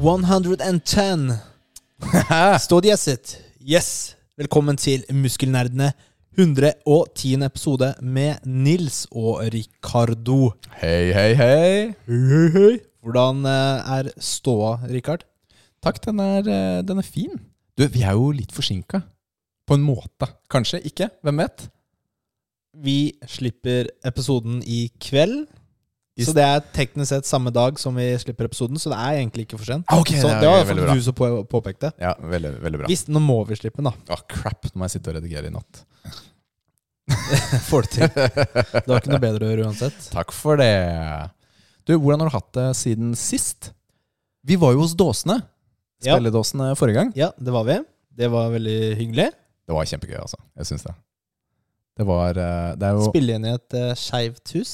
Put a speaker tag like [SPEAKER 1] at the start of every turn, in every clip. [SPEAKER 1] 110. Stå diasset. Yes! Velkommen til Muskelnerdene. 110. episode med Nils og Ricardo.
[SPEAKER 2] Hei, hei, hei.
[SPEAKER 1] Hvordan eh, er ståa, Rikard?
[SPEAKER 2] Takk, den er, eh, den er fin. Du, vi er jo litt forsinka. På en måte. Kanskje ikke. Hvem vet?
[SPEAKER 1] Vi slipper episoden i kveld.
[SPEAKER 2] I
[SPEAKER 1] Så
[SPEAKER 2] st-
[SPEAKER 1] det er teknisk sett samme dag som vi slipper episoden, så det er egentlig ikke for sent.
[SPEAKER 2] Ah, ok,
[SPEAKER 1] så
[SPEAKER 2] det er
[SPEAKER 1] det var i
[SPEAKER 2] veldig
[SPEAKER 1] hvert
[SPEAKER 2] bra.
[SPEAKER 1] fall du som på- påpekte.
[SPEAKER 2] Ja, veldig, veldig bra.
[SPEAKER 1] Hvis nå må vi slippe den, da.
[SPEAKER 2] Å, crap. Nå må jeg sitte og redigere i natt.
[SPEAKER 1] Får det til. Det var ikke noe bedre å gjøre uansett.
[SPEAKER 2] Takk for det. Du, hvordan har du hatt det siden sist? Vi var jo hos Dåsene.
[SPEAKER 1] Ja.
[SPEAKER 2] Spilledåsene forrige gang.
[SPEAKER 1] Ja, det var vi. Det var veldig hyggelig.
[SPEAKER 2] Det var kjempegøy, altså. Jeg syns det. Det var eh, Det er jo
[SPEAKER 1] Spille inn i et uh, skeivt hus.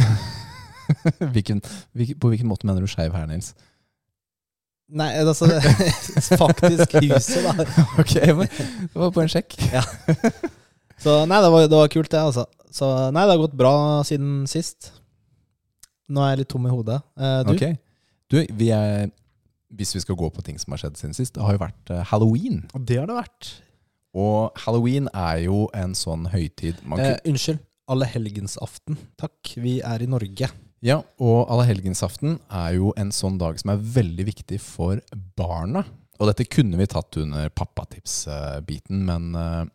[SPEAKER 2] hvilken, hvilken, På hvilken måte mener du skeiv her, Nils?
[SPEAKER 1] Nei, altså Faktisk huset, da.
[SPEAKER 2] ok, men det var på en sjekk.
[SPEAKER 1] Så nei, det var, det var kult, det, altså. Så nei, det har gått bra siden sist. Nå er jeg litt tom i hodet. Eh, du?
[SPEAKER 2] Ok. Du, vi er, hvis vi skal gå på ting som har skjedd siden sist, det har jo vært eh, halloween.
[SPEAKER 1] Og Det har det vært.
[SPEAKER 2] Og halloween er jo en sånn høytid man
[SPEAKER 1] Eh,
[SPEAKER 2] kun-
[SPEAKER 1] unnskyld. Allehelgensaften. Takk, vi er i Norge.
[SPEAKER 2] Ja, og allehelgensaften er jo en sånn dag som er veldig viktig for barna. Og dette kunne vi tatt under pappatips-biten, men, eh,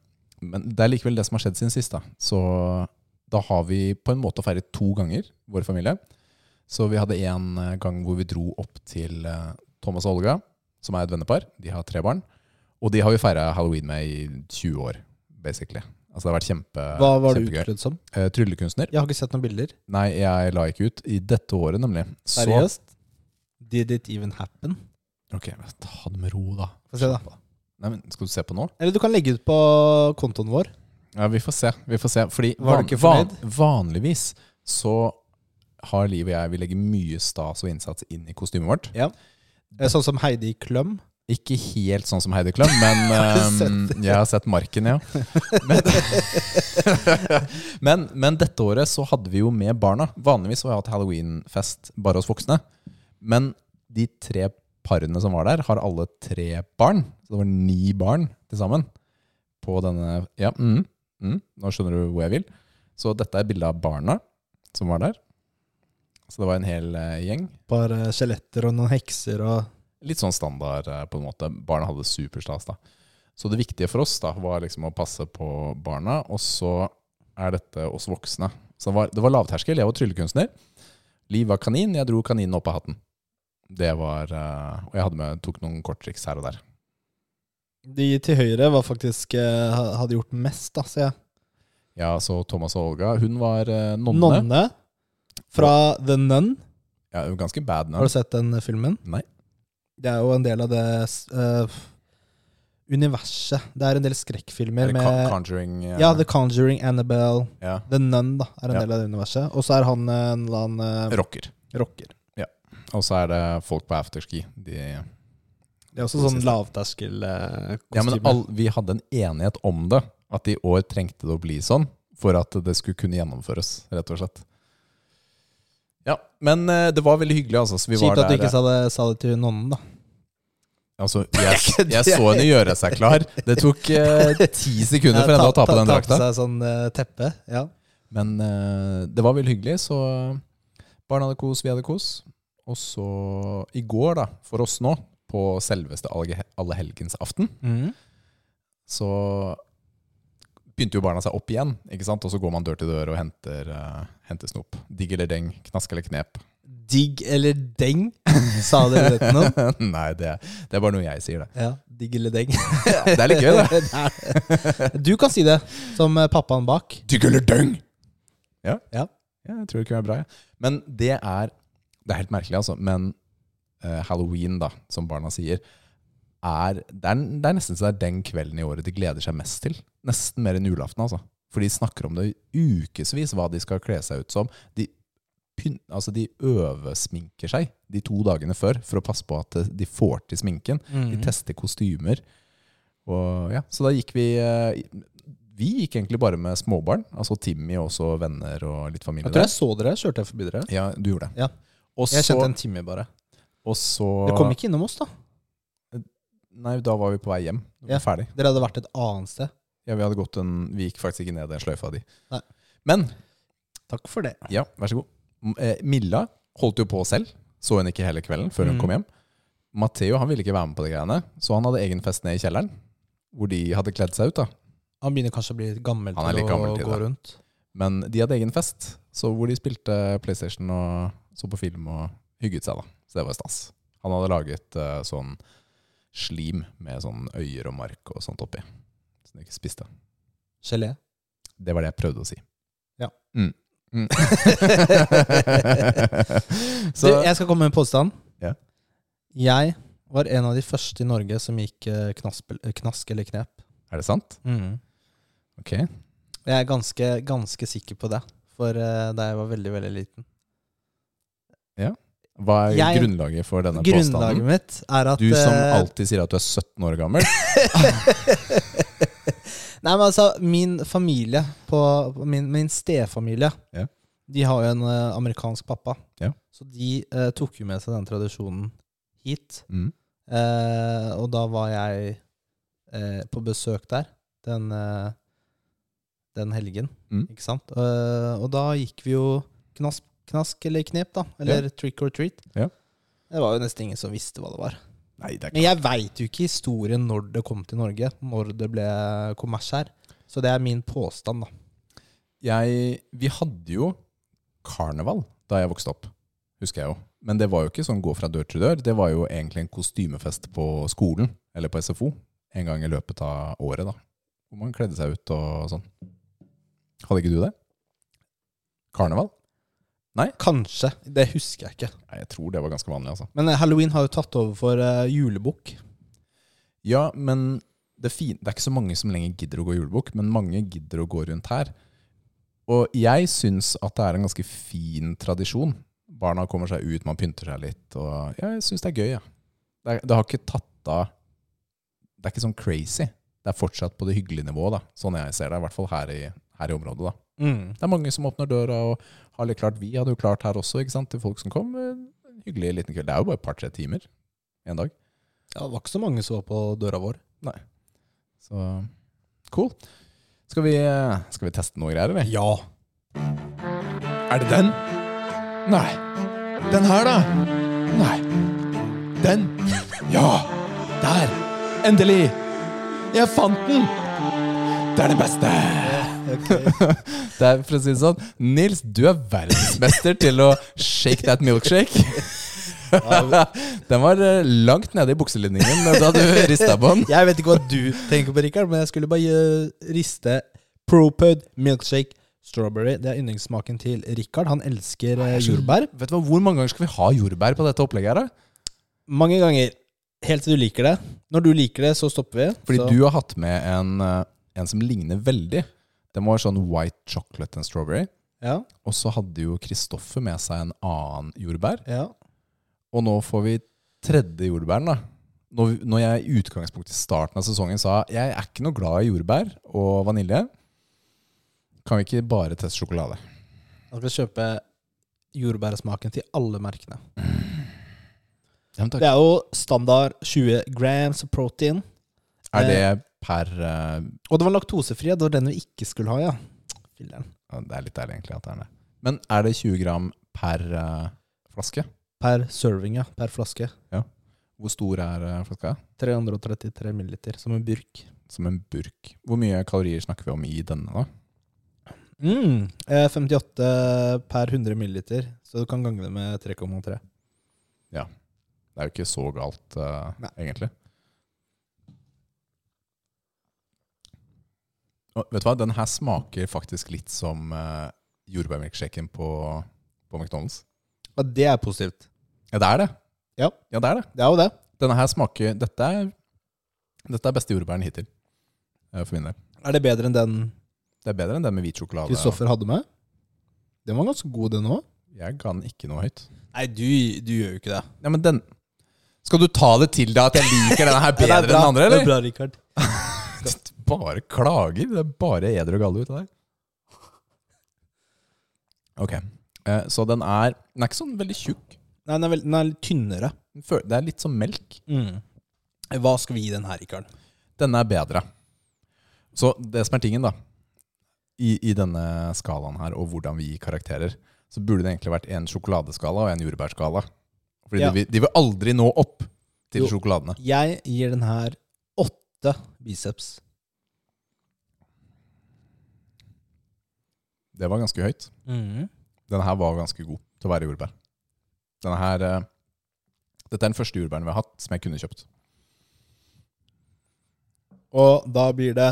[SPEAKER 2] men det er likevel det som har skjedd siden sist. Da. Så da har vi på en måte feiret to ganger, vår familie. Så vi hadde en eh, gang hvor vi dro opp til eh, Thomas og Olga, som er et vennepar. De har tre barn. Og de har vi feira halloween med i 20 år, basically. Altså det har vært kjempe,
[SPEAKER 1] Hva var du
[SPEAKER 2] kjempegøy.
[SPEAKER 1] utkledd som?
[SPEAKER 2] Eh, Tryllekunstner.
[SPEAKER 1] Jeg har ikke sett noen bilder.
[SPEAKER 2] Nei, jeg la ikke ut i dette året, nemlig. Så-
[SPEAKER 1] Seriøst? Did it even happen?
[SPEAKER 2] Ok, men ta det med ro, da.
[SPEAKER 1] Få se, da.
[SPEAKER 2] Nei, men Skal du se på nå?
[SPEAKER 1] Eller du kan legge ut på kontoen vår.
[SPEAKER 2] Ja, vi får se. Vi får se. Fordi
[SPEAKER 1] Var du ikke fornøyd?
[SPEAKER 2] vanligvis så har Liv og jeg Vi legger mye stas og innsats inn i kostymet vårt.
[SPEAKER 1] Eh, Sånn som Heidi Kløm.
[SPEAKER 2] Ikke helt sånn som Heidi Klum, men ehm, jeg har sett marken, ja. Men, men, men dette året så hadde vi jo med barna. Vanligvis så har jeg hatt halloweenfest bare hos voksne. Men de tre parene som var der, har alle tre barn. Så det var ni barn til sammen på denne Ja, mm, mm, nå skjønner du hvor jeg vil. Så dette er bilde av barna som var der. Så det var en hel eh, gjeng.
[SPEAKER 1] Bare skjeletter og noen hekser og
[SPEAKER 2] Litt sånn standard eh, på en måte. Barna hadde det superstas da. Så det viktige for oss da var liksom å passe på barna, og så er dette oss voksne. Så det var, det var lavterskel. Jeg var tryllekunstner. Liv var kanin. Jeg dro kaninen opp av hatten. Det var eh, Og jeg hadde med, tok noen korttriks her og der.
[SPEAKER 1] De til høyre var faktisk eh, ha- hadde gjort mest, da, ser jeg.
[SPEAKER 2] Ja, så Thomas og Olga, hun var eh, nonne.
[SPEAKER 1] Nonne. fra The Nun.
[SPEAKER 2] Ja, hun var ganske bad
[SPEAKER 1] Har
[SPEAKER 2] nå.
[SPEAKER 1] du sett den eh, filmen?
[SPEAKER 2] Nei.
[SPEAKER 1] Det er jo en del av det s- eh, universet. Det er en del skrekkfilmer
[SPEAKER 2] Eller
[SPEAKER 1] med
[SPEAKER 2] Con- Conjuring. eh,
[SPEAKER 1] Ja, The Conjuring, Annabelle,
[SPEAKER 2] ja.
[SPEAKER 1] The Nun da, er en
[SPEAKER 2] Ja.
[SPEAKER 1] del av det universet. Og så er han eh, en eller annen eh,
[SPEAKER 2] Rocker.
[SPEAKER 1] rocker.
[SPEAKER 2] Og så er det folk på afterski. De
[SPEAKER 1] Det er også sånn eh, lavterskelkostyme.
[SPEAKER 2] Ja, men all, vi hadde en enighet om det, at i år trengte det å bli sånn for at det skulle kunne gjennomføres, rett og slett. Ja, men eh, det var veldig hyggelig, altså. Så vi var
[SPEAKER 1] Kjipt at du
[SPEAKER 2] der,
[SPEAKER 1] ikke sa det, sa det til nonnen, da.
[SPEAKER 2] eh, altså jeg, jeg så henne gjøre seg klar. Det tok eh, ti sekunder for henne å ta på den
[SPEAKER 1] Ta
[SPEAKER 2] drakta.
[SPEAKER 1] på seg sånn eh, teppe. Ja.
[SPEAKER 2] Men eh, det var veldig hyggelig, så eh, barna hadde kos, vi hadde kos. Og så i går, da, for oss nå, på selveste Alle- allehelgensaften, så begynte jo barna seg opp igjen, ikke sant? og så går man dør til dør og henter, eh, henter snop. Digg eller deng, knask eller knep.
[SPEAKER 1] Digg eller deng, sa dere det til noen?
[SPEAKER 2] Nei, det, det er bare noe jeg sier, det.
[SPEAKER 1] Ja, digg eller deng.
[SPEAKER 2] Det er litt gøy, det.
[SPEAKER 1] Du kan si det, som eh, pappaen bak.
[SPEAKER 2] Digg eller deng! Ja,
[SPEAKER 1] Ja.
[SPEAKER 2] ja jeg tror det kunne være bra. Ja. Men det er Det er helt merkelig, altså. Men eh, halloween, da, som barna sier, er det, er det er nesten så det er den kvelden i året de gleder seg mest til. Nesten mer enn julaften, altså. For de snakker om det i ukevis, hva de skal kle seg ut som. De, pyn- altså, de øvesminker seg de to dagene før for å passe på at eh, de får til sminken.
[SPEAKER 3] Mhm.
[SPEAKER 2] De tester kostymer. Og, ja. Så da gikk vi eh, Vi gikk egentlig bare med småbarn. Altså Timmy og også venner og litt
[SPEAKER 3] Jeg
[SPEAKER 2] familie.
[SPEAKER 3] tror
[SPEAKER 2] der.
[SPEAKER 3] jeg så dere. Kjørte jeg forbi dere?
[SPEAKER 2] Ja, du gjorde det.
[SPEAKER 1] Ja.
[SPEAKER 2] Og
[SPEAKER 3] Jeg
[SPEAKER 2] så,
[SPEAKER 3] kjente en time bare.
[SPEAKER 2] og så
[SPEAKER 1] Dere kom ikke innom oss, da?
[SPEAKER 2] Nei, da var vi på vei hjem. Vi var
[SPEAKER 1] Ja.
[SPEAKER 2] ferdig.
[SPEAKER 1] Dere hadde vært et annet sted.
[SPEAKER 2] Ja, vi, hadde gått en, vi gikk faktisk ikke ned den sløyfa di.
[SPEAKER 1] Nei.
[SPEAKER 2] Men
[SPEAKER 1] Takk for det.
[SPEAKER 2] Ja, vær så god. M- eh, Milla holdt jo på selv. Så hun ikke hele kvelden før hun
[SPEAKER 3] Mm.
[SPEAKER 2] kom hjem. Matteo han ville ikke være med på de greiene, så han hadde egen fest nede i kjelleren. Hvor de hadde kledd seg ut, da.
[SPEAKER 3] Han begynner kanskje å bli litt gammel
[SPEAKER 2] Han er
[SPEAKER 3] til
[SPEAKER 2] litt gammel
[SPEAKER 3] å
[SPEAKER 2] til
[SPEAKER 3] gå
[SPEAKER 2] det.
[SPEAKER 3] rundt.
[SPEAKER 2] Men de hadde egen fest, så hvor de spilte PlayStation og så på film og hygget seg, da. Så det var stas. Han hadde laget eh, sånn slim med sånn øyer og mark og sånt oppi. Så de ikke spiste.
[SPEAKER 1] Gelé.
[SPEAKER 2] Det var det jeg prøvde å si.
[SPEAKER 1] Ja.
[SPEAKER 2] Mm. Mm.
[SPEAKER 1] Du, jeg skal komme med en påstand.
[SPEAKER 2] Ja.
[SPEAKER 1] Jeg var en av de første i Norge som gikk eh, knasp, eh, knask eller knep.
[SPEAKER 2] Er det sant? Ok.
[SPEAKER 1] Jeg er ganske, ganske sikker på det, for eh, da jeg var veldig, veldig liten.
[SPEAKER 2] Hva er
[SPEAKER 1] Jeg-
[SPEAKER 2] grunnlaget for denne
[SPEAKER 1] Grunnlaget
[SPEAKER 2] påstanden?
[SPEAKER 1] mitt er at
[SPEAKER 2] Du som
[SPEAKER 1] eh,
[SPEAKER 2] alltid sier at du er 17 år gammel.
[SPEAKER 1] Nei, men altså, min familie, på, på min, min stefamilie,
[SPEAKER 2] Ja.
[SPEAKER 1] de har jo en eh, amerikansk pappa.
[SPEAKER 2] Ja.
[SPEAKER 1] Så de eh, tok jo med seg den tradisjonen hit.
[SPEAKER 2] Mm.
[SPEAKER 1] Eh, og da var jeg eh, på besøk der den, eh, den helgen,
[SPEAKER 2] Mm.
[SPEAKER 1] ikke sant? Eh, og da gikk vi jo knask, knask eller knep, da. Eller trick or treat.
[SPEAKER 2] Ja.
[SPEAKER 1] Det var jo nesten ingen som visste hva det var.
[SPEAKER 2] Nei, det er
[SPEAKER 1] Men jeg veit jo ikke historien når det kom til Norge, når det ble kommers her. Så det er min påstand, da.
[SPEAKER 2] jeg, vi hadde jo karneval da jeg vokste opp, husker jeg jo. Men det var jo ikke sånn gå fra dør til dør. Det var jo egentlig en kostymefest på skolen, eller på SFO, en gang i løpet av året, da. Hvor man kledde seg ut og sånn. Hadde ikke du det? Karneval?
[SPEAKER 1] Kanskje. Det husker jeg ikke.
[SPEAKER 2] Nei, jeg tror det var ganske vanlig, altså.
[SPEAKER 1] Men eh, halloween har jo tatt over for eh, julebukk.
[SPEAKER 2] Ja, men det, fin det er ikke så mange som lenger gidder å gå julebukk, men mange gidder å gå rundt her. Og jeg syns at det er en ganske fin tradisjon. Barna kommer seg ut, man pynter seg litt, og ja, jeg syns det er gøy. Ja. Det, er, det har ikke tatt av Det er ikke sånn crazy. Det er fortsatt på det hyggelige nivået, da, sånn jeg ser det. I hvert fall her i, her i området. da. Det er mange som åpner døra og har litt klart. Vi hadde jo klart her også, ikke sant, til folk som kom. eh, En hyggelig liten kveld. Det er jo bare et par-tre timer en dag.
[SPEAKER 1] Ja, det var ikke så mange som var på døra vår.
[SPEAKER 2] Så cool. Skal vi, eh, skal vi teste noe greier, eller?
[SPEAKER 1] Ja.
[SPEAKER 2] Er det den? Nei. Den her, da? Nei. Den? Ja! Der! Endelig! Jeg fant den! Det er det beste! Det er for å si det sånn Nils, du er verdensmester til å shake that milkshake. Den var eh, langt nede i bukselinningen da du rista på den.
[SPEAKER 1] Jeg vet ikke hva du tenker på, Rikard, men jeg skulle bare eh, riste Propud milkshake strawberry. Det er yndlingssmaken til Rikard. Han elsker eh, jordbær.
[SPEAKER 2] Vet du hva, Hvor mange ganger skal vi ha jordbær på dette opplegget? her da?
[SPEAKER 1] Mange ganger. Helt til du liker det. Når du liker det, så stopper vi.
[SPEAKER 2] Fordi
[SPEAKER 1] så.
[SPEAKER 2] du har hatt med en, eh, en som ligner veldig. Den var sånn white chocolate and strawberry.
[SPEAKER 1] Ja,
[SPEAKER 2] Og så hadde jo Kristoffer med seg en annen jordbær.
[SPEAKER 1] ja.
[SPEAKER 2] Og nå får vi tredje jordbæren, da. Når, når jeg i utgangspunktet i starten av sesongen sa jeg er ikke noe glad i jordbær og vanilje, kan vi ikke bare teste sjokolade?
[SPEAKER 1] Han skal kjøpe jordbærsmaken til alle merkene.
[SPEAKER 2] Ja, men takk.
[SPEAKER 1] Det er jo standard 20 grams of protein.
[SPEAKER 2] Er det per eh,
[SPEAKER 1] Og det var laktosefri. Det var den vi ikke skulle ha, ja. Filleren.
[SPEAKER 2] ja, Det er litt deilig, egentlig, at det er det. Men er det 20 gram per eh, flaske?
[SPEAKER 1] Per serving, ja. Per flaske.
[SPEAKER 2] Hvor stor er eh, flaska?
[SPEAKER 1] 333 milliliter, som en burk.
[SPEAKER 2] som en burk. Hvor mye kalorier snakker vi om i denne, da?
[SPEAKER 1] Mm. eh, 58 per 100 milliliter, så du kan gange det med 3,3.
[SPEAKER 2] Det er jo ikke så galt, eh,
[SPEAKER 1] Nei.
[SPEAKER 2] egentlig. Og, vet du hva, den her smaker faktisk litt som uh, jordbærmilkshaken på, på McDonald's.
[SPEAKER 1] Og det er positivt.
[SPEAKER 2] Ja, det er det.
[SPEAKER 1] Ja.
[SPEAKER 2] ja, det er det.
[SPEAKER 1] Det er jo det.
[SPEAKER 2] Denne her smaker Dette er, dette er beste jordbæren hittil. eh, For min del.
[SPEAKER 1] Er det bedre enn den
[SPEAKER 2] Det er bedre enn den med hvit sjokolade.
[SPEAKER 1] Kristoffer hadde med? Den var ganske god, den òg.
[SPEAKER 2] Jeg ga den ikke noe høyt.
[SPEAKER 3] Nei, du, du gjør jo ikke det.
[SPEAKER 2] Ja, men den Skal du ta det til deg at jeg liker denne her bedre enn den andre,
[SPEAKER 3] Det er
[SPEAKER 2] eller?
[SPEAKER 3] bra, Richard.
[SPEAKER 2] Bare klager. Det er bare eder og galle ut av deg. Ok. eh, Så den er Den er ikke sånn veldig tjukk.
[SPEAKER 3] Nei, den er, vel, den er litt tynnere.
[SPEAKER 2] Den føl- Det er litt som melk.
[SPEAKER 3] Hva skal vi gi den her, Richard?
[SPEAKER 2] Denne er bedre. Så det som er tingen, da, i, i denne skalaen her, og hvordan vi gir karakterer, så burde det egentlig vært en sjokoladeskala og en jordbærskala. Fordi
[SPEAKER 1] Ja.
[SPEAKER 2] de, vil, de vil aldri nå opp til
[SPEAKER 1] Jo.
[SPEAKER 2] sjokoladene.
[SPEAKER 1] Jeg gir den her åtte biceps.
[SPEAKER 2] Det var ganske høyt. Denne her var ganske god til å være jordbær. Denne her eh, Dette er den første jordbæren vi har hatt som jeg kunne kjøpt.
[SPEAKER 1] Og da blir det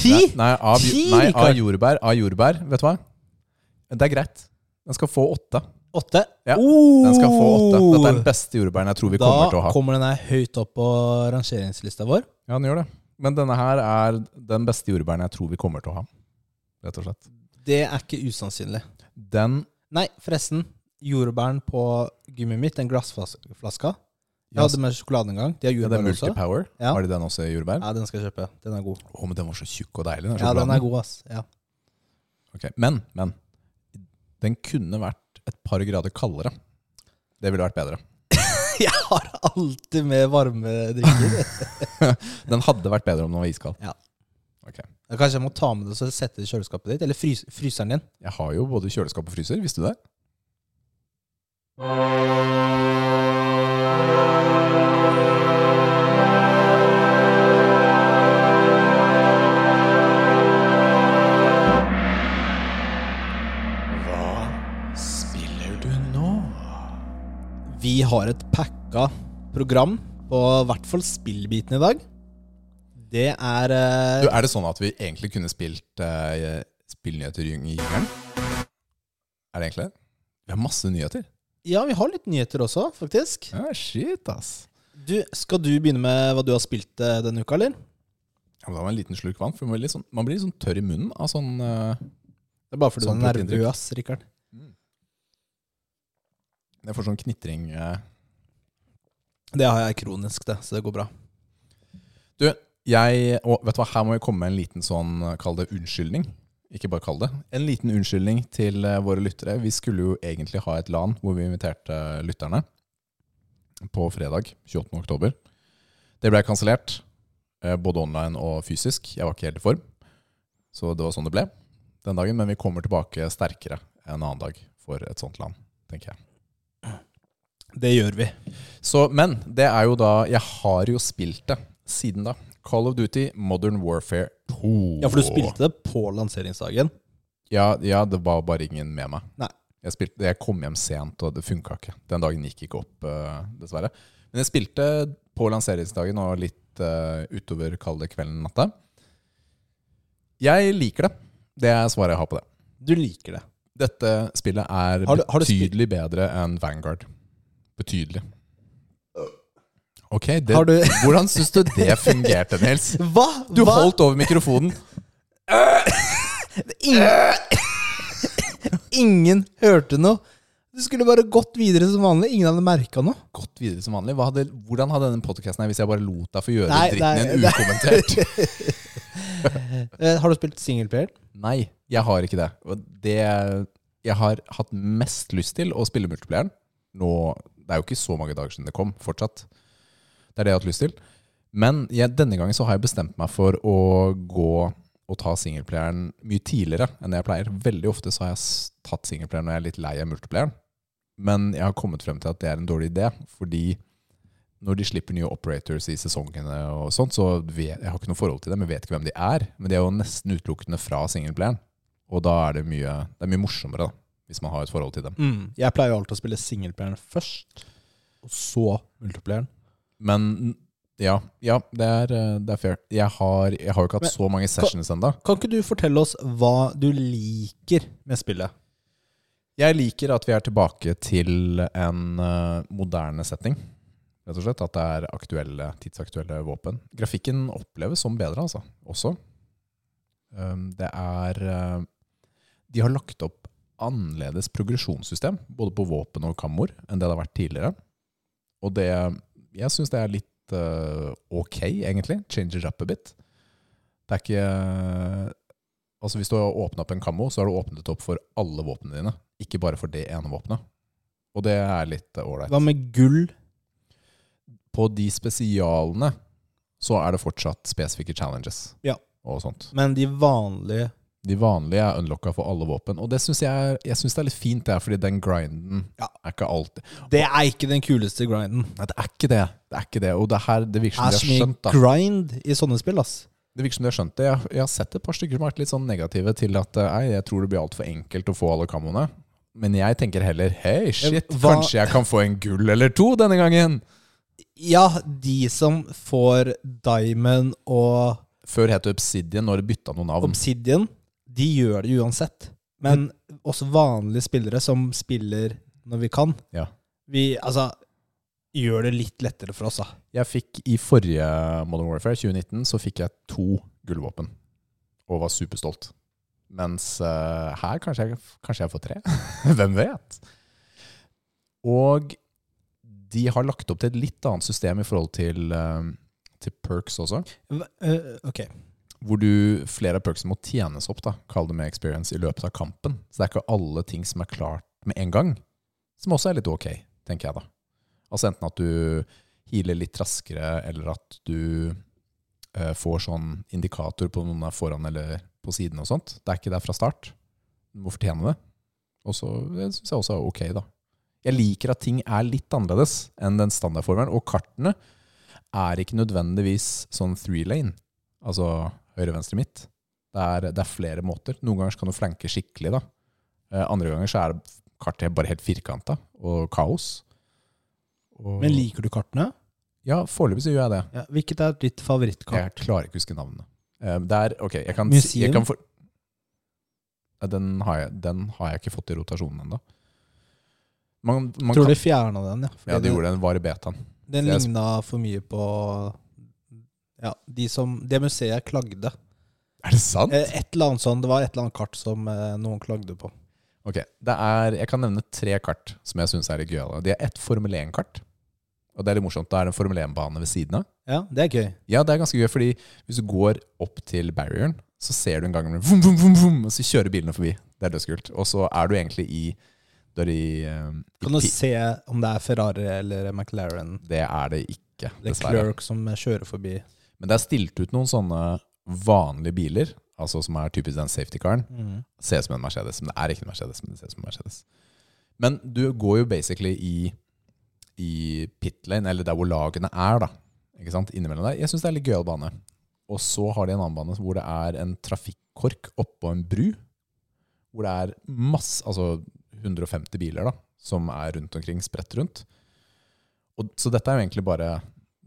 [SPEAKER 2] Nei,
[SPEAKER 1] Ti!
[SPEAKER 2] nei, av, ju-
[SPEAKER 1] Ti,
[SPEAKER 2] nei, av
[SPEAKER 1] Rikard!
[SPEAKER 2] jordbær. Av jordbær, vet du hva? Det er greit. Den skal få åtte.
[SPEAKER 1] Åtte?
[SPEAKER 2] Ja,
[SPEAKER 1] Oh!
[SPEAKER 2] Den skal få åtte. Dette er den beste jordbæren jeg tror vi
[SPEAKER 1] da
[SPEAKER 2] kommer til å ha.
[SPEAKER 1] kommer den her høyt opp på rangeringslista vår.
[SPEAKER 2] Ja, den gjør det. Men denne her er den beste jordbæren jeg tror vi kommer til å ha. Rett og slett.
[SPEAKER 1] Det er ikke usannsynlig.
[SPEAKER 2] Den
[SPEAKER 1] Nei, forresten. Jordbæren på gymmet mitt, den glassflaska Jeg
[SPEAKER 2] ja,
[SPEAKER 1] hadde med sjokolade en gang. De har
[SPEAKER 2] det er
[SPEAKER 1] jordbær også.
[SPEAKER 2] Multipower.
[SPEAKER 1] Ja.
[SPEAKER 2] Har de den også i jordbær?
[SPEAKER 1] Ja, den skal jeg kjøpe. Den er god.
[SPEAKER 2] Å, men den var så tjukk og deilig. Den
[SPEAKER 1] Ja, den
[SPEAKER 2] sjokoladen.
[SPEAKER 1] er god, ass. Ja.
[SPEAKER 2] Ok, Men, men den kunne vært et par grader kaldere. Det ville vært bedre.
[SPEAKER 1] Jeg har alltid med varme drikker.
[SPEAKER 2] Den hadde vært bedre om den var iskald.
[SPEAKER 1] Ja, Kanskje jeg må ta med det og så sette det i kjøleskapet ditt? Eller frys fryseren din?
[SPEAKER 2] Jeg har jo både kjøleskap og fryser, visste du det? Hva spiller du nå?
[SPEAKER 1] Vi har et packa program på i hvert fall spillbiten i dag. Det er eh,
[SPEAKER 2] Du, er det sånn at vi egentlig kunne spilt uh, spillnyheter i jungelen? Er det egentlig det? Vi har masse nyheter.
[SPEAKER 1] Ja, vi har litt nyheter også, faktisk.
[SPEAKER 2] Ja, shit, ass.
[SPEAKER 1] Du, skal du begynne med hva du har spilt eh, denne uka, eller?
[SPEAKER 2] Ja, men da var det en liten slurk vann, for man blir litt sånn, man blir litt sånn tørr i munnen av sånn eh,
[SPEAKER 1] Det er bare fordi
[SPEAKER 2] Sånn
[SPEAKER 1] du er
[SPEAKER 2] proteindrikk.
[SPEAKER 1] nervøs, Rikard.
[SPEAKER 2] Jeg får sånn knitring. eh.
[SPEAKER 1] Det har jeg kronisk, det, så det går bra.
[SPEAKER 2] Du, jeg Og vet du hva, her må vi komme med en liten sånn, eh, kall det unnskyldning. Ikke bare kall det. En liten unnskyldning til eh, våre lyttere. Vi skulle jo egentlig ha et LAN hvor vi inviterte eh, lytterne på fredag 28. oktober. Det ble kansellert, eh, både online og fysisk. Jeg var ikke helt i form, så det var sånn det ble den dagen. Men vi kommer tilbake sterkere en annen dag for et sånt LAN, tenker jeg.
[SPEAKER 1] Det gjør vi.
[SPEAKER 2] Så, men det er jo da Jeg har jo spilt det siden da. Call of Duty Modern Warfare 2.
[SPEAKER 1] Ja, for du spilte det på lanseringsdagen.
[SPEAKER 2] Ja, ja, det var bare ingen med meg.
[SPEAKER 1] Nei.
[SPEAKER 2] Jeg, spilte, jeg kom hjem sent, og det funka ikke. Den dagen gikk ikke opp, eh, dessverre. Men jeg spilte på lanseringsdagen og litt eh, utover kalde kvelden natta. Jeg liker det. Det er svaret jeg har på det.
[SPEAKER 1] Du liker det.
[SPEAKER 2] Dette spillet er
[SPEAKER 1] Har du- har du spilt-
[SPEAKER 2] betydelig bedre enn Vanguard. Betydelig. Ok, det,
[SPEAKER 1] Har du
[SPEAKER 2] Hvordan syns du det fungerte, Nils?
[SPEAKER 1] Hva?
[SPEAKER 2] Du
[SPEAKER 1] Hva?
[SPEAKER 2] holdt over mikrofonen.
[SPEAKER 1] Ingen, ingen hørte noe. Du skulle bare gått videre som vanlig. Ingen hadde merka noe.
[SPEAKER 2] Gått videre som vanlig. Hva hadde, hvordan hadde denne podkasten her hvis jeg bare lot deg få gjøre
[SPEAKER 1] Nei, nei,
[SPEAKER 2] dritten din
[SPEAKER 1] nei.
[SPEAKER 2] ukommentert?
[SPEAKER 1] Eh, har du spilt singleplayer?
[SPEAKER 2] Nei, jeg har ikke det. Og det jeg har hatt mest lyst til å spille multiplayeren nå, Det er jo ikke så mange dager siden det kom, fortsatt. Det er det jeg har hatt lyst til. Men jeg, denne gangen så har jeg bestemt meg for å gå og ta singleplayeren mye tidligere enn jeg pleier. Veldig ofte så har jeg s- tatt singleplayeren når jeg er litt lei av multiplayeren. Men jeg har kommet frem til at det er en dårlig idé, fordi når de slipper nye operators i sesongene og sånt, så vet, jeg har ikke noe forhold til dem, jeg vet ikke hvem de er, men de er jo nesten utelukkende fra singleplayeren. Og da er det mye, det er mye morsommere, da, hvis man har et forhold til dem.
[SPEAKER 1] Jeg pleier jo alltid å spille singleplayeren først, og så multiplayeren.
[SPEAKER 2] Men ja, ja det, er, eh, det er fair. Jeg har, jeg har jo ikke hatt
[SPEAKER 1] Men-
[SPEAKER 2] så mange sessions ennå.
[SPEAKER 1] Kan ikke du fortelle oss hva du liker med spillet?
[SPEAKER 2] Jeg liker at vi er tilbake til en eh, moderne setting. Rett og slett At det er aktuelle, tidsaktuelle våpen. Grafikken oppleves som bedre, altså. Også. Um, det er eh, De har lagt opp annerledes progresjonssystem, både på våpen og kammoer, enn det det har vært tidligere. Og det Jeg syns det er litt eh, ok, egentlig. Change it up a bit. Det er ikke Altså Hvis du har åpna opp en kammo, så har du åpnet opp for alle våpnene dine. Ikke bare for det ene våpenet. Og det er litt eh, ålreit.
[SPEAKER 1] Hva med gull?
[SPEAKER 2] På de spesialene så er det fortsatt spesifikke challenges
[SPEAKER 1] Ja.
[SPEAKER 2] og sånt.
[SPEAKER 1] Men de vanlige
[SPEAKER 2] De vanlige er unlocka for alle våpen, og det syns jeg, er- jeg synes det er litt fint, det er fordi den grinden
[SPEAKER 1] Ja.
[SPEAKER 2] er ikke alltid
[SPEAKER 1] Det er ikke den kuleste grinden.
[SPEAKER 2] Nei, det er ikke det. Det er ikke det. Og det her, det virker
[SPEAKER 1] Det er
[SPEAKER 2] som
[SPEAKER 1] så
[SPEAKER 2] de har skjønt,
[SPEAKER 1] mye
[SPEAKER 2] da.
[SPEAKER 1] grind i sånne spill, ass.
[SPEAKER 2] Det virker som de har skjønt det. Jeg, jeg har sett et par stykker som har vært litt sånn negative til at eh, nei, jeg tror det blir altfor enkelt å få alle kammoene. Men jeg tenker heller hei, shit,
[SPEAKER 1] Hva-
[SPEAKER 2] kanskje jeg kan få en gull eller to denne gangen.
[SPEAKER 1] Ja, de som får Diamond og
[SPEAKER 2] Før het det Obsidian når det bytta noen navn.
[SPEAKER 1] Obsidian, de gjør det uansett. Men også vanlige spillere som spiller når vi kan,
[SPEAKER 2] Ja.
[SPEAKER 1] vi altså gjør det litt lettere for oss, da.
[SPEAKER 2] Jeg fikk i forrige Modern Warfare, 2019, så fikk jeg to gullvåpen. Og var superstolt. Mens eh, her kanskje jeg, kanskje jeg får tre. Hvem vet? Og de har lagt opp til et litt annet system i forhold til, eh, til perks også.
[SPEAKER 1] ok.
[SPEAKER 2] hvor du, flere av perksene må tjenes opp, da, kall det med experience, i løpet av kampen. Så det er ikke alle ting som er klart med en gang, som også er litt ok, tenker jeg da. Altså enten at du healer litt raskere, eller at du eh, får sånn indikator på om noen er foran eller på siden og sånt. Det er ikke der fra start. Du må fortjene det. Og så det syns jeg også er ok, da. Jeg liker at ting er litt annerledes enn den standardformelen, og kartene er ikke nødvendigvis sånn three-lane. Altså høyre, venstre, midt. Det er, det er flere måter. Noen ganger så kan du flanke skikkelig, da. Eh, Andre ganger så er det kartet bare helt firkanta og kaos. Og-
[SPEAKER 1] Men liker du kartene?
[SPEAKER 2] Ja, foreløpig så gjør jeg det.
[SPEAKER 1] Ja, hvilket er ditt
[SPEAKER 2] Jeg
[SPEAKER 1] favorittkart?
[SPEAKER 2] klarer ikke å huske navnet. Eh, Det er, ok, jeg kan,
[SPEAKER 1] Museum?
[SPEAKER 2] si- jeg kan for... Ja, Den har, jeg, den har jeg ikke fått i rotasjonen ennå. Man, man
[SPEAKER 1] Tror
[SPEAKER 2] kan,
[SPEAKER 1] de fjerna den, ja.
[SPEAKER 2] ja, det gjorde den. Var i betaen.
[SPEAKER 1] Den
[SPEAKER 2] Jeg-
[SPEAKER 1] ligna for mye på ja, de som, det museet klagde.
[SPEAKER 2] Er det sant?
[SPEAKER 1] Eh, Et eller annet sånn, Det var et eller annet kart som eh, noen klagde på.
[SPEAKER 2] Ok, det er, Jeg kan nevne tre kart som jeg syns er litt gøyale. De er ett Formel 1-kart. Og det er litt morsomt. Da er det en Formel 1-bane ved siden av.
[SPEAKER 1] Ja, det er gøy.
[SPEAKER 2] Ja, det er ganske gøy, fordi hvis du går opp til barrieren, så ser du en gang med vum, vum, vum, vum, og så kjører bilene forbi. Det er dødskult. Og så er du egentlig i Du er i, eh, i
[SPEAKER 1] Kan du
[SPEAKER 2] pi-
[SPEAKER 1] se om det er Ferrari eller McLaren?
[SPEAKER 2] Det er det ikke,
[SPEAKER 1] Eller
[SPEAKER 2] dessverre.
[SPEAKER 1] Clerk som eh, kjører forbi.
[SPEAKER 2] Men det er stilt ut noen sånne vanlige biler, altså som er typisk den safety-caren. Ser ut som en Mercedes, men det er ikke en Mercedes. Men det ser ut som en Mercedes. Men du går jo basically i, i pit lane, eller der hvor lagene er, da. Ikke sant? Innimellom der. Jeg syns det er litt gøyal bane. Og så har de en annen bane hvor det er en trafikkork oppå en bru. Hvor det er masse, altså 150 biler da, som er rundt omkring, spredt rundt. Og, så dette er jo egentlig bare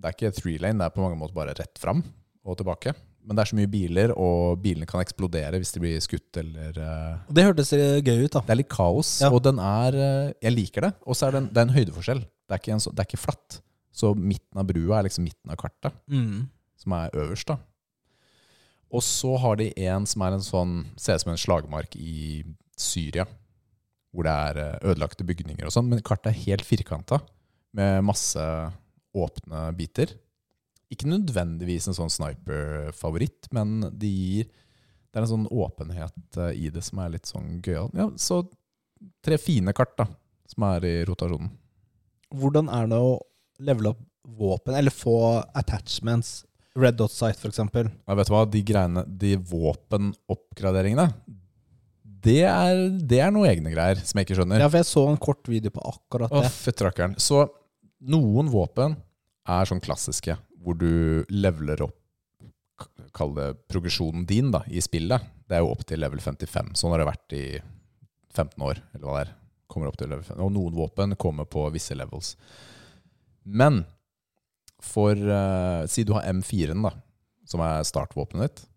[SPEAKER 2] det er ikke three lane, det er på mange måter bare rett fram og tilbake. Men det er så mye biler, og bilene kan eksplodere hvis de blir skutt eller eh,
[SPEAKER 1] Og Det hørtes eh, gøy ut, da.
[SPEAKER 2] Det er litt kaos,
[SPEAKER 1] Ja.
[SPEAKER 2] og den er eh, Jeg liker det. Og så er det en, det er en høydeforskjell. Det er, ikke en, så- det er ikke flatt. Så midten av brua er liksom midten av kartet,
[SPEAKER 1] Mm.
[SPEAKER 2] som er øverst, da. Og så har de en som er en sånn Ser ut som en slagmark i Syria, hvor det er eh, ødelagte bygninger og sånn, men kartet er helt firkanta, med masse åpne biter. Ikke nødvendigvis en sånn sniper-favoritt, men det gir Det er en sånn åpenhet eh, i det som er litt sånn gøyal. Ja, så tre fine kart, da, som er i rotasjonen.
[SPEAKER 1] Hvordan er det å levele opp våpen, eller få attachments? Red Dot Sight, for eksempel.
[SPEAKER 2] Ja, vet du hva, de greiene, de våpenoppgraderingene, det er, det er noe egne greier som jeg ikke skjønner.
[SPEAKER 1] Ja, for jeg så en kort video på akkurat det.
[SPEAKER 2] Uff, trakkeren. Så noen våpen er sånn klassiske, hvor du leveler opp, k- kall det progresjonen din da, i spillet. Det er jo opp til level 55, sånn har det vært i 15 år, eller hva det er. Kommer opp til level 55. Og noen våpen kommer på visse levels. Men, for, eh, si du har M4-en da, som er startvåpenet ditt,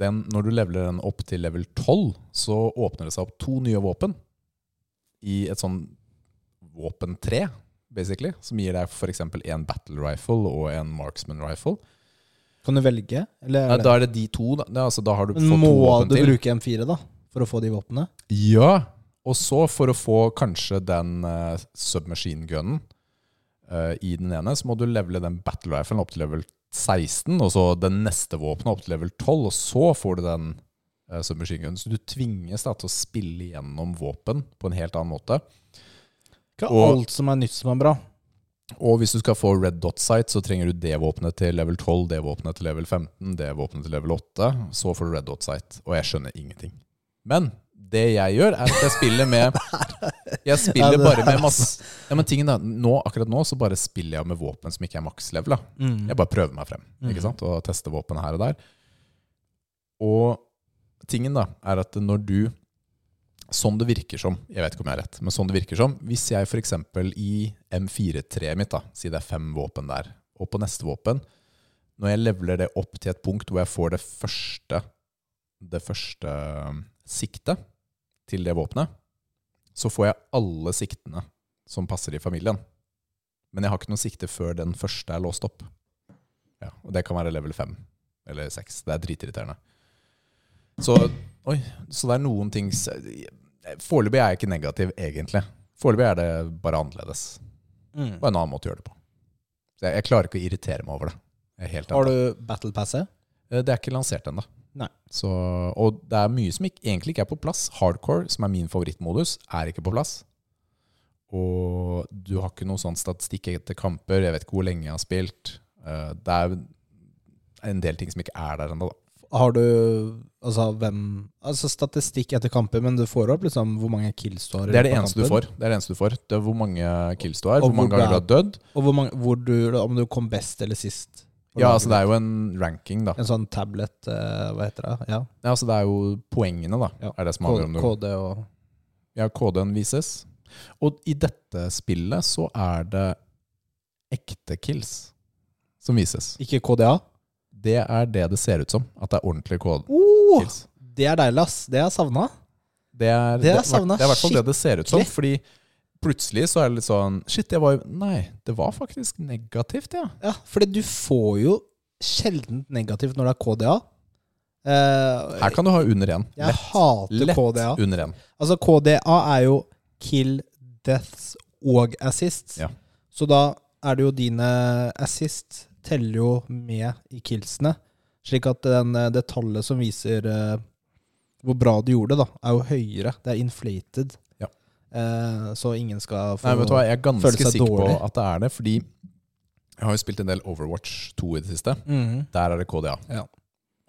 [SPEAKER 2] den, når du leveler den opp til level 12, så åpner det seg opp to nye våpen. i et sånn våpentre, basically, som gir deg f.eks. en battle rifle og en marksman rifle.
[SPEAKER 1] Kan du velge? Eller
[SPEAKER 2] Nei,
[SPEAKER 1] er det?
[SPEAKER 2] da er det de to, da. Det er, altså, da har du fått
[SPEAKER 1] Men
[SPEAKER 2] to
[SPEAKER 1] må
[SPEAKER 2] våpen
[SPEAKER 1] du
[SPEAKER 2] til.
[SPEAKER 1] bruke M4 da, for å få de våpnene?
[SPEAKER 2] Ja. Og så, for å få kanskje den eh, submachine gunnen eh, i den ene, så må du levele den battle riflen opp til level 16, og så den neste våpenet opp til level 12, og så får du den eh, submachine gunnen. Så du tvinges da til å spille gjennom våpen på en helt annen måte.
[SPEAKER 1] Ikke
[SPEAKER 2] Og-
[SPEAKER 1] alt som er nytt som er bra.
[SPEAKER 2] Og hvis du skal få red dot sight, så trenger du det våpenet til level 12, det våpenet til level 15, det våpenet til level 8. Så får du red dot sight. Og jeg skjønner ingenting. Men det jeg gjør, er at jeg spiller med Jeg
[SPEAKER 1] Ja,
[SPEAKER 2] spiller
[SPEAKER 1] det
[SPEAKER 2] bare
[SPEAKER 1] er
[SPEAKER 2] med masse ja, men tingen da, nå, Akkurat nå så bare spiller jeg med våpen som ikke er maks-levela.
[SPEAKER 1] Mm.
[SPEAKER 2] Jeg bare prøver meg frem ikke sant? og tester våpen her og der. Og tingen da, er at når du Sånn det virker som, jeg vet ikke om jeg har rett, men sånn det virker som Hvis jeg f.eks. i M4-treet mitt, da, si det er fem våpen der, og på neste våpen Når jeg leveler det opp til et punkt hvor jeg får det første det første siktet til det våpenet, så får jeg alle siktene som passer i familien. Men jeg har ikke noe sikte før den første er låst opp. Ja, og det kan være level 5 eller 6. Det er dritirriterende. Så, oi, så det er noen ting s- Foreløpig er jeg ikke negativ, egentlig. Foreløpig er det bare annerledes.
[SPEAKER 3] Mm.
[SPEAKER 2] Bare en annen måte å gjøre det på. Så jeg, jeg klarer ikke å irritere meg over det. Jeg er helt
[SPEAKER 1] Har du battlepasset?
[SPEAKER 2] Eh, Det er ikke lansert ennå.
[SPEAKER 1] Nei.
[SPEAKER 2] Så- Og det er mye som ikke, egentlig ikke er på plass. Hardcore, som er min favorittmodus, er ikke på plass. Og du har ikke noe sånn statistikk etter kamper. Jeg vet ikke hvor lenge jeg har spilt. Eh, Det er en del ting som ikke er der ennå, da.
[SPEAKER 1] Har du altså, hvem, altså statistikk etter kamper, men du får opp liksom, hvor mange kills du har. i
[SPEAKER 2] Det er det
[SPEAKER 1] løpet av
[SPEAKER 2] eneste du
[SPEAKER 1] kampen,
[SPEAKER 2] får. Det er det eneste du får. Det er hvor mange kills du har,
[SPEAKER 1] Og
[SPEAKER 2] hvor mange
[SPEAKER 1] hvor
[SPEAKER 2] ganger du
[SPEAKER 1] bra-
[SPEAKER 2] har dødd.
[SPEAKER 1] Og hvor mange, hvor du, om du kom best eller sist.
[SPEAKER 2] Ja, altså det er jo en ranking, da.
[SPEAKER 1] En sånn tablet, eh, hva heter det? Ja.
[SPEAKER 2] Ja, altså det er jo poengene, da.
[SPEAKER 1] Ja.
[SPEAKER 2] Er det som avgjør om du
[SPEAKER 1] KD og
[SPEAKER 2] Ja, KD-en vises. Og i dette spillet så er det ekte kills som vises.
[SPEAKER 1] Ikke KDA?
[SPEAKER 2] Det er det det ser ut som. At det er ordentlige KD-kills.
[SPEAKER 1] Oh, det er deilig, ass. Det har jeg savna.
[SPEAKER 2] Det er,
[SPEAKER 1] Det er altså
[SPEAKER 2] det,
[SPEAKER 1] savnet
[SPEAKER 2] det er i hvert fall det det ser ut som. Fordi plutselig så er det litt sånn Shit, jeg var jo Nei, det var faktisk negativt, ja.
[SPEAKER 1] Ja, fordi du får jo sjelden negativt når det er KDA. Eh,
[SPEAKER 2] Her kan du ha under én.
[SPEAKER 1] jeg
[SPEAKER 2] Lett,
[SPEAKER 1] hater
[SPEAKER 2] lett
[SPEAKER 1] KDA.
[SPEAKER 2] under én.
[SPEAKER 1] Altså, KDA er jo kill, deaths og assist.
[SPEAKER 2] Ja.
[SPEAKER 1] Så da er det jo dine assist teller jo med i killsene. Slik at den, eh, det tallet som viser eh, hvor bra du gjorde, da, er jo høyere. Det er inflated.
[SPEAKER 2] Ja.
[SPEAKER 1] Eh, så ingen skal få
[SPEAKER 2] Nei, vet du hva, jeg er
[SPEAKER 1] føle
[SPEAKER 2] ganske
[SPEAKER 1] seg
[SPEAKER 2] sikker på
[SPEAKER 1] dårlig.
[SPEAKER 2] at det er det, fordi jeg har jo spilt en del Overwatch 2 i det siste.
[SPEAKER 1] Mhm.
[SPEAKER 2] Der er det KDA.
[SPEAKER 1] Ja.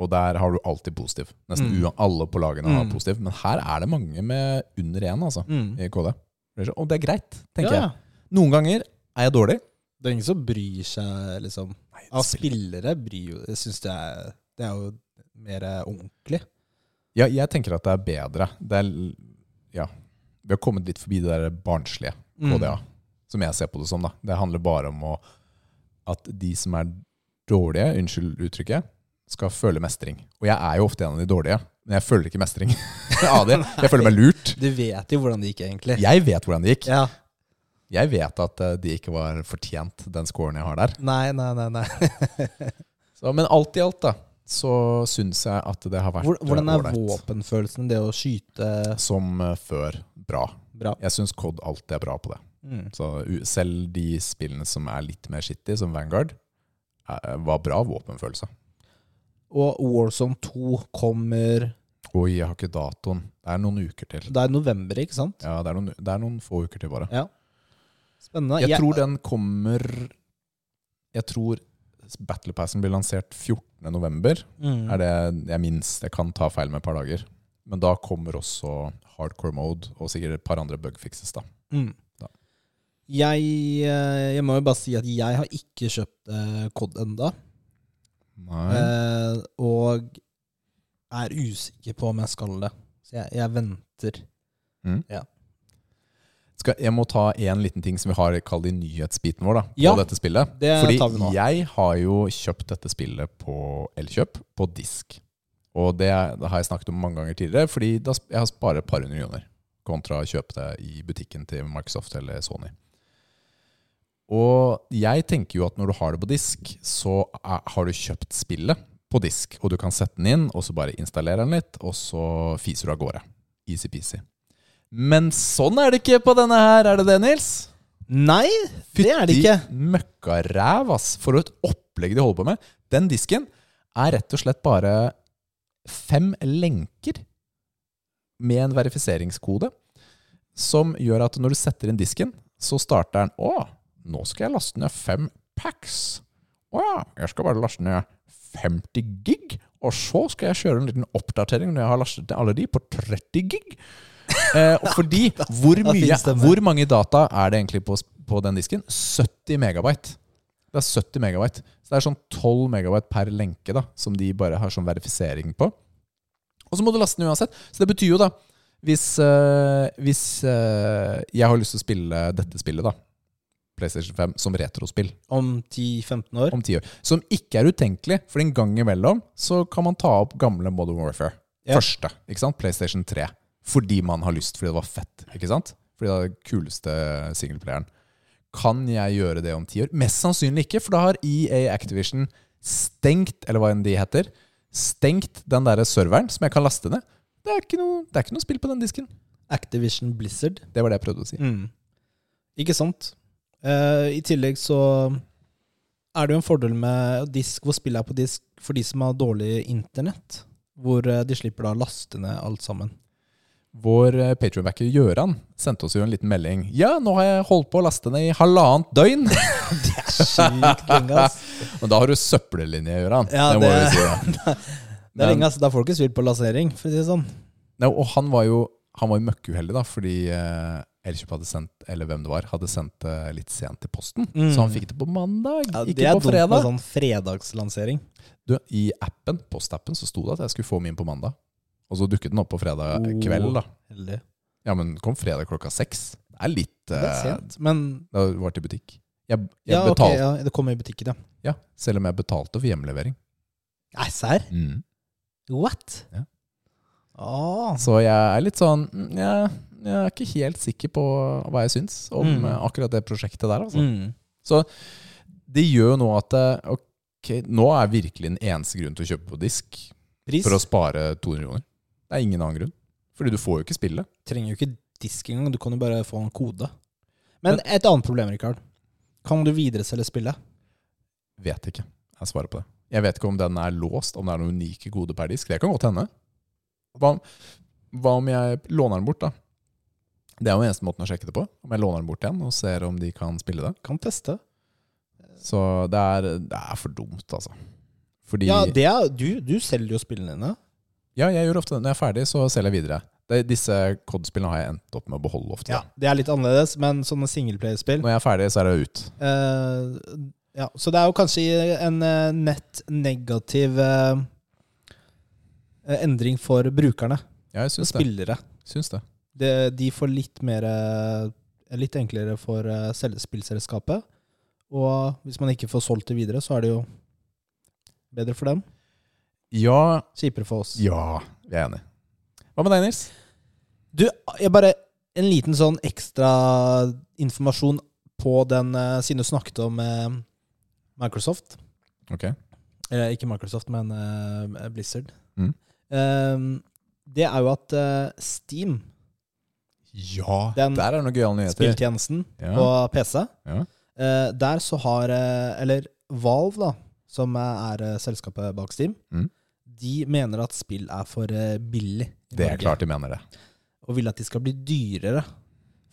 [SPEAKER 2] Og der har du alltid positiv. Nesten
[SPEAKER 1] Mm.
[SPEAKER 2] ua- alle på lagene har
[SPEAKER 1] Mm.
[SPEAKER 2] positiv. Men her er det mange med under én altså,
[SPEAKER 1] Mm.
[SPEAKER 2] i KD. Og det er greit, tenker
[SPEAKER 1] Ja, ja.
[SPEAKER 2] jeg. Noen ganger er jeg dårlig.
[SPEAKER 1] Det er ingen som bryr seg, liksom.
[SPEAKER 2] Nei,
[SPEAKER 1] Av spillere bryr jo Jeg syns det er Det er jo mer eh, ordentlig.
[SPEAKER 2] Ja, jeg tenker at det er bedre. Det er, l- ja. Vi har kommet litt forbi det der barnslige
[SPEAKER 1] Mm.
[SPEAKER 2] KDA, som jeg ser på det som. da. Det handler bare om å, at de som er dårlige, unnskyld uttrykket, skal føle mestring. Og jeg er jo ofte en av de dårlige, men jeg føler ikke mestring av det. Jeg føler meg lurt.
[SPEAKER 1] Du vet jo hvordan det gikk, egentlig.
[SPEAKER 2] Jeg vet hvordan det gikk.
[SPEAKER 1] Ja.
[SPEAKER 2] Jeg vet at eh, det ikke var fortjent, den scoren jeg har der.
[SPEAKER 1] Nei, nei, nei. nei.
[SPEAKER 2] Så, men alt i alt, da, så syns jeg at det har vært eh,
[SPEAKER 1] Hvor- Hvordan er
[SPEAKER 2] ålreit.
[SPEAKER 1] våpenfølelsen, det å skyte
[SPEAKER 2] Som eh, før bra.
[SPEAKER 1] bra?
[SPEAKER 2] Jeg syns Cod alltid er bra på det.
[SPEAKER 1] Mm.
[SPEAKER 2] Så u- selv de spillene som er litt mer shitty, som Vanguard, eh, var bra våpenfølelse.
[SPEAKER 1] Og Warzone 2 kommer
[SPEAKER 2] Oi, jeg har ikke datoen. Det er noen uker til.
[SPEAKER 1] Det er november, ikke sant?
[SPEAKER 2] Ja, det er noen, det er noen få uker til, bare.
[SPEAKER 1] Spennende.
[SPEAKER 2] Jeg tror den kommer Jeg tror Battle Passen blir lansert 14.11.
[SPEAKER 1] Mm.
[SPEAKER 2] er det jeg minst Jeg kan ta feil med et par dager. Men da kommer også hardcore mode og sikkert et par andre bugfixes. da.
[SPEAKER 1] Mm.
[SPEAKER 2] Da.
[SPEAKER 1] Jeg, eh, jeg må jo bare si at jeg har ikke kjøpt eh, COD enda
[SPEAKER 2] Nei.
[SPEAKER 1] eh, og er usikker på om jeg skal det. Så jeg, jeg venter.
[SPEAKER 2] Skal, jeg må ta en liten ting som vi har kalt i nyhetsbiten vår da, på
[SPEAKER 1] Ja,
[SPEAKER 2] dette spillet.
[SPEAKER 1] det
[SPEAKER 2] Fordi
[SPEAKER 1] tar vi nå.
[SPEAKER 2] jeg har jo kjøpt dette spillet på Elkjøp, på disk. Og det, er- det har jeg snakket om mange ganger tidligere, fordi da, sp- jeg har sparet et par hundre kroner kontra å kjøpe det i butikken til Microsoft eller Sony. Og jeg tenker jo at når du har det på disk, så er, har du kjøpt spillet på disk, og du kan sette den inn, og så bare installere den litt, og så fiser du av gårde. Easy-peasy. Men sånn er det ikke på denne her, er det det, Nils?
[SPEAKER 1] Nei, det er det ikke.
[SPEAKER 2] De møkkaræv, ass. For et opplegg de holder på med. Den disken er rett og slett bare fem lenker med en verifiseringskode som gjør at når du setter inn disken, så starter den Å, nå skal jeg laste ned fem packs. Å ja, jeg skal bare laste ned 50 gig, og så skal jeg kjøre en liten oppdatering når jeg har lastet ned alle de på 30 gig. Eh, og fordi hvor,
[SPEAKER 1] Da
[SPEAKER 2] mye,
[SPEAKER 1] finnes det med.
[SPEAKER 2] hvor mange data er det egentlig på, på den disken? 70 megabyte. Det er 70 megabyte. Så det er sånn 12 megabyte per lenke da, som de bare har sånn verifisering på. Og så må du laste den uansett. Så det betyr jo da, hvis, eh, hvis eh, jeg har lyst til å spille dette spillet da, PlayStation 5, som retrospill
[SPEAKER 1] Om 10-15 år.
[SPEAKER 2] om ti år, som ikke er utenkelig, for en gang imellom så kan man ta opp gamle Modern Warfare.
[SPEAKER 1] Ja.
[SPEAKER 2] Første, ikke sant? PlayStation 3. Fordi man har lyst, fordi det var fett, ikke sant? Fordi det er den kuleste singleplayeren. Kan jeg gjøre det om ti år? Mest sannsynlig ikke, for da har EA Activision stengt, eller hva enn de heter, stengt den der serveren som jeg kan laste ned. Det er ikke noe, det er ikke noe spill på den disken.
[SPEAKER 1] Activision Blizzard.
[SPEAKER 2] Det var det jeg prøvde å si.
[SPEAKER 1] Ikke sant? Eh, I tillegg så er det jo en fordel med disk hvor spillet er på disk for de som har dårlig internett. Hvor eh, de slipper da å laste ned alt sammen.
[SPEAKER 2] Vår eh, Patreon-backer Gøran sendte oss jo en liten melding. Ja, nå har jeg holdt på å laste ned i halvannet døgn!
[SPEAKER 1] Sykt lenge, ass.
[SPEAKER 2] Men da har du søppellinje, Gøran.
[SPEAKER 1] Ja,
[SPEAKER 2] det må
[SPEAKER 1] det-
[SPEAKER 2] vi si. da.
[SPEAKER 1] Det er
[SPEAKER 2] Men-
[SPEAKER 1] lenge, ass. Da får du ikke spilt på lansering, for å si det sånn.
[SPEAKER 2] Nei, og han var jo, han var jo møkkeuheldig, da, fordi eh, Elkjøp hadde sendt, eller hvem det var, hadde sendt det litt sent til posten.
[SPEAKER 1] Mm.
[SPEAKER 2] Så han fikk det på mandag,
[SPEAKER 1] det
[SPEAKER 2] ikke
[SPEAKER 1] er
[SPEAKER 2] på fredag.
[SPEAKER 1] med sånn fredagslansering.
[SPEAKER 2] Du, I appen, postappen så sto det at jeg skulle få min på mandag. Og så dukket den opp på fredag
[SPEAKER 1] Oh.
[SPEAKER 2] kveld. da.
[SPEAKER 1] Heldig.
[SPEAKER 2] Ja, men kom fredag klokka seks. Det er litt
[SPEAKER 1] Det er
[SPEAKER 2] eh,
[SPEAKER 1] sent, men
[SPEAKER 2] Da var til butikk. Jeg, jeg
[SPEAKER 1] ja, ok,
[SPEAKER 2] betalte,
[SPEAKER 1] ja, det kommer i butikken, ja.
[SPEAKER 2] ja. Selv om jeg betalte for hjemlevering.
[SPEAKER 1] Nei, serr?
[SPEAKER 2] Mm.
[SPEAKER 1] What?
[SPEAKER 2] Ja.
[SPEAKER 1] Ah,
[SPEAKER 2] Så jeg er litt sånn mm, jeg, jeg er ikke helt sikker på hva jeg syns om
[SPEAKER 1] Mm.
[SPEAKER 2] eh, akkurat det prosjektet der. altså.
[SPEAKER 1] mm.
[SPEAKER 2] Det gjør jo nå at eh, ok, nå er virkelig den eneste grunnen til å kjøpe på disk
[SPEAKER 1] Pris?
[SPEAKER 2] for å spare 200 kroner. Det er ingen annen grunn. Fordi du får jo ikke spillet.
[SPEAKER 1] trenger jo ikke disk engang, du kan jo bare få en kode. Men et annet problem, Rikard. Kan du videreselge spillet?
[SPEAKER 2] Vet ikke. Jeg svarer på det. Jeg vet ikke om den er låst, om det er noen unike gode per disk. Det kan godt hende. Hva, om- hva om jeg låner den bort, da? Det er jo eneste måten å sjekke det på. Om jeg låner den bort igjen og ser om de kan spille det.
[SPEAKER 1] Kan teste.
[SPEAKER 2] Så det er, det er for dumt, altså. Fordi
[SPEAKER 1] Ja, det er, du, du selger jo spillene dine.
[SPEAKER 2] Ja, jeg gjør ofte det. Når jeg er ferdig, så selger jeg videre. Det, disse COD-spillene har jeg endt opp med å beholde ofte.
[SPEAKER 1] Ja, det er litt annerledes, men sånne singleplayerspill
[SPEAKER 2] Når jeg er ferdig, så er det ut.
[SPEAKER 1] eh, ja, Så det er jo kanskje en eh, nett negativ eh, endring for brukerne.
[SPEAKER 2] Ja, jeg
[SPEAKER 1] For
[SPEAKER 2] syns det.
[SPEAKER 1] spillere.
[SPEAKER 2] Syns det.
[SPEAKER 1] Det, de får litt mer eh, Litt enklere for eh, selve spillselskapet. Og hvis man ikke får solgt det videre, så er det jo bedre for dem.
[SPEAKER 2] Ja,
[SPEAKER 1] Kjipere for oss.
[SPEAKER 2] ja, vi er enig. Hva med deg, Nils?
[SPEAKER 1] Du, jeg bare En liten sånn ekstra informasjon på den eh, siden du snakket om eh, Microsoft.
[SPEAKER 2] Ok.
[SPEAKER 1] Eller ikke Microsoft, men eh, Blizzard.
[SPEAKER 2] Mm.
[SPEAKER 1] Eh, det er jo at eh, Steam,
[SPEAKER 2] Ja,
[SPEAKER 1] Den-
[SPEAKER 2] der er det noen gøyale nyheter.
[SPEAKER 1] spilltjenesten
[SPEAKER 2] Ja.
[SPEAKER 1] på PC,
[SPEAKER 2] Ja.
[SPEAKER 1] eh, der så har eh, Eller Valve, da, som er eh, selskapet bak Steam,
[SPEAKER 2] Mm.
[SPEAKER 1] de mener at spill er for eh, billig. i
[SPEAKER 2] Det
[SPEAKER 1] Norge.
[SPEAKER 2] er klart de mener det.
[SPEAKER 1] og vil at de skal bli dyrere.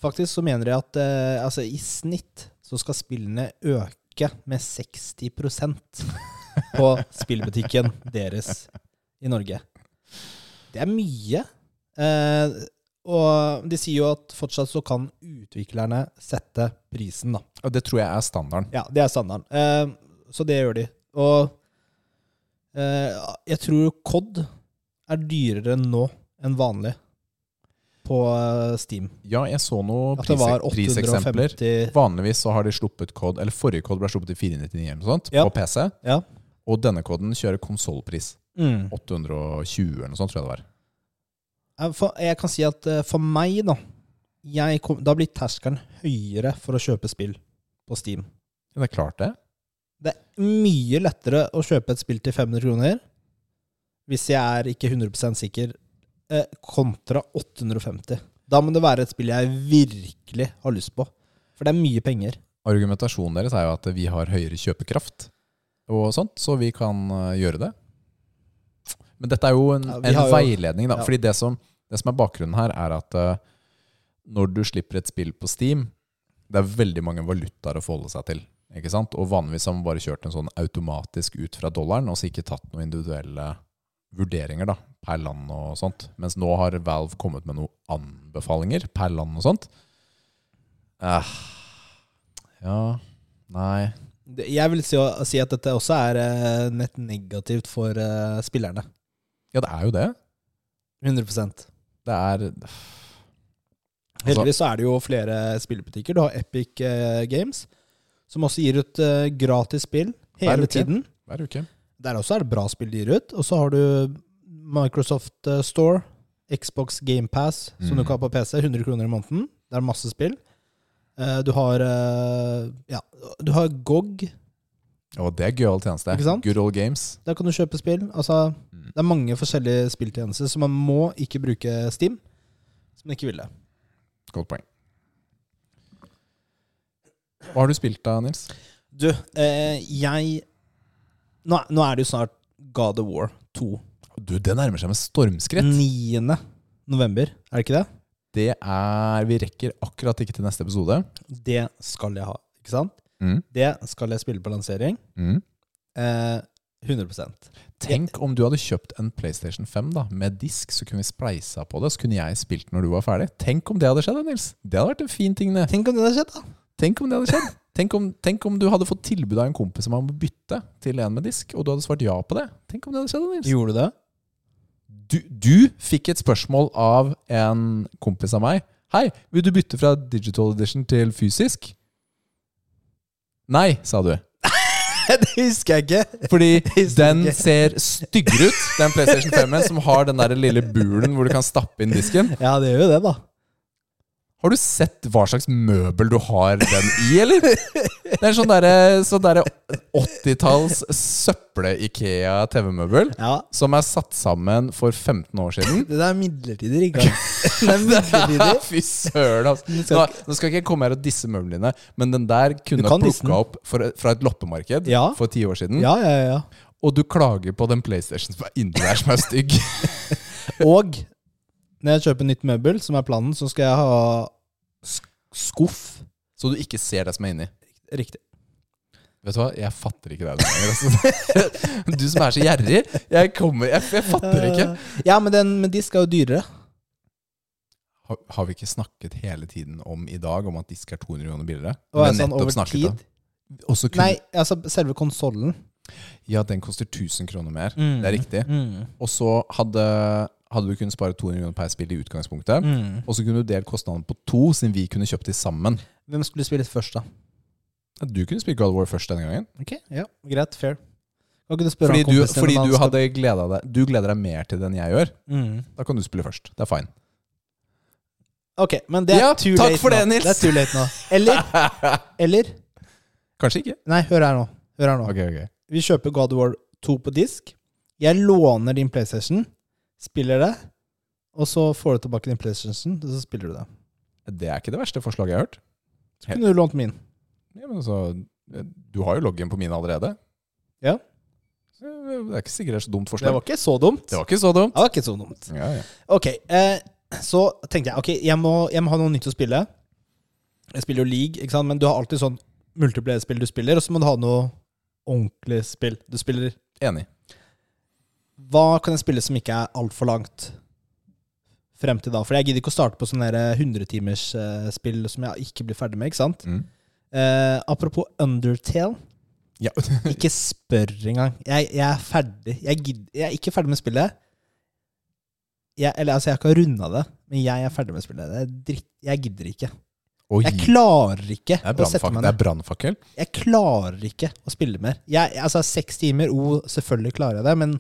[SPEAKER 1] Faktisk så mener jeg at eh, altså, i snitt så skal spillene øke med 60 på spillbutikken deres i Norge. Det er mye. Eh, og de sier jo at fortsatt så kan utviklerne sette prisen, da.
[SPEAKER 2] Og det tror jeg er standarden.
[SPEAKER 1] Ja, det er standarden. Eh, så det gjør de. Og eh, jeg tror COD er dyrere nå enn vanlig på eh, Steam.
[SPEAKER 2] Ja, jeg så noen
[SPEAKER 1] At det var
[SPEAKER 2] prisek- priseksempler.
[SPEAKER 1] 850
[SPEAKER 2] Vanligvis så har de sluppet kod, eller forrige kod ble sluppet i 499 eller noe sånt,
[SPEAKER 1] Ja.
[SPEAKER 2] på PC.
[SPEAKER 1] Ja.
[SPEAKER 2] Og denne koden kjører konsollpris.
[SPEAKER 1] mm.
[SPEAKER 2] 820 eller noe sånt, tror jeg det var.
[SPEAKER 1] Eh, For, jeg kan si at eh, for meg, da jeg kom, Da blir terskelen høyere for å kjøpe spill på Steam.
[SPEAKER 2] Det er klart, det.
[SPEAKER 1] Det er mye lettere å kjøpe et spill til 500 kroner hvis jeg er ikke 100 sikker, eh, kontra 850. Da må det være et spill jeg virkelig har lyst på. For det er mye penger.
[SPEAKER 2] Argumentasjonen deres er jo at vi har høyere kjøpekraft, og sånt, så vi kan eh, gjøre det. Men dette er jo en,
[SPEAKER 1] Ja, vi
[SPEAKER 2] en
[SPEAKER 1] har jo-
[SPEAKER 2] veiledning, da.
[SPEAKER 1] ja.
[SPEAKER 2] Fordi det som, det som er bakgrunnen her, er at eh, når du slipper et spill på Steam, det er veldig mange valutaer å forholde seg til. Ikke sant? Og vanligvis har man bare kjørt en sånn automatisk ut fra dollaren, og så ikke tatt noen individuelle vurderinger da, per land og sånt. Mens nå har Valve kommet med noen anbefalinger per land og sånt. Eh, ja, nei
[SPEAKER 1] Det- Jeg vil si, si at dette også er eh, nett negativt for eh, spillerne.
[SPEAKER 2] Ja, det er jo det.
[SPEAKER 1] 100
[SPEAKER 2] Det er
[SPEAKER 1] Heldigvis så er det jo flere spillbutikker. Du har Epic eh, Games, som også gir ut eh, gratis spill
[SPEAKER 2] Hver
[SPEAKER 1] hele
[SPEAKER 2] uke.
[SPEAKER 1] tiden.
[SPEAKER 2] hver uke.
[SPEAKER 1] Der også er det bra spill de gir ut. Og så har du Microsoft eh, Store, Xbox GamePass, som
[SPEAKER 2] Mm.
[SPEAKER 1] du kan ha på PC. 100 kroner i måneden. Det er masse spill. Eh, Du har eh, Ja, du har GOG.
[SPEAKER 2] Og det er gøyal tjeneste.
[SPEAKER 1] Ikke sant?
[SPEAKER 2] Good old games.
[SPEAKER 1] Der kan du kjøpe spill. Altså,
[SPEAKER 2] Mm.
[SPEAKER 1] det er mange forskjellige spilltjenester, så man må ikke bruke Steam. Som man ikke ville.
[SPEAKER 2] Godt poeng. Hva har du spilt da, Nils?
[SPEAKER 1] Du, eh, jeg nå, nå er det jo snart God of War 2.
[SPEAKER 2] Du, Det nærmer seg med stormskritt.
[SPEAKER 1] 9. november, er det ikke det?
[SPEAKER 2] Det er Vi rekker akkurat ikke til neste episode.
[SPEAKER 1] Det skal jeg ha, ikke sant?
[SPEAKER 2] Mm.
[SPEAKER 1] Det skal jeg spille på lansering.
[SPEAKER 2] Mm.
[SPEAKER 1] Eh, 100
[SPEAKER 2] Tenk om du hadde kjøpt en PlayStation 5 da, med disk, så kunne vi spleisa på det. Så kunne jeg spilt når du var ferdig. Tenk om det hadde skjedd, da, Nils. Det hadde vært en fin ting, det.
[SPEAKER 1] Tenk om det hadde skjedd, da!
[SPEAKER 2] Tenk om det hadde skjedd. Tenk om, tenk om du hadde fått tilbud av en kompis om å bytte til en med disk, og du hadde svart ja på det. Tenk om det hadde skjedd, Nils.
[SPEAKER 1] Gjorde du det?
[SPEAKER 2] Du, du fikk et spørsmål av en kompis av meg. Hei, vil du bytte fra digital edition til fysisk? Nei, sa du.
[SPEAKER 1] det husker jeg ikke.
[SPEAKER 2] Fordi
[SPEAKER 1] Fysisk.
[SPEAKER 2] den ser styggere ut, den PlayStation 5-en som har den der lille bulen hvor du kan stappe inn disken.
[SPEAKER 1] Ja, det gjør jo det, da.
[SPEAKER 2] Har du sett hva slags møbel du har den i, eller? Det er en sånn derre sånn derre 80-talls søple-Ikea-TV-møbel
[SPEAKER 1] Ja,
[SPEAKER 2] som er satt sammen for 15 år siden.
[SPEAKER 1] Det der er midlertidig, Rikard. Det er midlertidig.
[SPEAKER 2] Fy søren, altså.
[SPEAKER 1] Du
[SPEAKER 2] Nå,
[SPEAKER 1] skal
[SPEAKER 2] nå skal ikke jeg komme her og disse møblene dine, men den der kunne
[SPEAKER 1] Du
[SPEAKER 2] ha
[SPEAKER 1] kan disse den.
[SPEAKER 2] plukka opp for, fra et loppemarked
[SPEAKER 1] Ja.
[SPEAKER 2] for ti år siden.
[SPEAKER 1] Ja, ja, ja.
[SPEAKER 2] Og du klager på den PlayStation som er inni der, som er stygg.
[SPEAKER 1] Og når jeg kjøper nytt møbel, som er planen, så skal jeg ha sk- skuff.
[SPEAKER 2] Så du ikke ser det som er inni.
[SPEAKER 1] Riktig.
[SPEAKER 2] Vet du hva, jeg fatter ikke deg noen ganger. Altså. Du som er så gjerrig. Jeg, kommer, jeg, jeg fatter ikke.
[SPEAKER 1] Eh, Ja, men, den, men de skal jo dyrere.
[SPEAKER 2] Har, har vi ikke snakket hele tiden om i dag om at disk er 200 kroner billigere?
[SPEAKER 1] Og
[SPEAKER 2] Men
[SPEAKER 1] er sånn
[SPEAKER 2] nettopp
[SPEAKER 1] over
[SPEAKER 2] snakket
[SPEAKER 1] tid.
[SPEAKER 2] om- Og så kunne,
[SPEAKER 1] Nei, altså selve konsollen.
[SPEAKER 2] Ja, den koster 1000 kroner mer.
[SPEAKER 1] Mm.
[SPEAKER 2] Det er riktig. Og så hadde, hadde du kunnet spare 200 kroner per spill i utgangspunktet.
[SPEAKER 1] Mm.
[SPEAKER 2] Og så kunne du delt kostnadene på to, siden vi kunne kjøpt de sammen.
[SPEAKER 1] Hvem skulle spille først, da?
[SPEAKER 2] Ja, Du kunne spilt God of War først denne gangen.
[SPEAKER 1] Ok, ja, Greit, fair. Kan ikke du spørre
[SPEAKER 2] Fordi
[SPEAKER 1] han
[SPEAKER 2] du,
[SPEAKER 1] kompisen din
[SPEAKER 2] fordi
[SPEAKER 1] om han
[SPEAKER 2] du
[SPEAKER 1] skal-
[SPEAKER 2] hadde gleda deg Du gleder deg mer til det enn jeg gjør.
[SPEAKER 1] Mm.
[SPEAKER 2] Da kan du spille først. Det er fine.
[SPEAKER 1] Ok, men det er
[SPEAKER 2] Ja,
[SPEAKER 1] too
[SPEAKER 2] takk
[SPEAKER 1] late
[SPEAKER 2] for
[SPEAKER 1] nå.
[SPEAKER 2] det, Nils.
[SPEAKER 1] Det er too late nå. Eller, eller
[SPEAKER 2] Kanskje ikke.
[SPEAKER 1] Nei, hør her nå. Hør her nå.
[SPEAKER 2] Ok, ok.
[SPEAKER 1] Vi kjøper God of War 2 på disk. Jeg låner din PlayStation, spiller det, og så får du tilbake din PlayStation, og så spiller du det.
[SPEAKER 2] Det er ikke det verste forslaget jeg har hørt.
[SPEAKER 1] Så kunne du lånt min.
[SPEAKER 2] Ja, men altså, du har jo loggen på mine allerede.
[SPEAKER 1] Ja.
[SPEAKER 2] Så eh, Det er ikke sikkert det er så dumt
[SPEAKER 1] Det
[SPEAKER 2] forslag.
[SPEAKER 1] var ikke så dumt.
[SPEAKER 2] Det var ikke så dumt.
[SPEAKER 1] Det var ikke så dumt.
[SPEAKER 2] Ja, ja.
[SPEAKER 1] Ok, eh, så tenkte jeg Ok, jeg må, jeg må ha noe nytt å spille. Jeg spiller jo league, ikke sant? men du har alltid sånn multiplayer-spill du spiller, og så må du ha noe ordentlig spill du spiller.
[SPEAKER 2] Enig.
[SPEAKER 1] Hva kan jeg spille som ikke er altfor langt? Frem til da, for jeg gidder ikke å starte på sånn eh, sånne 100-timersspill eh, som jeg ikke blir ferdig med. ikke sant?
[SPEAKER 2] Mm.
[SPEAKER 1] Eh, apropos Undertale.
[SPEAKER 2] Ja.
[SPEAKER 1] Ikke spør engang. Jeg, jeg er ferdig. Jeg, gidd- jeg er ikke ferdig med spillet. Jeg, eller altså, jeg har ikke runda det, men jeg er ferdig med spillet. Det er dritt, jeg gidder ikke.
[SPEAKER 2] Oi.
[SPEAKER 1] Jeg klarer ikke
[SPEAKER 2] Det er
[SPEAKER 1] å sette
[SPEAKER 2] brannfakkel.
[SPEAKER 1] meg
[SPEAKER 2] Det er
[SPEAKER 1] ned.
[SPEAKER 2] brannfakkel.
[SPEAKER 1] Jeg klarer ikke å spille mer. Jeg, altså, seks timer, oh, selvfølgelig klarer jeg det, men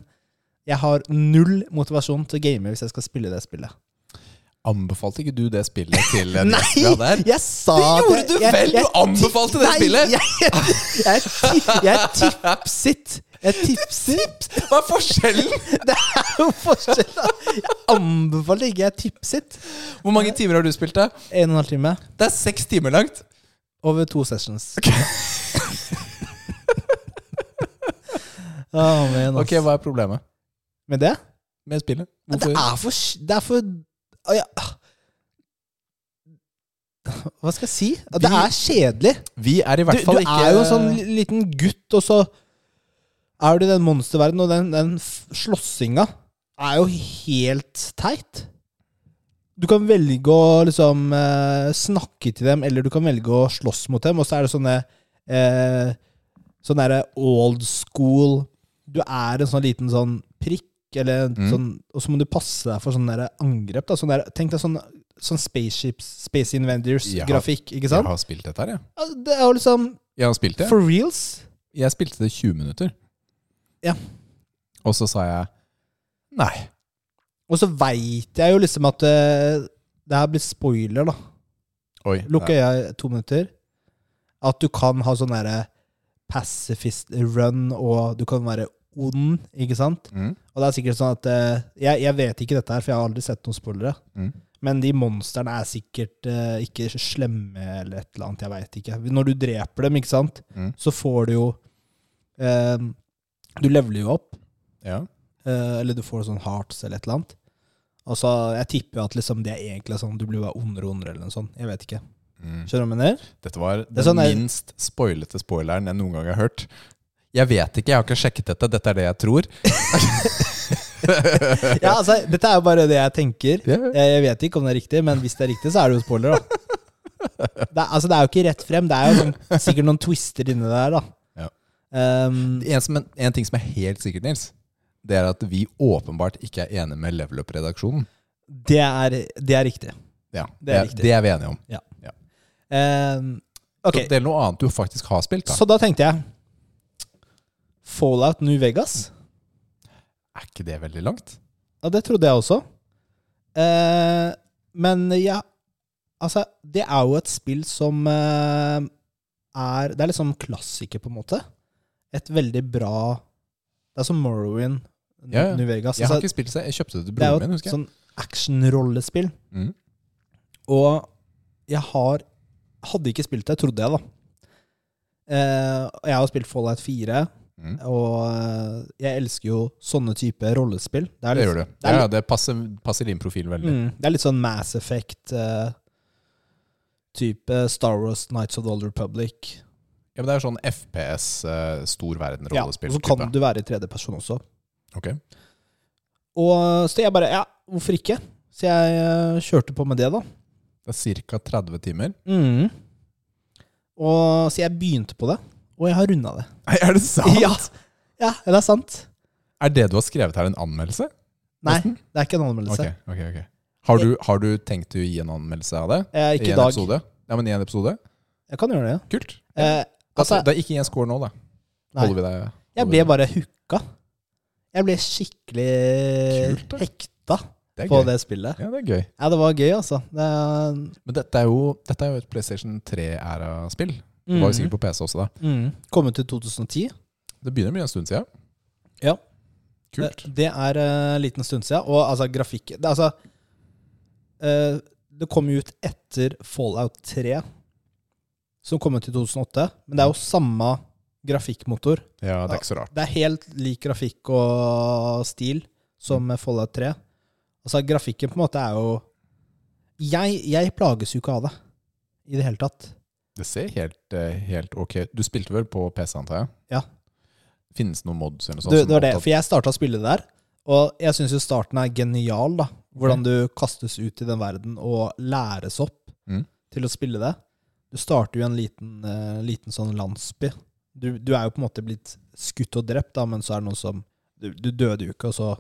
[SPEAKER 1] jeg har null motivasjon til å game hvis jeg skal spille det spillet.
[SPEAKER 2] Anbefalte ikke du det spillet til eh,
[SPEAKER 1] Nei!
[SPEAKER 2] Destria der?
[SPEAKER 1] Jeg sa
[SPEAKER 2] Det gjorde
[SPEAKER 1] at
[SPEAKER 2] du
[SPEAKER 1] jeg-
[SPEAKER 2] vel!
[SPEAKER 1] jeg-
[SPEAKER 2] Du anbefalte det
[SPEAKER 1] Nei,
[SPEAKER 2] spillet!
[SPEAKER 1] Jeg, jeg, jeg, ti- jeg tipset. Jeg tipset.
[SPEAKER 2] Hva er forskjellen?
[SPEAKER 1] Det er jo forskjell. da. Jeg anbefaler ikke jeg tipset.
[SPEAKER 2] Hvor mange timer har du spilt det?
[SPEAKER 1] En og en halv time
[SPEAKER 2] Det er seks timer langt.
[SPEAKER 1] over to sessions. Å, men, ass.
[SPEAKER 2] Ok, Hva er problemet
[SPEAKER 1] Med det?
[SPEAKER 2] med spillet?
[SPEAKER 1] Det
[SPEAKER 2] Hvorfor?
[SPEAKER 1] er for Det er for Å, ja. Hva skal jeg si? Det
[SPEAKER 2] Vi-
[SPEAKER 1] er kjedelig.
[SPEAKER 2] Vi er i
[SPEAKER 1] Du,
[SPEAKER 2] hvert
[SPEAKER 1] du
[SPEAKER 2] fall ikke
[SPEAKER 1] er jo en sånn li- liten gutt, og så er du i den monsterverdenen, og den, den f- slåssinga er jo helt teit. Du kan velge å liksom eh, snakke til dem, eller du kan velge å slåss mot dem, og så er det sånne eh, Sånn derre old school Du er en sånn liten sånn prikk, eller en
[SPEAKER 2] Mm.
[SPEAKER 1] sånn Og så må du passe deg for sånne derre angrep. Da, sånn der, tenk deg sånn, sånn spaceships, Space
[SPEAKER 2] Jeg har-
[SPEAKER 1] Invaders-grafikk, ikke
[SPEAKER 2] Jeg
[SPEAKER 1] sant?
[SPEAKER 2] har spilt dette her, jeg.
[SPEAKER 1] Altså, Det er jo liksom
[SPEAKER 2] Jeg har spilt det.
[SPEAKER 1] For reals?
[SPEAKER 2] Jeg spilte det i 20 minutter.
[SPEAKER 1] Ja.
[SPEAKER 2] Og så sa jeg nei.
[SPEAKER 1] Og så veit jeg jo liksom at eh, Det her blir spoiler, da.
[SPEAKER 2] Oi.
[SPEAKER 1] Lukker jeg to minutter. At du kan ha sånn derre pacifist run, og du kan være ond, ikke sant?
[SPEAKER 2] Mm.
[SPEAKER 1] Og det er sikkert sånn at eh, jeg, jeg vet ikke dette her, for jeg har aldri sett noen spoilere.
[SPEAKER 2] Mm.
[SPEAKER 1] Men de monstrene er sikkert eh, ikke slemme eller et eller annet, jeg veit ikke. Når du dreper dem, ikke sant,
[SPEAKER 2] Mm.
[SPEAKER 1] så får du jo eh, Du leveler jo opp.
[SPEAKER 2] Ja.
[SPEAKER 1] Eh, eller du får sånn hearts eller et eller annet. Og så Jeg tipper jo at liksom det er egentlig sånn du blir bare ondere og ondere eller noe sånt. Jeg vet ikke.
[SPEAKER 2] Mm.
[SPEAKER 1] Skjønner du hva jeg mener?
[SPEAKER 2] Dette var
[SPEAKER 1] er
[SPEAKER 2] den
[SPEAKER 1] sånn jeg-
[SPEAKER 2] minst spoilete spoileren jeg noen gang har hørt. Jeg vet ikke, jeg har ikke sjekket dette. Dette er det jeg tror.
[SPEAKER 1] Ja, altså, dette er jo bare det jeg tenker.
[SPEAKER 2] Ja.
[SPEAKER 1] Jeg, jeg vet ikke om det er riktig, men hvis det er riktig, så er det jo spoiler, da. Det er, altså, det er jo ikke rett frem. Det er jo sånn, sikkert noen twister inni der, da.
[SPEAKER 2] Ja.
[SPEAKER 1] Ehm,
[SPEAKER 2] En, som, en ting som er helt sikkert, Nils, det er at vi åpenbart ikke er enige med Level Up-redaksjonen.
[SPEAKER 1] det, er, det er riktig.
[SPEAKER 2] Ja,
[SPEAKER 1] Det er riktig.
[SPEAKER 2] det er vi enige om.
[SPEAKER 1] Ehm,
[SPEAKER 2] Så
[SPEAKER 1] ok,
[SPEAKER 2] Det er noe annet du faktisk har spilt. da.
[SPEAKER 1] så da tenkte jeg Fallout New Vegas.
[SPEAKER 2] Er ikke det veldig langt?
[SPEAKER 1] Ja, det trodde jeg også. Eh, men ja Altså, det er jo et spill som eh, er Det er liksom klassiker, på en måte. Et veldig bra Det er som Morrowind, N-
[SPEAKER 2] Ja, ja.
[SPEAKER 1] New Vegas.
[SPEAKER 2] Jeg har
[SPEAKER 1] Altså,
[SPEAKER 2] ikke spilt det, jeg kjøpte det til
[SPEAKER 1] det er
[SPEAKER 2] broren
[SPEAKER 1] jo
[SPEAKER 2] min.
[SPEAKER 1] et
[SPEAKER 2] husker jeg.
[SPEAKER 1] sånn actionrollespill.
[SPEAKER 2] Mm.
[SPEAKER 1] Og jeg har Hadde ikke spilt det, trodde jeg, da. Eh, og jeg har spilt Fallout 4,
[SPEAKER 2] Mm.
[SPEAKER 1] og eh, jeg elsker jo sånne type rollespill. Det er
[SPEAKER 2] Det
[SPEAKER 1] litt
[SPEAKER 2] gjør du.
[SPEAKER 1] er
[SPEAKER 2] Ja, det passer, passer din profil veldig.
[SPEAKER 1] Mm, det er litt sånn Mass Effect eh, Type Star Wars, Nights of the Old Republic.
[SPEAKER 2] Ja, men Det er sånn FPS, eh,
[SPEAKER 1] Ja,
[SPEAKER 2] stor
[SPEAKER 1] og
[SPEAKER 2] verden-rollespill.
[SPEAKER 1] så kan du være i tredjeperson også.
[SPEAKER 2] Ok.
[SPEAKER 1] Og eh, Så jeg bare Ja, hvorfor ikke? Så jeg eh, kjørte på med det, da.
[SPEAKER 2] Det er ca. 30 timer.
[SPEAKER 1] Mm. Og Så jeg begynte på det, og jeg har runda det.
[SPEAKER 2] Nei, er det sant?
[SPEAKER 1] Ja, ja, det er sant.
[SPEAKER 2] Er det du har skrevet her, en anmeldelse?
[SPEAKER 1] Nei,
[SPEAKER 2] Nesten?
[SPEAKER 1] det er ikke en anmeldelse.
[SPEAKER 2] Ok, ok, ok. Har du, har du tenkt å gi en anmeldelse av det?
[SPEAKER 1] Eh, ikke
[SPEAKER 2] I
[SPEAKER 1] i
[SPEAKER 2] en
[SPEAKER 1] dag.
[SPEAKER 2] episode? Ja, men i en episode?
[SPEAKER 1] Jeg kan gjøre det, ja.
[SPEAKER 2] Kult.
[SPEAKER 1] Eh,
[SPEAKER 2] Da,
[SPEAKER 1] altså,
[SPEAKER 2] da ikke gi en score nå, da.
[SPEAKER 1] Nei.
[SPEAKER 2] Holder vi deg
[SPEAKER 1] jeg
[SPEAKER 2] holder
[SPEAKER 1] ble
[SPEAKER 2] vi-
[SPEAKER 1] bare hooka. Jeg ble skikkelig
[SPEAKER 2] Kult, da.
[SPEAKER 1] hekta
[SPEAKER 2] det er
[SPEAKER 1] på
[SPEAKER 2] gøy.
[SPEAKER 1] det spillet.
[SPEAKER 2] Ja, det er gøy.
[SPEAKER 1] Ja, det var gøy, altså. Det,
[SPEAKER 2] Men dette er jo, dette er jo et PlayStation 3-æra-spill. Det
[SPEAKER 1] Mhm.
[SPEAKER 2] var jo sikkert på PC også da.
[SPEAKER 1] Mm. Kommet til 2010.
[SPEAKER 2] Det begynner å bli en stund siden.
[SPEAKER 1] Ja.
[SPEAKER 2] Kult.
[SPEAKER 1] Det, det er eh, en liten stund siden. Og altså, grafikk det, altså, eh, det kom jo ut etter Fallout 3, som kom ut i 2008. Men det er jo samme grafikkmotor.
[SPEAKER 2] Ja, det er ikke så rart.
[SPEAKER 1] Det er helt lik grafikk og stil som Fallout 3. Altså, grafikken på en måte er jo Jeg, jeg plages jo ikke av det i det hele tatt.
[SPEAKER 2] Det ser helt, eh, helt ok ut. Du spilte vel på PC, antar jeg?
[SPEAKER 1] Ja.
[SPEAKER 2] Finnes det noen mods eller noe sånt?
[SPEAKER 1] Det,
[SPEAKER 2] som
[SPEAKER 1] det var det,
[SPEAKER 2] opptatt-
[SPEAKER 1] for jeg starta å spille det der, og jeg syns jo starten er genial, da. Hvordan du kastes ut i den verden og læres opp
[SPEAKER 2] Mm.
[SPEAKER 1] til å spille det. Du starter jo i en liten, eh, liten sånn landsby. Du, du er jo på en måte blitt skutt og drept, da, men så er det noen som Du, du døde jo ikke, og så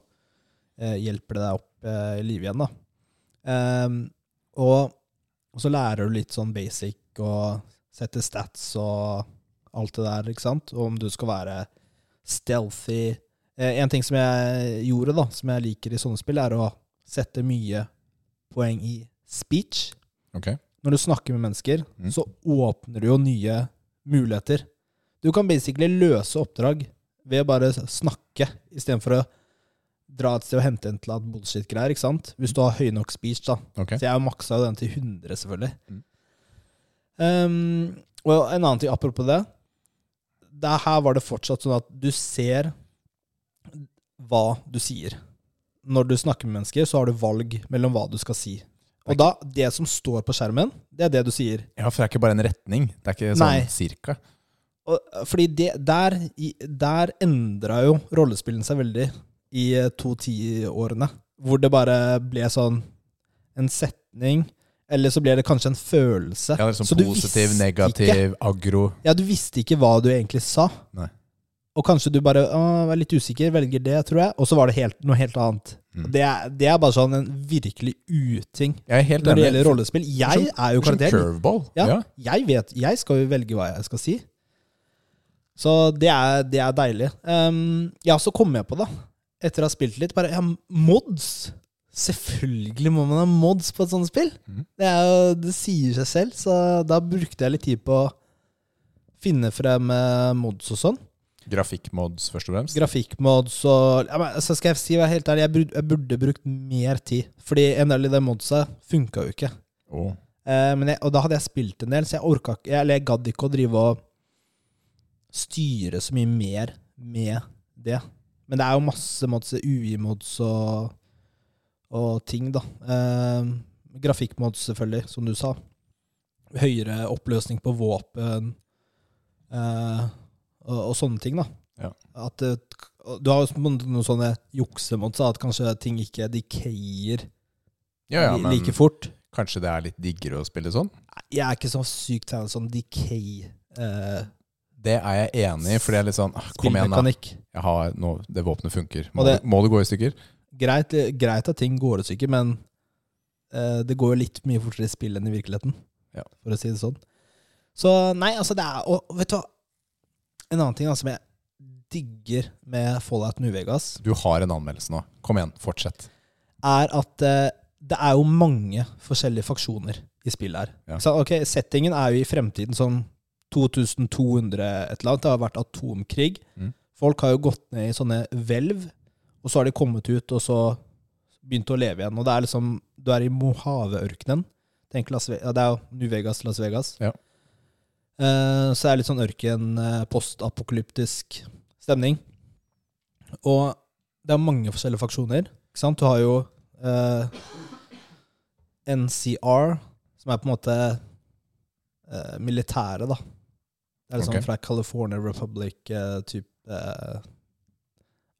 [SPEAKER 1] eh, hjelper det deg opp eh, i live igjen, da. Ehm, og, og så lærer du litt sånn basic og setter stats og alt det der, ikke sant? Og om du skal være stealthy eh, En ting som jeg gjorde, da, som jeg liker i sånne spill, er å sette mye poeng i speech.
[SPEAKER 2] Ok.
[SPEAKER 1] Når du snakker med mennesker,
[SPEAKER 2] Mm.
[SPEAKER 1] så åpner du jo nye muligheter. Du kan basically løse oppdrag ved å bare snakke, istedenfor å dra et sted og hente en til at bullshit-greier, ikke sant? Hvis du har høy nok speech, da.
[SPEAKER 2] ok.
[SPEAKER 1] Så jeg maksa jo den til 100, selvfølgelig.
[SPEAKER 2] Mm.
[SPEAKER 1] Um, og en annen ting apropos det. det. Her var det fortsatt sånn at du ser hva du sier. Når du snakker med mennesker, så har du valg mellom hva du skal si. Og da, det som står på skjermen, det er det du sier.
[SPEAKER 2] Ja, for det er ikke bare en retning. Det er ikke sånn
[SPEAKER 1] Nei.
[SPEAKER 2] cirka.
[SPEAKER 1] Og, eh, fordi det, der, i- der endra jo rollespillene seg veldig i eh, 2.10-årene. Hvor det bare ble sånn en setning, eller så ble det kanskje en følelse.
[SPEAKER 2] Ja, det er sånn
[SPEAKER 1] Så du
[SPEAKER 2] positiv,
[SPEAKER 1] visste Ikke,
[SPEAKER 2] negativ, aggro.
[SPEAKER 1] ja, du visste ikke hva du egentlig sa.
[SPEAKER 2] Nei.
[SPEAKER 1] Og kanskje du bare «Åh, er litt usikker, velger det, tror jeg. Og så var det helt, noe helt annet.
[SPEAKER 2] Mm.
[SPEAKER 1] Det, er, det er bare sånn en virkelig uting
[SPEAKER 2] Jeg er
[SPEAKER 1] når
[SPEAKER 2] helt
[SPEAKER 1] det
[SPEAKER 2] enig.
[SPEAKER 1] gjelder rollespill. Jeg er jo
[SPEAKER 2] Som
[SPEAKER 1] karakter.
[SPEAKER 2] curveball.
[SPEAKER 1] Ja.
[SPEAKER 2] Ja.
[SPEAKER 1] Jeg vet, jeg skal jo velge hva jeg skal si. Så det er, det er deilig. Ehm, ja, så kom jeg på det, etter å ha spilt litt, bare ja, mods. Selvfølgelig må man ha mods på et sånt spill.
[SPEAKER 2] Mhm.
[SPEAKER 1] Det, er jo, det sier seg selv, så da brukte jeg litt tid på å finne frem eh, mods og sånn.
[SPEAKER 2] Grafikkmods, først og fremst.
[SPEAKER 1] Grafikkmods og ja, men, Så skal jeg si hva helt ærlig, jeg burde, jeg burde brukt mer tid. Fordi en del av de modsa funka jo ikke.
[SPEAKER 2] Åh.
[SPEAKER 1] Eh, men jeg, og da hadde jeg spilt en del, så jeg orka ikke jeg- Eller jeg gadd ikke å drive og styre så mye mer med det. Men det er jo masse mods, UI-mods og, og ting, da. Eh, grafikkmods, selvfølgelig, som du sa. Høyere oppløsning på våpen eh, og, og sånne ting, da.
[SPEAKER 2] Ja.
[SPEAKER 1] At det- du har jo på en måte noen sånne juksemods, da, at kanskje ting ikke decayer
[SPEAKER 2] Ja, ja,
[SPEAKER 1] li-
[SPEAKER 2] men
[SPEAKER 1] like fort.
[SPEAKER 2] kanskje det er litt diggere å spille sånn?
[SPEAKER 1] Jeg er ikke så sykt fan av sånn decay. eh,
[SPEAKER 2] Det er jeg enig i, for det er litt sånn ah, Kom igjen, da.
[SPEAKER 1] spillmekanikk.
[SPEAKER 2] Jeg har, nå, det våpenet funker. Må
[SPEAKER 1] Og
[SPEAKER 2] det,
[SPEAKER 1] det-
[SPEAKER 2] må det gå i stykker?
[SPEAKER 1] Greit, eh, greit at ting går i stykker, men eh, det går jo litt mye fortere i spill enn i virkeligheten,
[SPEAKER 2] Ja.
[SPEAKER 1] for å si det sånn. Så nei, altså det er Og vet du hva? En annen ting da, som jeg digger med Fallout New Vegas,
[SPEAKER 2] Du har en anmeldelse nå. Kom igjen, fortsett.
[SPEAKER 1] er at eh, det er jo mange forskjellige faksjoner i spillet her.
[SPEAKER 2] Ja.
[SPEAKER 1] Så, ok, settingen er jo i fremtiden sånn 2200 et eller annet. Det har vært atomkrig.
[SPEAKER 2] Mm.
[SPEAKER 1] Folk har jo gått ned i sånne hvelv, og så har de kommet ut, og så begynt å leve igjen. Og det er liksom Du er i Mojaveørkenen. Tenk Las Vegas, ja, det er jo New Vegas, Las Vegas.
[SPEAKER 2] Ja.
[SPEAKER 1] Eh, så det er litt sånn ørken, eh, postapokalyptisk stemning. Og det er mange forskjellige faksjoner. Ikke sant? Du har jo eh, NCR, som er på en måte eh, militæret, da. Det er liksom
[SPEAKER 2] Ok.
[SPEAKER 1] fra California Republic-type. eh,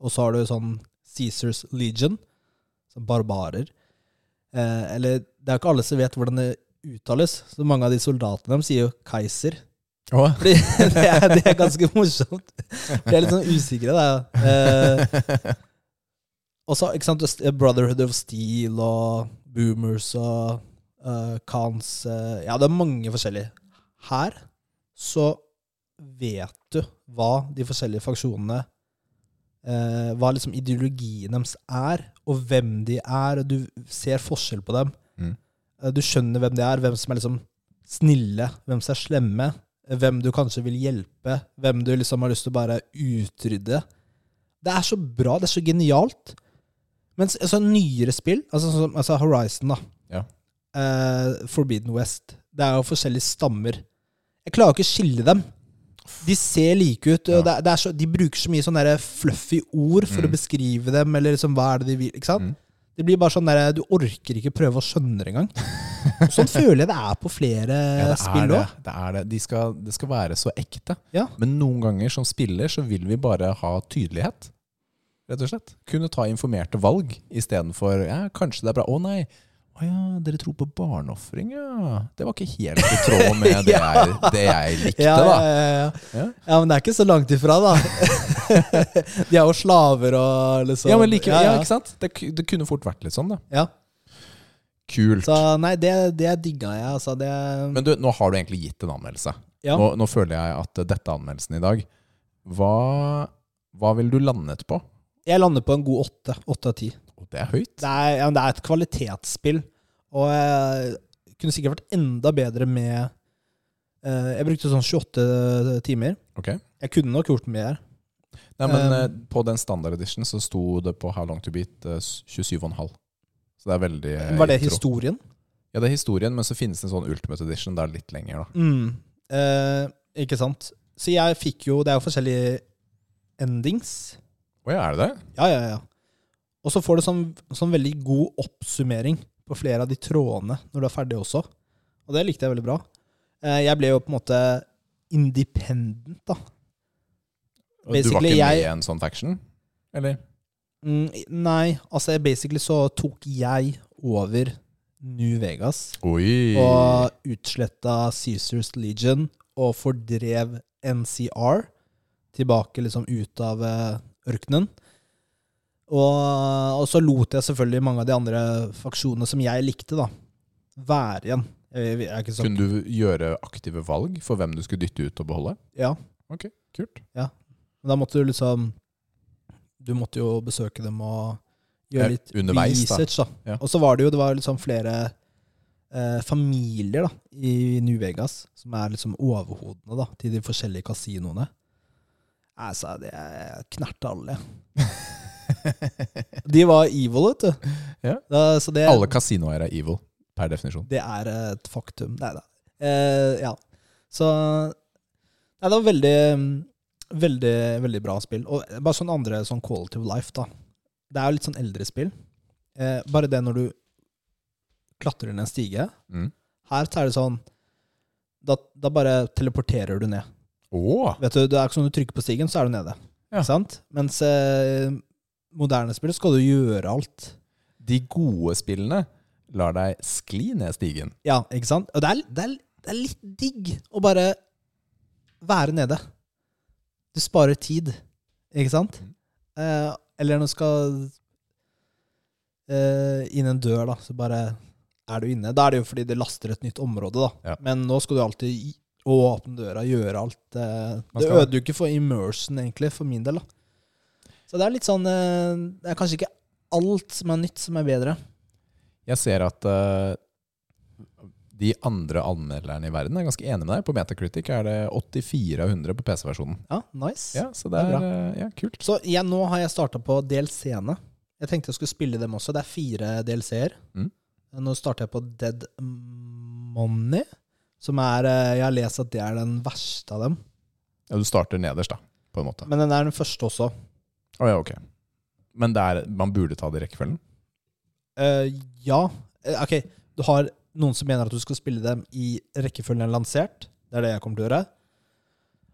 [SPEAKER 1] og så har du sånn Caesars Legion, som barbarer. Eh, eller det er jo ikke alle som vet hvordan det uttales, så mange av de soldatene dem sier jo Kaiser.
[SPEAKER 2] Åh.
[SPEAKER 1] Fordi det, er, det er ganske morsomt. De er litt sånn usikre, da. Eh, og så, ikke sant, St- Brotherhood of Steel og Boomers og uh, Khans eh, Ja, det er mange forskjellige. Her så vet du hva de forskjellige faksjonene eh, Hva liksom ideologien deres er, og hvem de er, og du ser forskjell på dem.
[SPEAKER 2] Mm.
[SPEAKER 1] Eh, Du skjønner hvem de er, hvem som er liksom snille, hvem som er slemme, eh, hvem du kanskje vil hjelpe, hvem du liksom har lyst til å bare utrydde. Det er så bra, det er så genialt. Mens altså, nyere spill, altså, sånn som- altså Horizon, da.
[SPEAKER 2] Ja.
[SPEAKER 1] Eh, Forbidden West. Det er jo forskjellige stammer. Jeg klarer ikke å skille dem. De ser like ut. Og
[SPEAKER 2] Ja.
[SPEAKER 1] det er, det er så, de bruker så mye sånne der fluffy ord for å
[SPEAKER 2] Mm.
[SPEAKER 1] beskrive dem, eller liksom hva er det de vil. ikke sant?
[SPEAKER 2] Mm.
[SPEAKER 1] Det blir bare sånn der, Du orker ikke prøve å skjønne det engang. Sånn føler jeg det er på flere
[SPEAKER 2] Ja, det er
[SPEAKER 1] Eh, spill
[SPEAKER 2] det.
[SPEAKER 1] òg.
[SPEAKER 2] det, er det. De skal, det skal være så ekte.
[SPEAKER 1] Ja.
[SPEAKER 2] Men noen ganger som spiller så vil vi bare ha tydelighet. Rett og slett. Kunne ta informerte valg istedenfor ja, kanskje det er bra. Å nei, å ja, dere tror på barneofring, ja. Det var ikke helt i tråd med det, jeg, det jeg likte,
[SPEAKER 1] Ja, ja,
[SPEAKER 2] da.
[SPEAKER 1] ja, ja.
[SPEAKER 2] Ja.
[SPEAKER 1] ja, men det er ikke så langt ifra, da. De er jo slaver og liksom
[SPEAKER 2] Ja, men likevel,
[SPEAKER 1] ja,
[SPEAKER 2] ja,
[SPEAKER 1] ja.
[SPEAKER 2] ikke sant? Det, ku- det kunne fort vært litt sånn, da.
[SPEAKER 1] Ja.
[SPEAKER 2] Kult.
[SPEAKER 1] Så nei, det, det digga jeg, altså. Det
[SPEAKER 2] Men du, nå har du egentlig gitt en anmeldelse.
[SPEAKER 1] Ja.
[SPEAKER 2] Nå, nå føler jeg at dette er anmeldelsen i dag. Hva, hva vil du landet på?
[SPEAKER 1] Jeg lander på en god åtte. Åtte av ti.
[SPEAKER 2] Og det er høyt.
[SPEAKER 1] Det er, ja, men det er et kvalitetsspill. Og jeg kunne sikkert vært enda bedre med eh, Jeg brukte sånn 28 timer.
[SPEAKER 2] Ok.
[SPEAKER 1] Jeg kunne nok gjort mer.
[SPEAKER 2] Nei, men
[SPEAKER 1] Eh,
[SPEAKER 2] eh, på den standard edition så sto det på How Long To Beat eh, 27,5. Så det er veldig eh,
[SPEAKER 1] Var det
[SPEAKER 2] i tråd.
[SPEAKER 1] historien?
[SPEAKER 2] Ja, det er historien, men så finnes det en sånn Ultimate Edition. Det er litt lenger, da.
[SPEAKER 1] Mm. Eh, ikke sant? Så jeg fikk jo Det er jo forskjellige endings.
[SPEAKER 2] Å ja, er det det?
[SPEAKER 1] Ja, ja, ja. Og så får du sånn, sånn veldig god oppsummering på flere av de trådene når du er ferdig også. Og det likte jeg veldig bra. Eh, jeg ble jo på en måte independent, da.
[SPEAKER 2] Og du var
[SPEAKER 1] Basically,
[SPEAKER 2] ikke med
[SPEAKER 1] jeg-
[SPEAKER 2] i en sånn faction? Eller?
[SPEAKER 1] Mm, nei, altså basically så tok jeg over New Vegas
[SPEAKER 2] Oi!
[SPEAKER 1] og utsletta Caesars Legion og fordrev NCR tilbake liksom ut av eh, ørkenen. Og, og så lot jeg selvfølgelig mange av de andre faksjonene som jeg likte, da, være igjen. Jeg, jeg, jeg, er ikke sånn- så,
[SPEAKER 2] Kunne du gjøre aktive valg for hvem du skulle dytte ut og beholde?
[SPEAKER 1] ja.
[SPEAKER 2] Ok, kult.
[SPEAKER 1] Men da måtte du liksom Du måtte jo besøke dem og
[SPEAKER 2] Ja,
[SPEAKER 1] gjøre litt
[SPEAKER 2] underveis, da.
[SPEAKER 1] research. Da.
[SPEAKER 2] Ja.
[SPEAKER 1] Og så var det jo det var liksom flere eh, familier da, i New Vegas som er liksom overhodene da, til de forskjellige kasinoene. Altså, det er knert alle. De var evil, vet du.
[SPEAKER 2] Ja.
[SPEAKER 1] Da, så det,
[SPEAKER 2] Alle kasinoeiere er evil, per definisjon.
[SPEAKER 1] det er et faktum. Nei da. Eh, ja. Så Nei, det var veldig, mm, veldig, veldig bra spill. Og bare sånn andre sånn quality of life, da. Det er jo litt sånn eldre spill. Eh, bare det når du klatrer ned en stige.
[SPEAKER 2] Mm.
[SPEAKER 1] Her så er det sånn da, da bare teleporterer du ned.
[SPEAKER 2] Åh!
[SPEAKER 1] Vet du, Det er ikke sånn du trykker på stigen, så er du nede.
[SPEAKER 2] Ja.
[SPEAKER 1] Ikke Sant? Mens eh, moderne spill skal du gjøre alt.
[SPEAKER 2] De gode spillene lar deg skli ned stigen.
[SPEAKER 1] Ja, ikke sant? Og det er, det er, det er litt digg å bare være nede. Du sparer tid, ikke sant?
[SPEAKER 2] Mm.
[SPEAKER 1] Eh, eller når du skal eh, inn en dør, da, så bare er du inne. Da er det jo fordi det laster et nytt område, da.
[SPEAKER 2] Ja.
[SPEAKER 1] Men nå skal du alltid i- åpne døra, gjøre alt. Eh,
[SPEAKER 2] Man
[SPEAKER 1] det
[SPEAKER 2] skal-
[SPEAKER 1] ødelegger jo ikke for immersion, egentlig, for min del. da. Så det er litt sånn eh, Det er kanskje ikke alt som er nytt, som er bedre.
[SPEAKER 2] Jeg ser at eh, de andre anmelderne i verden er ganske enige med deg. På Metacritic er det 84 av 100 på PC-versjonen.
[SPEAKER 1] Ja, nice.
[SPEAKER 2] Ja, så det er,
[SPEAKER 1] Det er
[SPEAKER 2] eh, ja, kult.
[SPEAKER 1] Så jeg, nå har jeg starta på DLC-ene. Jeg tenkte jeg skulle spille dem også. Det er fire DLC-er.
[SPEAKER 2] Mm.
[SPEAKER 1] Nå starter jeg på Dead Money, som er eh, Jeg har lest at det er den verste av dem.
[SPEAKER 2] Ja, du starter nederst, da, på en måte.
[SPEAKER 1] Men den er den første også.
[SPEAKER 2] Å ja, ok. Men det er, man burde ta det i rekkefølgen?
[SPEAKER 1] Eh, ja. Eh, ok, du har noen som mener at du skal spille dem i rekkefølgen den er lansert. Det er det jeg kommer til å gjøre.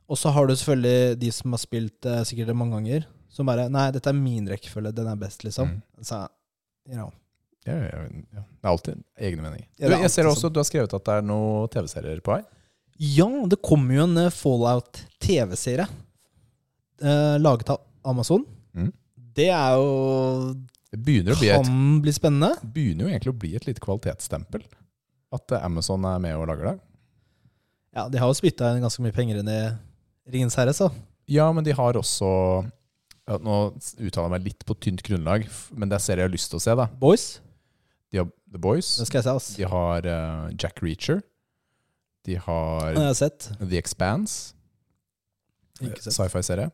[SPEAKER 1] Og så har du selvfølgelig de som har spilt eh, sikkert det mange ganger, som bare Nei, dette er min rekkefølge. Den er best, liksom.
[SPEAKER 2] Mm.
[SPEAKER 1] Så, you know.
[SPEAKER 2] Ja, ja, ja, ja. Det er alltid egne meninger.
[SPEAKER 1] Ja, det er
[SPEAKER 2] du, jeg ser
[SPEAKER 1] alltid sånn.
[SPEAKER 2] også at du har skrevet at det er noen TV-serier på vei.
[SPEAKER 1] Ja, det kommer jo en eh, Fallout TV-serie eh, laget av Amazon.
[SPEAKER 2] Mm.
[SPEAKER 1] Det er jo
[SPEAKER 2] Det begynner, å bli et,
[SPEAKER 1] kan bli spennende.
[SPEAKER 2] begynner jo egentlig å bli et lite kvalitetsstempel at eh, Amazon er med og lager det.
[SPEAKER 1] Ja, De har jo spytta inn ganske mye penger inn i Ringens herre, så.
[SPEAKER 2] Ja, men de har også ja, Nå uttaler jeg meg litt på tynt grunnlag, f- men det er serier jeg har lyst til å se. da
[SPEAKER 1] Boys,
[SPEAKER 2] De har The Boys,
[SPEAKER 1] det skal jeg se, ass.
[SPEAKER 2] de har eh, Jack Reacher, de
[SPEAKER 1] Den
[SPEAKER 2] har
[SPEAKER 1] har jeg sett.
[SPEAKER 2] The Expanse, eh,
[SPEAKER 1] Ikke sett.
[SPEAKER 2] sci-fi-serie,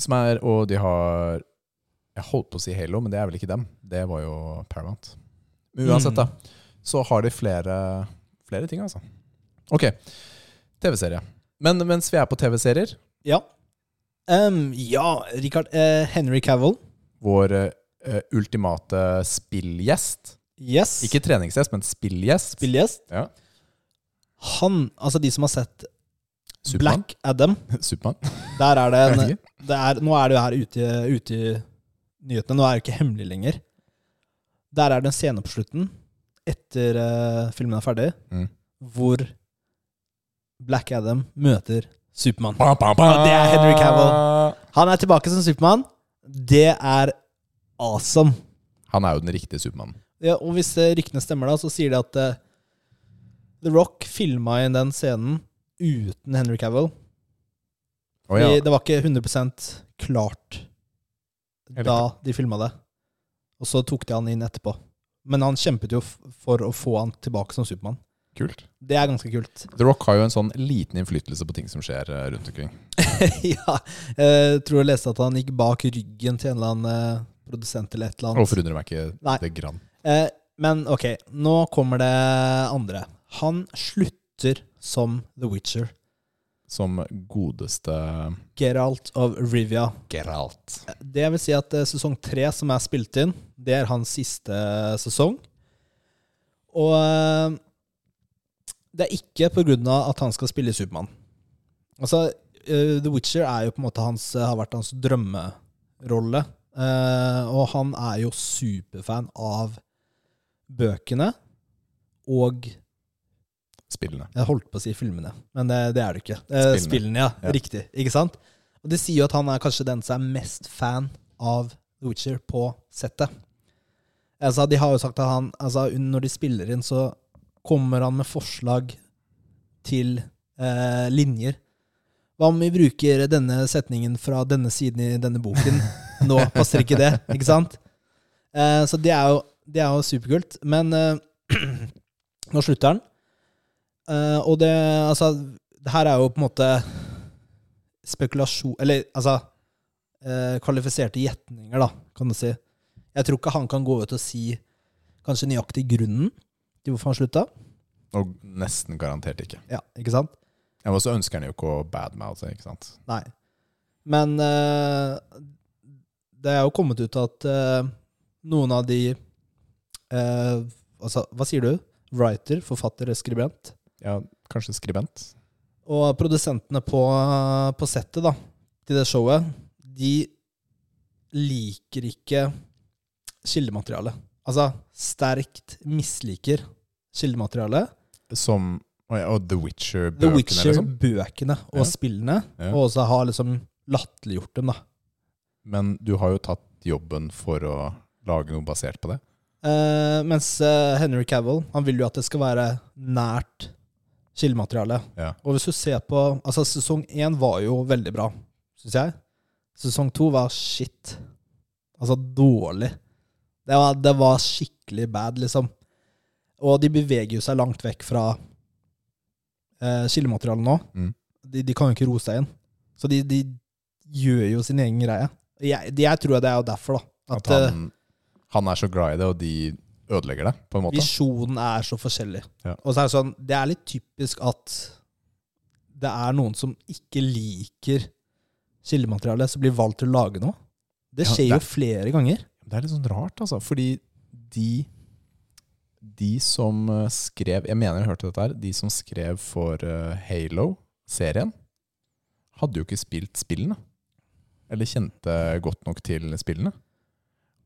[SPEAKER 2] som er Og de har Jeg holdt på å si Halo, men det er vel ikke dem. Det var jo Paramount. Men uansett,
[SPEAKER 1] Mm.
[SPEAKER 2] da, så har de flere, flere ting, altså. Ok. TV-serie. Men mens vi er på TV-serier,
[SPEAKER 1] Ja. Em, ja, Richard eh, Henry Cavill.
[SPEAKER 2] vår eh, ultimate spillgjest
[SPEAKER 1] Yes.
[SPEAKER 2] Ikke treningsgjest, men spillgjest.
[SPEAKER 1] spillgjest.
[SPEAKER 2] Ja.
[SPEAKER 1] Han, altså de som har sett
[SPEAKER 2] Supermann.
[SPEAKER 1] Black Adam,
[SPEAKER 2] Supermann.
[SPEAKER 1] der er det
[SPEAKER 2] Jeg
[SPEAKER 1] en
[SPEAKER 2] vet ikke.
[SPEAKER 1] det er, nå er det jo her ute, ute i nyhetene. Nå er det ikke hemmelig lenger. Der er det en scene på slutten, etter eh, filmen er ferdig,
[SPEAKER 2] Mm.
[SPEAKER 1] hvor Black Adam møter Supermann.
[SPEAKER 2] Ba, ba, ba.
[SPEAKER 1] Ja, det er Henry Cavill. Han er tilbake som Supermann. Det er awesome.
[SPEAKER 2] Han er jo den riktige Supermannen.
[SPEAKER 1] Ja, og hvis eh, ryktene stemmer, da, så sier de at eh, The Rock filma inn den scenen uten Henry Cavill.
[SPEAKER 2] Å ja.
[SPEAKER 1] Fordi Det var ikke 100 klart
[SPEAKER 2] Eller
[SPEAKER 1] da de filma det. Og så tok de han inn etterpå. Men han kjempet jo f- for å få han tilbake som Supermann.
[SPEAKER 2] Kult.
[SPEAKER 1] Det er ganske kult.
[SPEAKER 2] The Rock har jo en sånn liten innflytelse på ting som skjer eh, rundt omkring.
[SPEAKER 1] ja, jeg tror jeg leste at han gikk bak ryggen til en eller annen eh, produsent eller et eller
[SPEAKER 2] Og
[SPEAKER 1] annet.
[SPEAKER 2] forundrer meg ikke
[SPEAKER 1] Nei.
[SPEAKER 2] det grann.
[SPEAKER 1] Eh, men ok, nå kommer det andre. Han slutter som The Witcher.
[SPEAKER 2] Som godeste
[SPEAKER 1] Geralt of Rivia.
[SPEAKER 2] Geralt.
[SPEAKER 1] Det vil si at eh, sesong tre som er spilt inn, det er hans siste eh, sesong. Og eh, det er ikke på grunn av at han skal spille Supermann. Altså, eh, The Witcher er jo på en måte hans, eh, har vært hans drømmerolle. Eh, og han er jo superfan av bøkene og
[SPEAKER 2] Spillene.
[SPEAKER 1] jeg holdt på å si filmene, men det, det er det ikke. Eh,
[SPEAKER 2] Spillene.
[SPEAKER 1] spillene. ja.
[SPEAKER 2] Ja.
[SPEAKER 1] Riktig. Ikke sant? Og det sier jo at han er kanskje den som er mest fan av The Witcher på settet. Altså, de har jo sagt at han altså, un- Når de spiller inn, så kommer han med forslag til eh, linjer. Hva om vi bruker denne setningen fra denne siden i denne boken? Nå passer ikke det, ikke sant? Eh, så det er jo, det er jo superkult. Men eh, nå slutter han. Eh, og det Altså, det her er jo på en måte spekulasjon Eller altså eh, Kvalifiserte gjetninger, da, kan du si. Jeg tror ikke han kan gå ut og si kanskje nøyaktig grunnen til hvorfor han slutta.
[SPEAKER 2] Og nesten garantert ikke.
[SPEAKER 1] Ja, ikke sant?
[SPEAKER 2] Jeg også ønsker han jo ikke å badmouthe, ikke sant.
[SPEAKER 1] Nei. Men eh, det er jo kommet ut at eh, noen av de eh, Altså, hva sier du? Writer, forfatter, skribent?
[SPEAKER 2] Ja, kanskje skribent.
[SPEAKER 1] Og produsentene på, på settet da, til det showet, de liker ikke kildemateriale. Altså sterkt misliker kildemateriale.
[SPEAKER 2] Som Og, og The
[SPEAKER 1] The
[SPEAKER 2] Witcher-bøkene, liksom.
[SPEAKER 1] Witcher-bøkene og
[SPEAKER 2] Ja.
[SPEAKER 1] spillene,
[SPEAKER 2] Ja.
[SPEAKER 1] og også har liksom latterliggjort dem, da.
[SPEAKER 2] Men du har jo tatt jobben for å lage noe basert på det.
[SPEAKER 1] Eh, mens eh, Henry Cavill han vil jo at det skal være nært kildemateriale.
[SPEAKER 2] Ja.
[SPEAKER 1] Og hvis du ser på Altså, sesong én var jo veldig bra, syns jeg. Sesong to var shit. Altså dårlig. Det var, det var skikkelig bad, liksom. Og de beveger jo seg langt vekk fra eh, kildematerialet nå.
[SPEAKER 2] Mm.
[SPEAKER 1] De, de kan jo ikke roe seg inn. Så de, de gjør jo sin egen greie. Jeg, jeg tror det er jo derfor, da.
[SPEAKER 2] At,
[SPEAKER 1] eh,
[SPEAKER 2] han, han er så glad i det, og de ødelegger det, på en måte.
[SPEAKER 1] Visjonen er så forskjellig.
[SPEAKER 2] Ja.
[SPEAKER 1] Og så er det sånn, det er litt typisk at det er noen som ikke liker kildemateriale, som blir valgt til å lage noe. Det
[SPEAKER 2] Ja,
[SPEAKER 1] skjer
[SPEAKER 2] det-
[SPEAKER 1] jo flere ganger.
[SPEAKER 2] Det er litt sånn rart, altså. Fordi de De som eh, skrev Jeg mener jeg hørte dette her. De som skrev for eh, Halo-serien, hadde jo ikke spilt spillene. Eller kjente godt nok til spillene.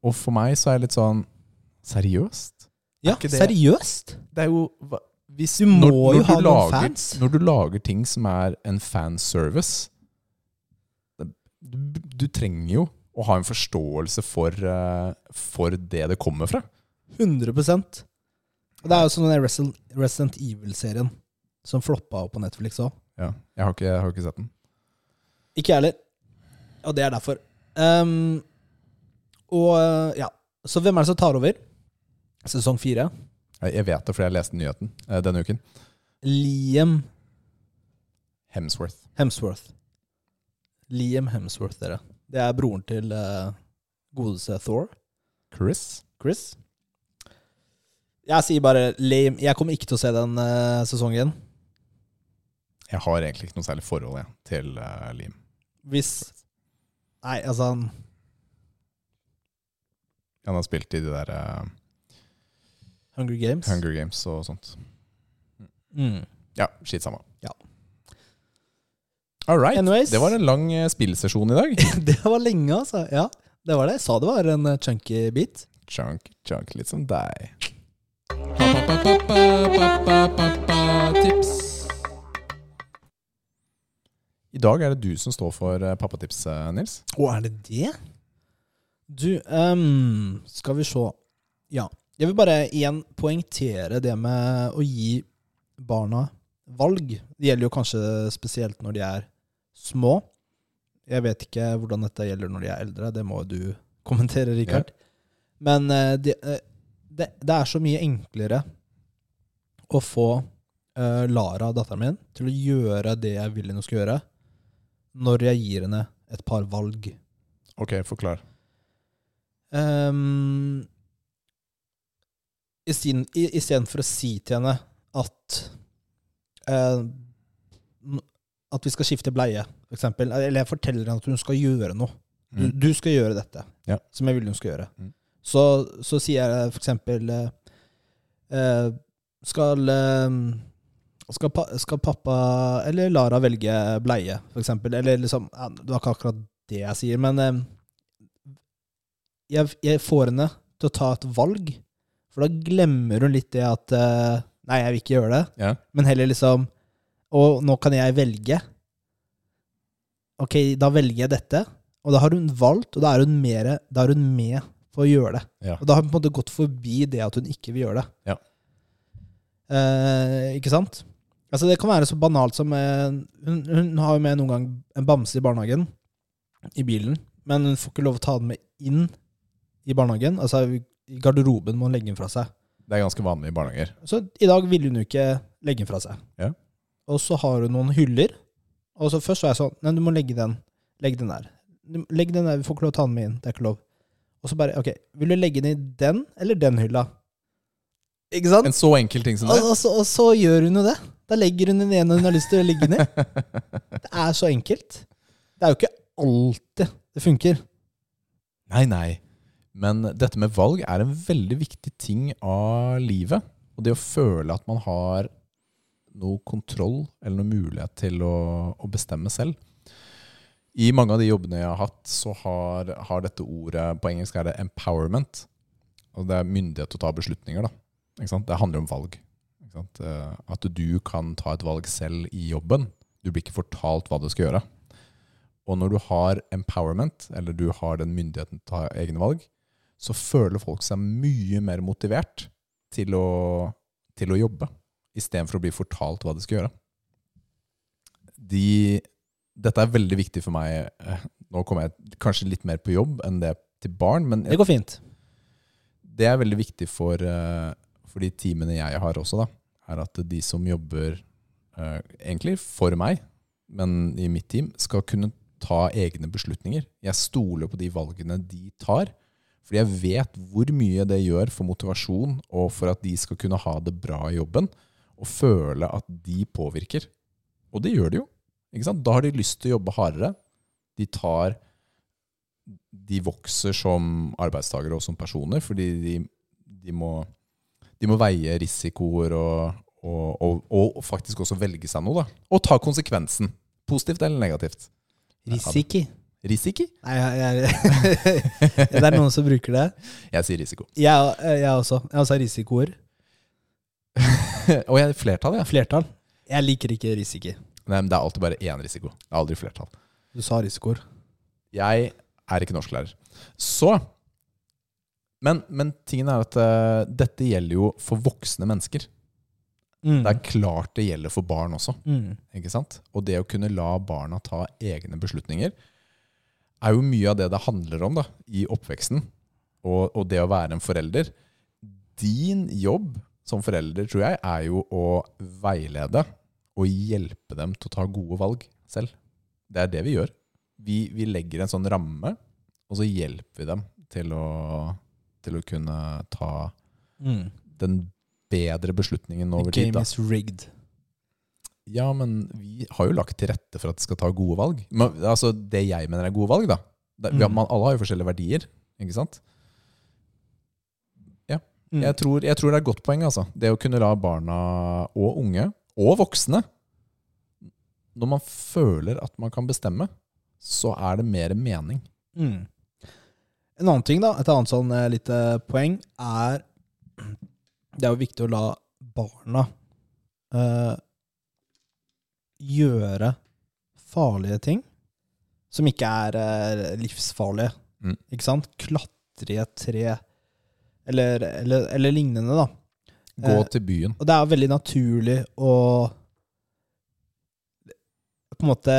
[SPEAKER 2] Og for meg så er jeg litt sånn Seriøst?
[SPEAKER 1] Ja,
[SPEAKER 2] ikke det-
[SPEAKER 1] seriøst!
[SPEAKER 2] Det er jo hva- hvis,
[SPEAKER 1] Du må jo ha noen
[SPEAKER 2] lager,
[SPEAKER 1] fans.
[SPEAKER 2] Når du lager ting som er en fanservice du, du trenger jo å ha en forståelse for, eh, for det det kommer fra.
[SPEAKER 1] 100 Og det er jo sånn den Resident, Resident Evil-serien som floppa på Netflix òg.
[SPEAKER 2] Ja, jeg har ikke, jeg har ikke sett den.
[SPEAKER 1] Ikke jeg heller. Og det er derfor. Ehm, og ja. Så hvem er det som tar over? Sesong fire.
[SPEAKER 2] Jeg jeg vet det fordi jeg leste nyheten eh, denne uken.
[SPEAKER 1] Liam
[SPEAKER 2] Hemsworth.
[SPEAKER 1] Hemsworth. Liam Hemsworth, dere. Det er broren til eh, godeste Thor,
[SPEAKER 2] Chris.
[SPEAKER 1] Chris. Jeg sier bare lame. Jeg kommer ikke til å se den eh, sesongen.
[SPEAKER 2] Jeg har egentlig ikke noe særlig forhold jeg, til eh, Liam.
[SPEAKER 1] Hvis Nei, altså han-
[SPEAKER 2] Han har spilt i de der eh,
[SPEAKER 1] Hunger Games.
[SPEAKER 2] Hunger Games og sånt.
[SPEAKER 1] Mm.
[SPEAKER 2] Ja, skitt samme.
[SPEAKER 1] Ja.
[SPEAKER 2] All right.
[SPEAKER 1] Anyways.
[SPEAKER 2] Det var en lang eh, spillsesjon i dag.
[SPEAKER 1] det var lenge, altså. Ja, det var det. Jeg sa det var en eh, chunky bit.
[SPEAKER 2] Chunk, chunk, litt som deg. I dag er det du som står for eh, pappatips, eh, Nils.
[SPEAKER 1] Å, er det det? Du, ehm, skal vi se. Ja. Jeg vil bare igjen poengtere det med å gi barna valg. Det gjelder jo kanskje spesielt når de er små. Jeg vet ikke hvordan dette gjelder når de er eldre, det må jo du kommentere, Rikard. Men eh, de, eh, det, det er så mye enklere å få eh, Lara, datteren min, til å gjøre det jeg vil hun skal gjøre, når jeg gir henne et par valg.
[SPEAKER 2] Ok, forklar.
[SPEAKER 1] Um, Istedenfor å si til henne at eh, n- At vi skal skifte bleie, for eksempel. Eller jeg forteller henne at hun skal gjøre noe. Du,
[SPEAKER 2] Mm.
[SPEAKER 1] du skal gjøre dette,
[SPEAKER 2] Ja.
[SPEAKER 1] som jeg vil hun skal gjøre.
[SPEAKER 2] Mm.
[SPEAKER 1] Så, så sier jeg for eksempel eh, eh, skal, eh, skal, pa, skal pappa eller Lara velge bleie, for eksempel? Eller liksom ja, Det var ikke akkurat det jeg sier, men eh, jeg, jeg får henne til å ta et valg, for da glemmer hun litt det at eh, Nei, jeg vil ikke gjøre det,
[SPEAKER 2] Ja.
[SPEAKER 1] men heller liksom Og nå kan jeg velge. Ok, da velger jeg dette. Og da har hun valgt, og da er hun, mere, da er hun med på å gjøre det.
[SPEAKER 2] Ja.
[SPEAKER 1] Og da har hun på en måte gått forbi det at hun ikke vil gjøre det.
[SPEAKER 2] Ja.
[SPEAKER 1] Eh, ikke sant? Altså Det kan være så banalt som eh, hun, hun har jo med noen gang en bamse i barnehagen, i bilen, men hun får ikke lov å ta den med inn i barnehagen. Altså I garderoben må hun legge den fra seg.
[SPEAKER 2] Det er ganske vanlig i barnehager.
[SPEAKER 1] Så i dag ville hun jo ikke legge den fra seg.
[SPEAKER 2] Ja.
[SPEAKER 1] Og så har hun noen hyller. Og så først var jeg sånn Nei, du må legge den. Legg den der. Du- Legg den der, vi får ikke lov å ta den med inn. Det er ikke lov. Og så bare Ok, vil du legge den i den eller den hylla? Ikke sant?
[SPEAKER 2] En sånn så enkel ting som
[SPEAKER 1] Og,
[SPEAKER 2] det.
[SPEAKER 1] og, så, og så gjør hun jo det. Da legger hun den ene hun har lyst til å legge den i. Det er så enkelt. Det er jo ikke alltid det funker.
[SPEAKER 2] Nei, nei. Men dette med valg er en veldig viktig ting av livet. Og det å føle at man har noe kontroll eller noe mulighet til å, å bestemme selv. I mange av de jobbene jeg har hatt, så har, har dette ordet På engelsk er det 'empowerment'. Og det er myndighet til å ta beslutninger. da. Ikke sant? Det handler om valg. Ikke sant? Eh, At du kan ta et valg selv i jobben. Du blir ikke fortalt hva du skal gjøre. Og når du har empowerment, eller du har den myndigheten til å ta egne valg, så føler folk seg mye mer motivert til å, til å jobbe, istedenfor å bli fortalt hva de skal gjøre. De, dette er veldig viktig for meg. Eh, Nå kommer jeg kanskje litt mer på jobb enn det til barn, men
[SPEAKER 1] Det går fint.
[SPEAKER 2] det er veldig viktig for, eh, for de teamene jeg har også, da, er at de som jobber eh, egentlig for meg, men i mitt team, skal kunne ta egne beslutninger. Jeg stoler på de valgene de tar, fordi jeg vet hvor mye det gjør for motivasjon og for at de skal kunne ha det bra i jobben og føle at de påvirker. Og det gjør de jo. Ikke sant? Da har de lyst til å jobbe hardere. De tar de vokser som arbeidstagere og som personer, fordi de, de, må, de må veie risikoer og, og, og, og faktisk også velge seg noe. Da. Og ta konsekvensen. Positivt eller negativt.
[SPEAKER 1] Risiki.
[SPEAKER 2] Risiki?
[SPEAKER 1] Nei, jeg, jeg, det er noen som bruker det.
[SPEAKER 2] Jeg sier risiko.
[SPEAKER 1] Jeg, eh, jeg også. Jeg også har risikoer.
[SPEAKER 2] og jeg flertall, ja.
[SPEAKER 1] Flertall. Jeg liker ikke risiko.
[SPEAKER 2] Nei, men det er alltid bare én risiko. Det er aldri flertall.
[SPEAKER 1] Du sa risikoer.
[SPEAKER 2] Jeg er ikke norsklærer. Så men, men tingen er at eh, dette gjelder jo for voksne mennesker.
[SPEAKER 1] Mm.
[SPEAKER 2] Det er klart det gjelder for barn også.
[SPEAKER 1] Mm.
[SPEAKER 2] Ikke sant? Og det å kunne la barna ta egne beslutninger er jo mye av det det handler om da, i oppveksten. Og, og det å være en forelder. Din jobb som forelder, tror jeg, er jo å veilede og hjelpe dem til å ta gode valg selv. Det er det vi gjør. Vi, vi legger en sånn ramme, og så hjelper vi dem til å, til å kunne ta
[SPEAKER 1] Mm.
[SPEAKER 2] den bedre beslutningen
[SPEAKER 1] The
[SPEAKER 2] over tid.
[SPEAKER 1] game
[SPEAKER 2] Da.
[SPEAKER 1] is rigged.
[SPEAKER 2] Ja, men vi har jo lagt til rette for at de skal ta gode valg. Men, altså, det jeg mener er gode valg, da. Det, vi har,
[SPEAKER 1] Mm.
[SPEAKER 2] man, alle har jo forskjellige verdier, ikke sant?
[SPEAKER 1] Mm.
[SPEAKER 2] Jeg, tror, jeg tror det er et godt poeng, altså. Det å kunne la barna og unge, og voksne Når man føler at man kan bestemme, så er det mer mening.
[SPEAKER 1] Mm. En annen ting, da, et annet sånn eh, lite poeng, er Det er jo viktig å la barna eh, gjøre farlige ting som ikke er eh, livsfarlige.
[SPEAKER 2] Mm.
[SPEAKER 1] Ikke sant? Klatre i et tre, eller, eller, eller lignende, da.
[SPEAKER 2] Gå
[SPEAKER 1] Eh,
[SPEAKER 2] til byen.
[SPEAKER 1] Og det er veldig naturlig å På en måte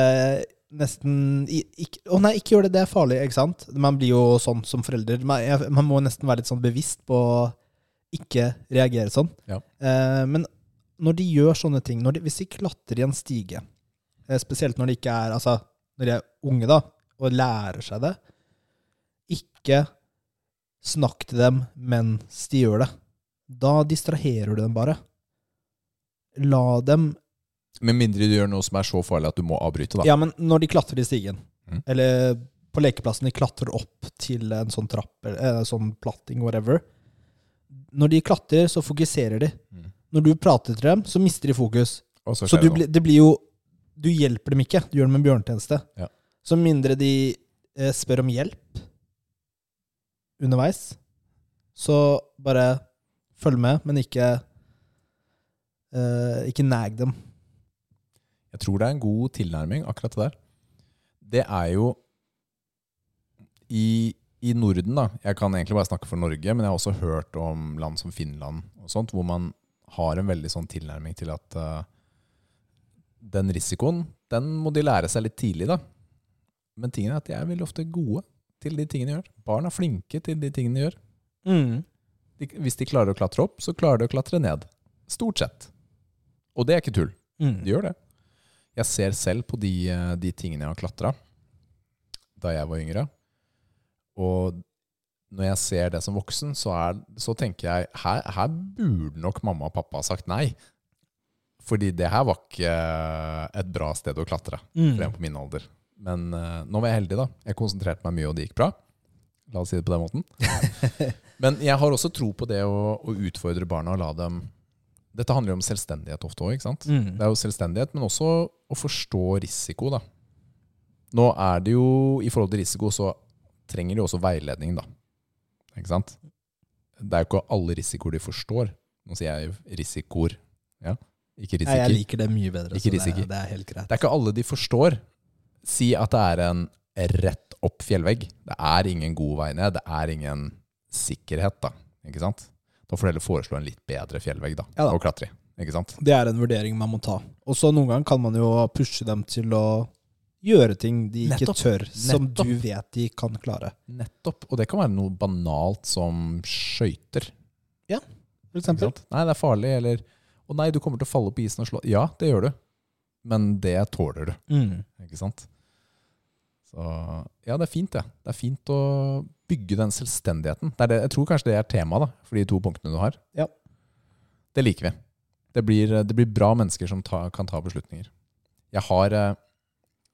[SPEAKER 1] nesten i- ikke, Å nei, ikke gjør det, det er farlig, ikke sant? Man blir jo sånn som forelder. Man, jeg, man må nesten være litt sånn bevisst på ikke reagere sånn.
[SPEAKER 2] Ja.
[SPEAKER 1] Eh, men når de gjør sånne ting, når de, hvis de klatrer i en stige, eh, spesielt når de ikke er altså, når de er unge da, og lærer seg det, ikke snakk til dem mens de gjør det. Da distraherer du dem bare. La dem
[SPEAKER 2] Med mindre du gjør noe som er så farlig at du må avbryte, da.
[SPEAKER 1] Ja, men når de klatrer i stigen,
[SPEAKER 2] Mm.
[SPEAKER 1] eller på lekeplassen de klatrer opp til en sånn trapp, eller en sånn platting, whatever Når de klatrer, så fokuserer de.
[SPEAKER 2] Mm.
[SPEAKER 1] Når du prater til dem, så mister de fokus.
[SPEAKER 2] Og så
[SPEAKER 1] Så
[SPEAKER 2] skjer
[SPEAKER 1] du,
[SPEAKER 2] det noe.
[SPEAKER 1] blir- det blir jo Du hjelper dem ikke. Du gjør dem en bjørnetjeneste.
[SPEAKER 2] Ja.
[SPEAKER 1] Så mindre de eh, spør om hjelp underveis, så bare følg med, men ikke eh, Ikke nag dem.
[SPEAKER 2] Jeg tror det er en god tilnærming, akkurat det der. Det er jo i, i Norden, da. Jeg kan egentlig bare snakke for Norge, men jeg har også hørt om land som Finland og sånt, hvor man har en veldig sånn tilnærming til at eh, den risikoen, den må de lære seg litt tidlig, da. Men tingen er at de er veldig ofte gode til de tingene de gjør. Barn er flinke til de tingene de gjør. Mm. De, hvis de klarer å klatre opp, så klarer de å klatre ned. Stort sett. Og det er ikke tull.
[SPEAKER 1] Mm.
[SPEAKER 2] De gjør det. Jeg ser selv på de, eh, de tingene jeg har klatra da jeg var yngre. Og når jeg ser det som voksen, så, er, så tenker jeg her, her burde nok mamma og pappa ha sagt nei. Fordi det her var ikke eh, et bra sted å klatre
[SPEAKER 1] Mm.
[SPEAKER 2] for en på min alder. Men eh, nå var jeg heldig, da. Jeg konsentrerte meg mye, og det gikk bra. La oss si det på den måten. Men jeg har også tro på det å, å utfordre barna og la dem Dette handler jo om selvstendighet ofte òg, ikke sant?
[SPEAKER 1] Mm.
[SPEAKER 2] Det er jo selvstendighet, men også å forstå risiko, da. Nå er det jo, i forhold til risiko, så trenger de også veiledning, da. Ikke sant? Det er jo ikke alle risikoer de forstår. Nå sier jeg jo risikoer. Ja,
[SPEAKER 1] Nei, jeg
[SPEAKER 2] ikke risiker.
[SPEAKER 1] liker det mye bedre.
[SPEAKER 2] Ikke
[SPEAKER 1] så det,
[SPEAKER 2] risiker.
[SPEAKER 1] det er helt greit.
[SPEAKER 2] Det er ikke alle de forstår. Si at det er en rett opp fjellvegg. Det er ingen god vei ned. Det er ingen sikkerhet, da. Ikke sant? Da får du heller foreslå en litt bedre fjellvegg, da.
[SPEAKER 1] Ja da.
[SPEAKER 2] Og klatre i. Ikke sant?
[SPEAKER 1] Det er en vurdering man må ta. Og så noen ganger kan man jo pushe dem til å gjøre ting de ikke
[SPEAKER 2] Nettopp.
[SPEAKER 1] tør, som
[SPEAKER 2] Nettopp.
[SPEAKER 1] du vet de kan klare.
[SPEAKER 2] Nettopp. Og det kan være noe banalt som skøyter.
[SPEAKER 1] For
[SPEAKER 2] Ikke
[SPEAKER 1] eksempel.
[SPEAKER 2] sant? Nei, det er farlig, eller Å nei, du kommer til å falle på isen og slå Ja, det gjør du. Men det tåler du,
[SPEAKER 1] Mm.
[SPEAKER 2] ikke sant? Så Ja, det er fint, det. Det er fint å bygge den selvstendigheten. Det er det, jeg tror kanskje det er temaet, da, for de to punktene du har.
[SPEAKER 1] Ja.
[SPEAKER 2] Det liker vi. Det blir, eh, det blir bra mennesker som ta, kan ta beslutninger. Jeg har, eh,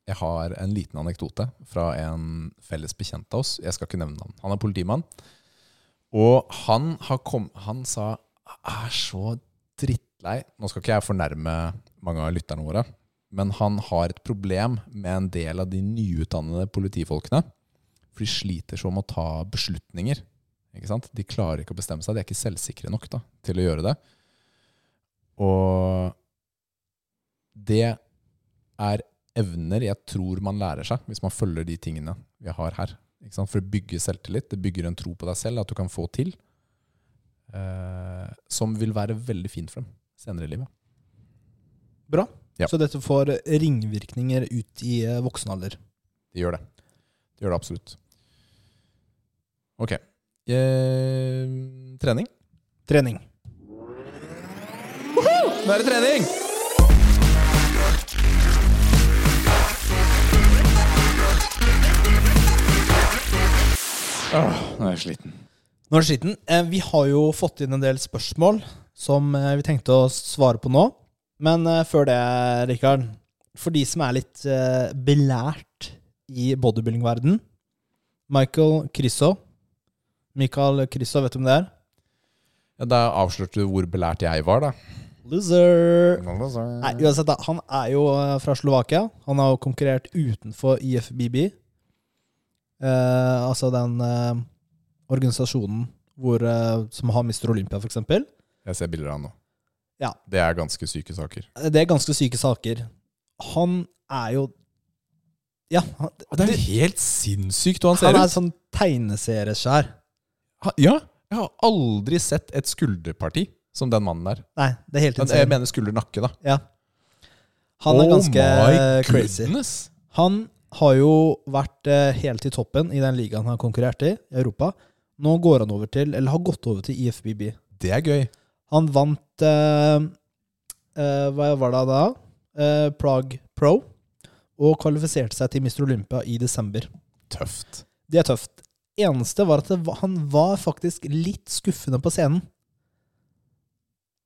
[SPEAKER 2] jeg har en liten anekdote fra en felles bekjent av oss. Jeg skal ikke nevne navn. Han er politimann. Og han, har kom, han sa Jeg er så drittlei Nå skal ikke jeg fornærme mange av lytterne våre, men han har et problem med en del av de nyutdannede politifolkene. For de sliter så med å ta beslutninger. Ikke sant? De klarer ikke å bestemme seg. De er ikke selvsikre nok da, til å gjøre det. Og det er evner jeg tror man lærer seg, hvis man følger de tingene vi har her. Ikke sant? For det bygger selvtillit. Det bygger en tro på deg selv, at du kan få til. Eh, som vil være veldig fint for dem senere i livet.
[SPEAKER 1] Bra.
[SPEAKER 2] Ja.
[SPEAKER 1] Så dette får ringvirkninger ut i eh, voksen alder.
[SPEAKER 2] Det gjør det. Det gjør det absolutt. Ok. Eh, trening.
[SPEAKER 1] Trening.
[SPEAKER 2] Nå er det trening! Åh, nå er jeg sliten.
[SPEAKER 1] Nå er det skitten. Eh, Vi har jo fått inn en del spørsmål som eh, vi tenkte å svare på nå. Men eh, før det, Rikard, for de som er litt eh, belært i bodybuilding-verden Michael Crisso. Michael Crisso, vet du hvem det er?
[SPEAKER 2] Ja, da avslørte du hvor belært jeg var, da.
[SPEAKER 1] Loser! Nei,
[SPEAKER 2] Nei,
[SPEAKER 1] uansett, da. Han er jo eh, fra Slovakia. Han har jo konkurrert utenfor IFBB. Eh, altså den eh, organisasjonen hvor, eh, som har Mister Olympia, for eksempel.
[SPEAKER 2] Jeg ser bilder av han nå.
[SPEAKER 1] Ja.
[SPEAKER 2] Det er ganske syke saker.
[SPEAKER 1] Det er ganske syke saker. Han er jo Ja, han,
[SPEAKER 2] Det er helt sinnssykt hva
[SPEAKER 1] han
[SPEAKER 2] han ser
[SPEAKER 1] er
[SPEAKER 2] ut!
[SPEAKER 1] sånn tegneserieskjær.
[SPEAKER 2] Ha- Ja, jeg har aldri sett et skulderparti som den mannen der.
[SPEAKER 1] Nei, det er helt
[SPEAKER 2] Men Jeg
[SPEAKER 1] insane.
[SPEAKER 2] mener skulder-nakke, da. Oh
[SPEAKER 1] Ja. Han er ganske
[SPEAKER 2] my
[SPEAKER 1] crazy.
[SPEAKER 2] goodness.
[SPEAKER 1] Han har jo vært eh, helt i toppen i den ligaen han har konkurrert i, i Europa. Nå går han over til, eller har gått over til IFBB.
[SPEAKER 2] Det er gøy.
[SPEAKER 1] Han vant eh, eh, Hva var det da? Eh, Plug Pro. Og kvalifiserte seg til Mr. Olympia i desember.
[SPEAKER 2] Tøft.
[SPEAKER 1] Det er tøft. Eneste var at det, var- han var faktisk litt skuffende på scenen.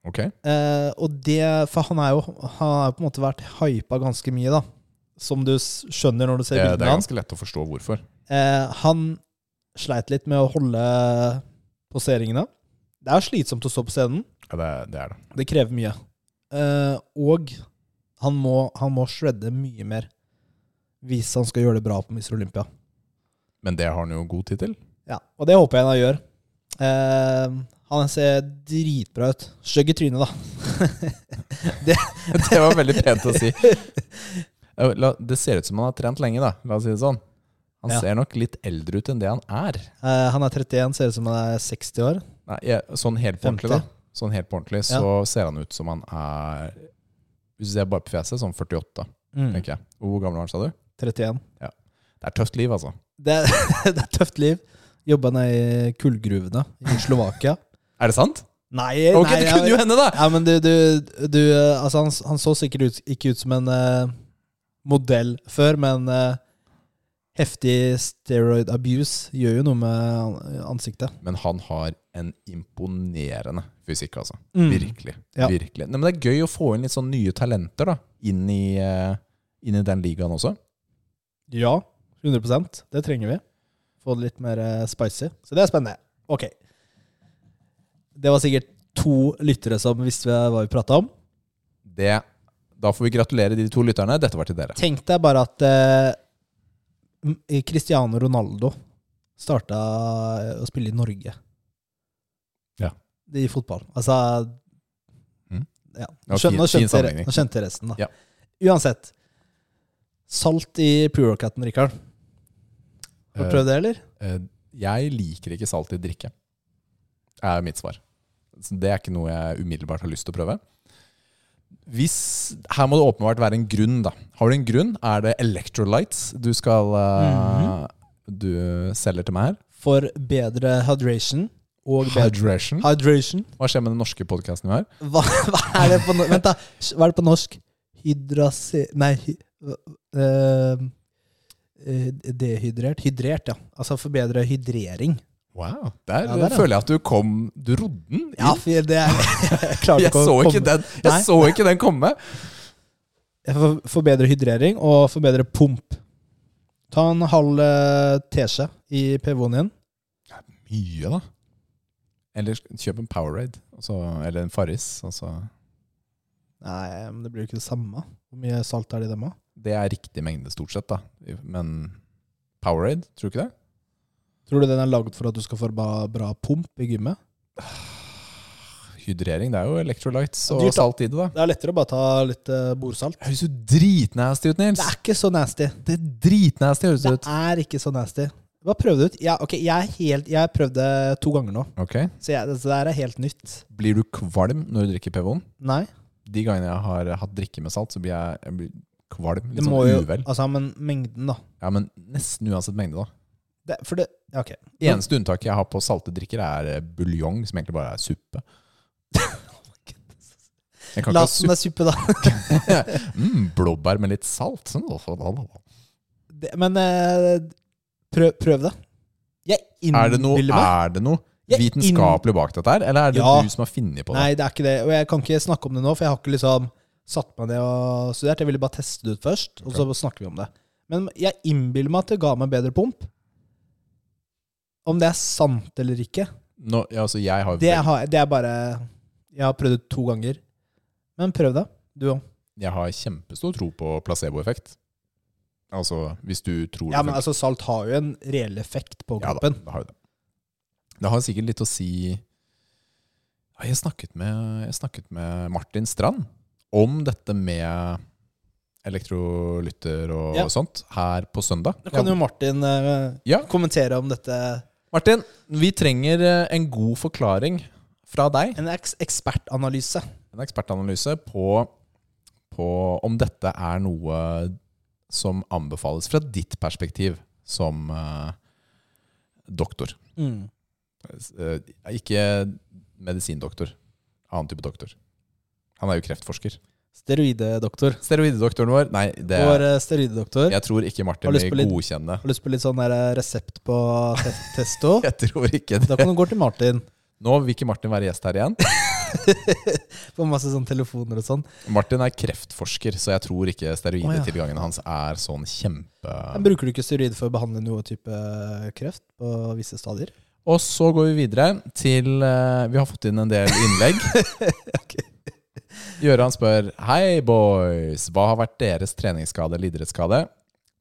[SPEAKER 2] Ok.
[SPEAKER 1] Eh, og det For han er jo Han har jo på en måte vært hypa ganske mye, da. Som du s- skjønner når du ser
[SPEAKER 2] Det, det
[SPEAKER 1] bildene
[SPEAKER 2] er
[SPEAKER 1] av han.
[SPEAKER 2] ganske lett å forstå hvorfor.
[SPEAKER 1] Eh, han sleit litt med å holde poseringene. Det er slitsomt å stå på scenen.
[SPEAKER 2] Ja, det, er- det er det.
[SPEAKER 1] Det krever mye. Eh, og han må, han må shredde mye mer hvis han skal gjøre det bra på Mr. Olympia.
[SPEAKER 2] Men det har han jo god tid til.
[SPEAKER 1] Ja, og det håper jeg han gjør. Eh, han ser dritbra ut. Stygg i trynet, da.
[SPEAKER 2] Det var veldig pent å si. Ja, la- Det ser ut som han har trent lenge, da. La oss si det sånn. Han
[SPEAKER 1] Ja.
[SPEAKER 2] ser nok litt eldre ut enn det han er.
[SPEAKER 1] Eh, han er 31, ser ut som han er 60 år.
[SPEAKER 2] Nei, jeg, sånn helt på
[SPEAKER 1] 50.
[SPEAKER 2] ordentlig, da. Sånn helt på ordentlig, så ser han ut som han er Hvis du ser bare på fjeset, sånn 48,
[SPEAKER 1] Mm.
[SPEAKER 2] tenker jeg. Og Hvor gammel var han, sa du?
[SPEAKER 1] 31.
[SPEAKER 2] Det er tøft liv, altså.
[SPEAKER 1] Det er, det er tøft liv. Jobba nede i kullgruvene i Slovakia.
[SPEAKER 2] Er det sant?
[SPEAKER 1] Nei,
[SPEAKER 2] Ok,
[SPEAKER 1] Eh, nei
[SPEAKER 2] det
[SPEAKER 1] jeg-
[SPEAKER 2] kunne jo hende, da!
[SPEAKER 1] Ja, men du, du, du eh, Altså, han, han så sikkert ut, ikke ut som en eh, modell før, men eh, heftig steroid abuse gjør jo noe med an- ansiktet.
[SPEAKER 2] Men han har en imponerende fysikk, altså.
[SPEAKER 1] Mm.
[SPEAKER 2] Virkelig.
[SPEAKER 1] Ja.
[SPEAKER 2] virkelig. Nei, men det er gøy å få inn litt sånn nye talenter da, inn i, eh, inn i den ligaen også.
[SPEAKER 1] Ja, 100 Det trenger vi. Få det litt mer eh, spicy. Så det er spennende. Ok. Det var sikkert to lyttere som visste hva vi prata om.
[SPEAKER 2] Det, da får vi gratulere de to lytterne. Dette var til dere.
[SPEAKER 1] Tenk deg bare at eh, M- Cristiano Ronaldo starta å spille i Norge.
[SPEAKER 2] Ja.
[SPEAKER 1] I fotball. Altså
[SPEAKER 2] Mm.
[SPEAKER 1] ja.
[SPEAKER 2] Ja,
[SPEAKER 1] Nå skjøn-
[SPEAKER 2] fin-
[SPEAKER 1] nå
[SPEAKER 2] fin
[SPEAKER 1] skjønte jeg
[SPEAKER 2] sammenligning.
[SPEAKER 1] nå skjønte jeg resten, da.
[SPEAKER 2] Ja.
[SPEAKER 1] Uansett. Salt i pre-workouten, Rikard. Har du prøvd det, eller?
[SPEAKER 2] Eh, eh, Jeg liker ikke salt i drikke, er mitt svar. Så det er ikke noe jeg umiddelbart har lyst til å prøve. Hvis, her må det åpenbart være en grunn, da. Har du en grunn? Er det electrolytes du skal
[SPEAKER 1] Mhm.
[SPEAKER 2] eh, Du selger til meg her?
[SPEAKER 1] For bedre hydration og bedre
[SPEAKER 2] Hydration.
[SPEAKER 1] Hydration.
[SPEAKER 2] Hva skjer med den norske podkasten vi har?
[SPEAKER 1] Hva, hva er det på norsk? Vent, da. Hva er det på norsk? Hydrase... Nei hy, øh, øh, Dehydrert? Hydrert, ja. Altså forbedre hydrering.
[SPEAKER 2] Wow. Der,
[SPEAKER 1] Ja, der, ja.
[SPEAKER 2] føler jeg at du kom Du rodde den inn.
[SPEAKER 1] Ja, for det er Jeg klarte
[SPEAKER 2] jeg,
[SPEAKER 1] ikke
[SPEAKER 2] så
[SPEAKER 1] å
[SPEAKER 2] ikke
[SPEAKER 1] komme
[SPEAKER 2] den,
[SPEAKER 1] Nei.
[SPEAKER 2] jeg så ikke den komme.
[SPEAKER 1] For- Forbedre hydrering og forbedre pump. Ta en halv eh, teskje i Pevonien.
[SPEAKER 2] Mye, da. Eller kjøp en Powerade, og så- eller en Farris. og så-
[SPEAKER 1] Nei, men det blir jo ikke det samme. Hvor mye salt er det i dem, da?
[SPEAKER 2] Det er riktig mengde, stort sett. da. Men Powerade, tror du ikke det?
[SPEAKER 1] Tror du den er lagd for at du skal få bra, bra pump i gymmet?
[SPEAKER 2] Hydrering, det er jo electrolytes og
[SPEAKER 1] Dyrt, da.
[SPEAKER 2] salt i det, da.
[SPEAKER 1] Det er lettere å bare ta litt eh, bordsalt.
[SPEAKER 2] Høres jo dritnasty ut, Nils!
[SPEAKER 1] Det er ikke så nasty.
[SPEAKER 2] Det er dritnasty høres det ut.
[SPEAKER 1] Det er ikke så nasty. Hva prøvde du ut? Ja, ok, jeg, er helt, jeg prøvde to ganger nå,
[SPEAKER 2] Ok.
[SPEAKER 1] så jeg, det der er helt nytt.
[SPEAKER 2] Blir du kvalm når du drikker Pevon?
[SPEAKER 1] Nei.
[SPEAKER 2] De gangene jeg har hatt drikke med salt, så blir jeg, jeg blir kvalm.
[SPEAKER 1] Det
[SPEAKER 2] Litt
[SPEAKER 1] må
[SPEAKER 2] sånn
[SPEAKER 1] jo,
[SPEAKER 2] uvel.
[SPEAKER 1] altså, men mengden, da.
[SPEAKER 2] Ja, men nesten uansett mengde, da.
[SPEAKER 1] Det, for det ja, Ok.
[SPEAKER 2] Eneste unntaket jeg har på salte drikker, er eh, buljong, som egentlig bare er suppe. Jeg kan
[SPEAKER 1] La
[SPEAKER 2] ikke ha
[SPEAKER 1] oss som
[SPEAKER 2] suppe.
[SPEAKER 1] det er suppe, da.
[SPEAKER 2] Mm, blåbær med litt salt. Sånn.
[SPEAKER 1] Det, men eh, prøv, prøv det. Jeg
[SPEAKER 2] Er det
[SPEAKER 1] innbiller
[SPEAKER 2] noe,
[SPEAKER 1] meg
[SPEAKER 2] er det noe
[SPEAKER 1] Jeg
[SPEAKER 2] vitenskapelig bak dette her, eller er det
[SPEAKER 1] Ja.
[SPEAKER 2] du som har funnet på det?
[SPEAKER 1] Nei, det er ikke det. Og jeg kan ikke snakke om det nå, for jeg har ikke liksom satt meg ned og studert. Jeg ville bare teste det ut først, og så snakker vi om det. Men jeg innbiller meg at det ga meg bedre pump. Om det er sant eller ikke,
[SPEAKER 2] Nå, ja, altså, jeg har,
[SPEAKER 1] det,
[SPEAKER 2] vel-
[SPEAKER 1] har, det er bare Jeg har prøvd det to ganger. Men prøv det, du òg.
[SPEAKER 2] jeg har kjempestor tro på placeboeffekt. Altså, hvis du tror
[SPEAKER 1] Ja,
[SPEAKER 2] det
[SPEAKER 1] men
[SPEAKER 2] funker.
[SPEAKER 1] altså, salt har jo en reell effekt på
[SPEAKER 2] Ja da,
[SPEAKER 1] kroppen.
[SPEAKER 2] det har jo det. Det har sikkert litt å si ja, jeg, snakket med, jeg snakket med Martin Strand om dette med elektrolytter og
[SPEAKER 1] Ja.
[SPEAKER 2] sånt her på søndag.
[SPEAKER 1] Nå kan jo Martin eh,
[SPEAKER 2] Ja.
[SPEAKER 1] kommentere om dette.
[SPEAKER 2] Martin, vi trenger eh, en god forklaring fra deg,
[SPEAKER 1] En eks ekspertanalyse.
[SPEAKER 2] en ekspertanalyse, på, på om dette er noe som anbefales fra ditt perspektiv som eh, doktor. Eh, Ikke medisindoktor. Annen type doktor. Han er jo kreftforsker.
[SPEAKER 1] Steroidedoktor.
[SPEAKER 2] Steroidedoktoren vår Nei, det
[SPEAKER 1] Vår eh, steroidedoktor.
[SPEAKER 2] jeg tror ikke Martin
[SPEAKER 1] Har lyst
[SPEAKER 2] vil
[SPEAKER 1] på litt-
[SPEAKER 2] godkjenne.
[SPEAKER 1] Har lyst på litt sånn der eh, resept på te testo?
[SPEAKER 2] Jeg tror ikke
[SPEAKER 1] Da
[SPEAKER 2] det.
[SPEAKER 1] kan du gå til Martin.
[SPEAKER 2] Nå vil ikke Martin være gjest her igjen.
[SPEAKER 1] Få masse sånn telefoner og sånn.
[SPEAKER 2] Martin er kreftforsker, så jeg tror ikke
[SPEAKER 1] Å,
[SPEAKER 2] steroidetilgangen hans er sånn kjempe...
[SPEAKER 1] Men Bruker du ikke steroid for å behandle noe type eh, kreft på visse stadier?
[SPEAKER 2] Og så går vi videre til eh, Vi har fått inn en del innlegg. Gøran spør Hei, boys. Hva har vært deres treningsskade eller idrettsskade?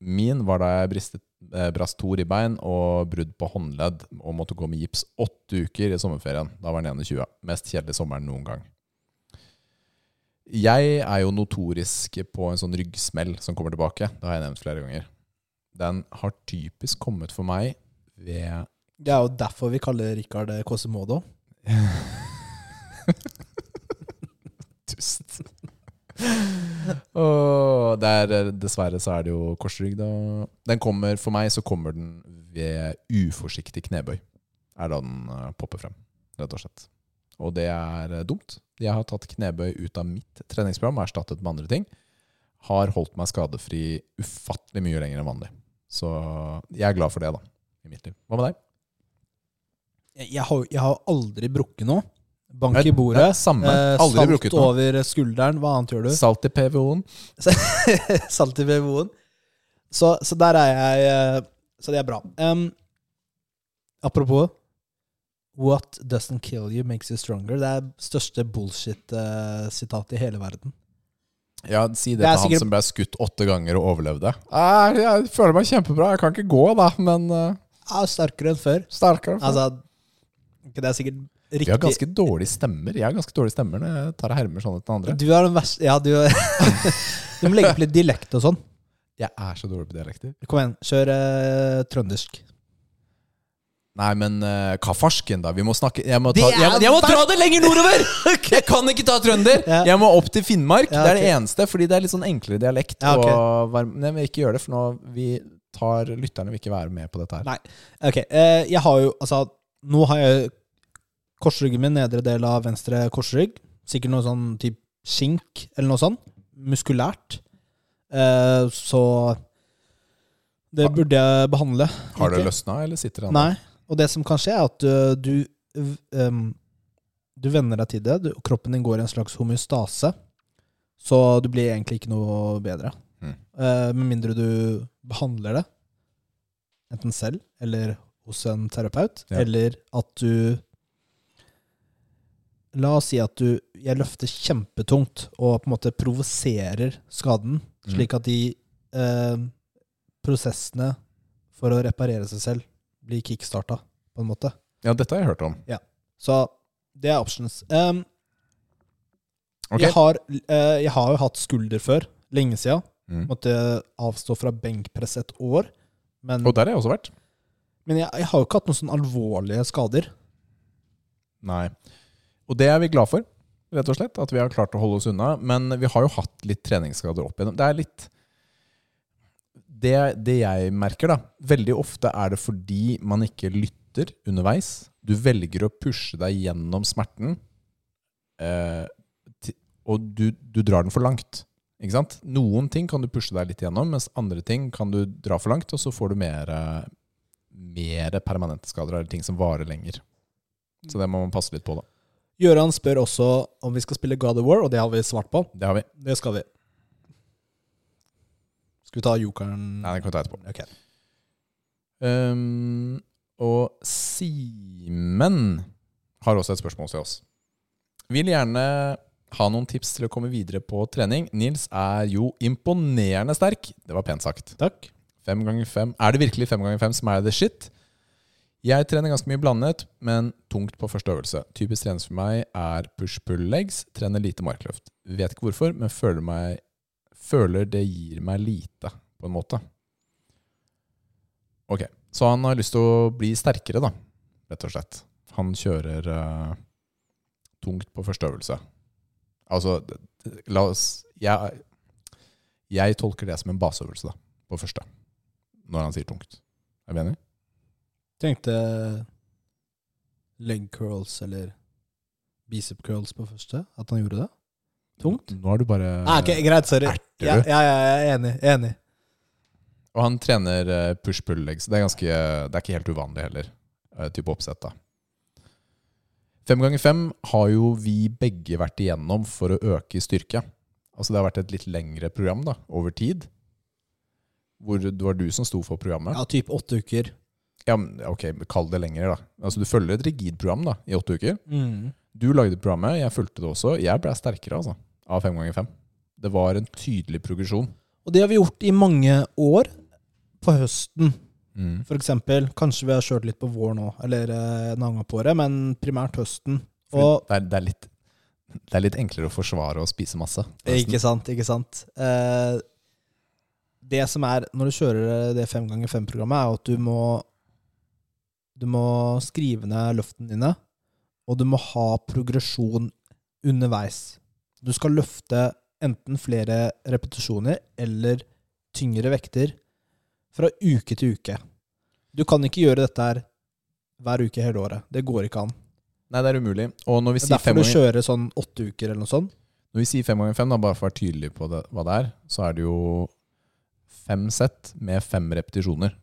[SPEAKER 2] Min var da jeg bristet, eh, brast to ribbein og brudd på håndledd og måtte gå med gips åtte uker i sommerferien. Da var den 21. Mest kjedelige sommeren noen gang. Jeg er jo notorisk på en sånn ryggsmell som kommer tilbake. Det har jeg nevnt flere ganger. Den har typisk kommet for meg ved
[SPEAKER 1] Det er jo derfor vi kaller Rikard eh, Kåsemodo.
[SPEAKER 2] Dust. Og der, eh, dessverre så er det jo korsrygg, da. Den kommer, for meg så kommer den ved uforsiktig knebøy. Er da den eh, popper frem, rett og slett. Og det er eh, dumt. Jeg har tatt knebøy ut av mitt treningsprogram og erstattet med andre ting. Har holdt meg skadefri ufattelig mye lenger enn vanlig. Så jeg er glad for det, da. I mitt liv. Hva med deg?
[SPEAKER 1] Jeg, jeg, har, jeg har aldri brukket noe. Bank
[SPEAKER 2] Nei,
[SPEAKER 1] i bordet.
[SPEAKER 2] nei, samme.
[SPEAKER 1] eh,
[SPEAKER 2] Aldri
[SPEAKER 1] salt
[SPEAKER 2] brukket noe.
[SPEAKER 1] over skulderen. Hva annet gjør du?
[SPEAKER 2] Salt i PVO-en.
[SPEAKER 1] salt i VVO-en. Så, så der er jeg eh, Så det er bra. Em, apropos What doesn't kill you makes you stronger. Det er største bullshit-sitatet i hele verden.
[SPEAKER 2] Ja, si det,
[SPEAKER 1] Det er
[SPEAKER 2] til han
[SPEAKER 1] sikkert-
[SPEAKER 2] som ble skutt åtte ganger og overlevde. Eh, Jeg føler meg kjempebra. Jeg kan ikke gå, da, men eh,
[SPEAKER 1] Jeg er sterkere enn før.
[SPEAKER 2] sterkere.
[SPEAKER 1] Altså, ok, det er sikkert riktig
[SPEAKER 2] Vi har ganske dårlige stemmer. Jeg har ganske dårlige stemmer når jeg tar og hermer sånn etter andre.
[SPEAKER 1] Du er den verste Ja, du Du må legge på litt dialekt og sånn.
[SPEAKER 2] Jeg er så dårlig på dialekter.
[SPEAKER 1] Kom igjen, kjør eh, trøndersk.
[SPEAKER 2] Nei, men uh, kafarsken, da. Vi må snakke Jeg må,
[SPEAKER 1] Det
[SPEAKER 2] ta,
[SPEAKER 1] er
[SPEAKER 2] jeg, må- jeg må
[SPEAKER 1] verdt-
[SPEAKER 2] dra det lenger nordover! Jeg kan ikke ta trønder!
[SPEAKER 1] Ja.
[SPEAKER 2] Jeg må opp til Finnmark.
[SPEAKER 1] Ja,
[SPEAKER 2] Det er det eneste, fordi det er litt sånn enklere dialekt.
[SPEAKER 1] Ja, ok.
[SPEAKER 2] og varm- Nei, men ikke gjør det, for nå vi tar lytterne vil ikke være med på dette her.
[SPEAKER 1] Nei. Ok, eh, jeg har jo Altså, nå har jeg korsryggen min, nedre del av venstre korsrygg. Sikkert noe sånn typ skink eller noe sånn. Muskulært. Eh, så Det burde jeg behandle.
[SPEAKER 2] Har det
[SPEAKER 1] egentlig.
[SPEAKER 2] løsna, eller sitter det
[SPEAKER 1] Nei. Og det som kan skje, er at ø, du v- em, Du venner deg til det. Du, kroppen din går i en slags homeostase. Så du blir egentlig ikke noe bedre.
[SPEAKER 2] Mm.
[SPEAKER 1] Eh, med mindre du behandler det. Enten selv eller hos en terapeut.
[SPEAKER 2] Ja.
[SPEAKER 1] Eller at du La oss si at du Jeg løfter kjempetungt og på en måte provoserer skaden,
[SPEAKER 2] Mm.
[SPEAKER 1] slik at de eh, prosessene for å reparere seg selv blir kickstarta, på en måte.
[SPEAKER 2] Ja, dette har jeg hørt om.
[SPEAKER 1] Så det er options. Em,
[SPEAKER 2] Ok.
[SPEAKER 1] jeg, har, eh, jeg har jo hatt skulder før, lenge siden.
[SPEAKER 2] Mm.
[SPEAKER 1] Måtte avstå fra benkpress et år. Men,
[SPEAKER 2] Og der har jeg også vært.
[SPEAKER 1] men jeg, jeg har jo ikke hatt noen sånn alvorlige skader.
[SPEAKER 2] Nei. Og det er vi glad for, rett og slett. At vi har klart å holde oss unna. Men vi har jo hatt litt treningsskader opp igjennom. Det er litt det, det jeg merker, da. Veldig ofte er det fordi man ikke lytter underveis. Du velger å pushe deg gjennom smerten, eh, ti- og du, du drar den for langt. Ikke sant? Noen ting kan du pushe deg litt gjennom, mens andre ting kan du dra for langt, og så får du mer, eh, mer permanente skader eller ting som varer lenger. Så det må man passe litt på, da.
[SPEAKER 1] Gøran spør også om vi skal spille God of War, og det har vi svart på.
[SPEAKER 2] Det har vi.
[SPEAKER 1] Det skal vi. Skal vi ta jokeren?
[SPEAKER 2] Nei, det kan vi ta etterpå.
[SPEAKER 1] Ok.
[SPEAKER 2] Um, og Simen har også et spørsmål til oss. Vil gjerne ha noen tips til å komme videre på trening. Nils er jo imponerende sterk. Det var pent sagt.
[SPEAKER 1] Takk.
[SPEAKER 2] Fem ganger fem. Er det virkelig fem ganger fem som er the shit? Jeg trener ganske mye blandet, men tungt på første øvelse. Typisk trening for meg er push-pull-legs, trener lite markløft. Vet ikke hvorfor, men føler, meg, føler det gir meg lite, på en måte. Ok, så han har lyst til å bli sterkere, da, rett og slett. Han kjører eh, tungt på første øvelse. Altså, d- d- la oss jeg, jeg tolker det som en baseøvelse, da, på første. Når han sier tungt. Er vi enige?
[SPEAKER 1] Tenkte leg curls eller bicep curls på første? At han gjorde det? Tungt.
[SPEAKER 2] Nå nå er du bare
[SPEAKER 1] Ah, ok, greit, sorry.
[SPEAKER 2] erter
[SPEAKER 1] Ja,
[SPEAKER 2] du.
[SPEAKER 1] ja, ja, jeg er enig. jeg er enig.
[SPEAKER 2] Og han trener eh, push-pull-legs. Det, er ganske- det er ikke helt uvanlig heller, eh, type oppsett. da. Fem ganger fem har jo vi begge vært igjennom for å øke i styrke. Altså Det har vært et litt lengre program da, over tid. Hvor det var du som sto for programmet.
[SPEAKER 1] Ja, typ åtte uker.
[SPEAKER 2] Ja, men, ok, Kall det lengre, da. Altså Du følger et rigid program da, i åtte uker. Du lagde programmet, jeg fulgte det også. Jeg ble sterkere altså, av fem ganger fem. Det var en tydelig progresjon.
[SPEAKER 1] Og det har vi gjort i mange år. På høsten,
[SPEAKER 2] Mm.
[SPEAKER 1] for eksempel. Kanskje vi har kjørt litt på vår nå, eller eh, en annen gang på året, men primært høsten. Og
[SPEAKER 2] det, er, det, er litt, det er litt enklere å forsvare å spise masse.
[SPEAKER 1] Ikke sant, ikke sant. Eh, det som er når du kjører det fem ganger fem-programmet, er jo at du må Du må skrive ned løftene dine, og du må ha progresjon underveis. Du skal løfte enten flere repetisjoner eller tyngre vekter fra uke til uke. Du kan ikke gjøre dette her hver uke hele året. Det går ikke an.
[SPEAKER 2] Nei, det er umulig. Og når vi
[SPEAKER 1] Det er
[SPEAKER 2] sier
[SPEAKER 1] derfor
[SPEAKER 2] fem
[SPEAKER 1] du
[SPEAKER 2] ganger,
[SPEAKER 1] kjører sånn åtte uker eller noe sånt.
[SPEAKER 2] når vi sier fem, ganger fem da, bare for å være tydelig på det, hva det er, så er det jo fem sett med fem repetisjoner.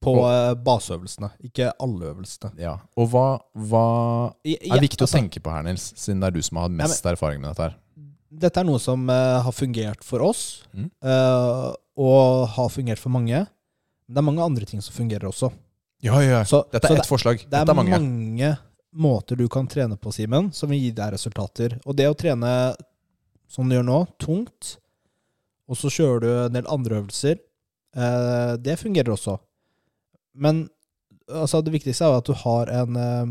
[SPEAKER 1] På
[SPEAKER 2] Og-
[SPEAKER 1] eh, baseøvelsene, ikke alle øvelsene.
[SPEAKER 2] Ja. Og hva, hva
[SPEAKER 1] I- i-
[SPEAKER 2] er viktig
[SPEAKER 1] altså,
[SPEAKER 2] å tenke på her, Nils, siden det er du som har mest erfaring med dette her?
[SPEAKER 1] Dette er noe som eh, har fungert for oss,
[SPEAKER 2] Mm.
[SPEAKER 1] eh, og har fungert for mange. Men det er mange andre ting som fungerer også.
[SPEAKER 2] Ja, ja,
[SPEAKER 1] Så,
[SPEAKER 2] Dette
[SPEAKER 1] så
[SPEAKER 2] er
[SPEAKER 1] det,
[SPEAKER 2] ett forslag.
[SPEAKER 1] det
[SPEAKER 2] Dette er mange.
[SPEAKER 1] måter du kan trene på, Simen, som vil gi deg resultater. Og det å trene som du gjør nå, tungt, og så kjører du en del andre øvelser, eh, det fungerer også. Men altså, det viktigste er jo at du har en eh,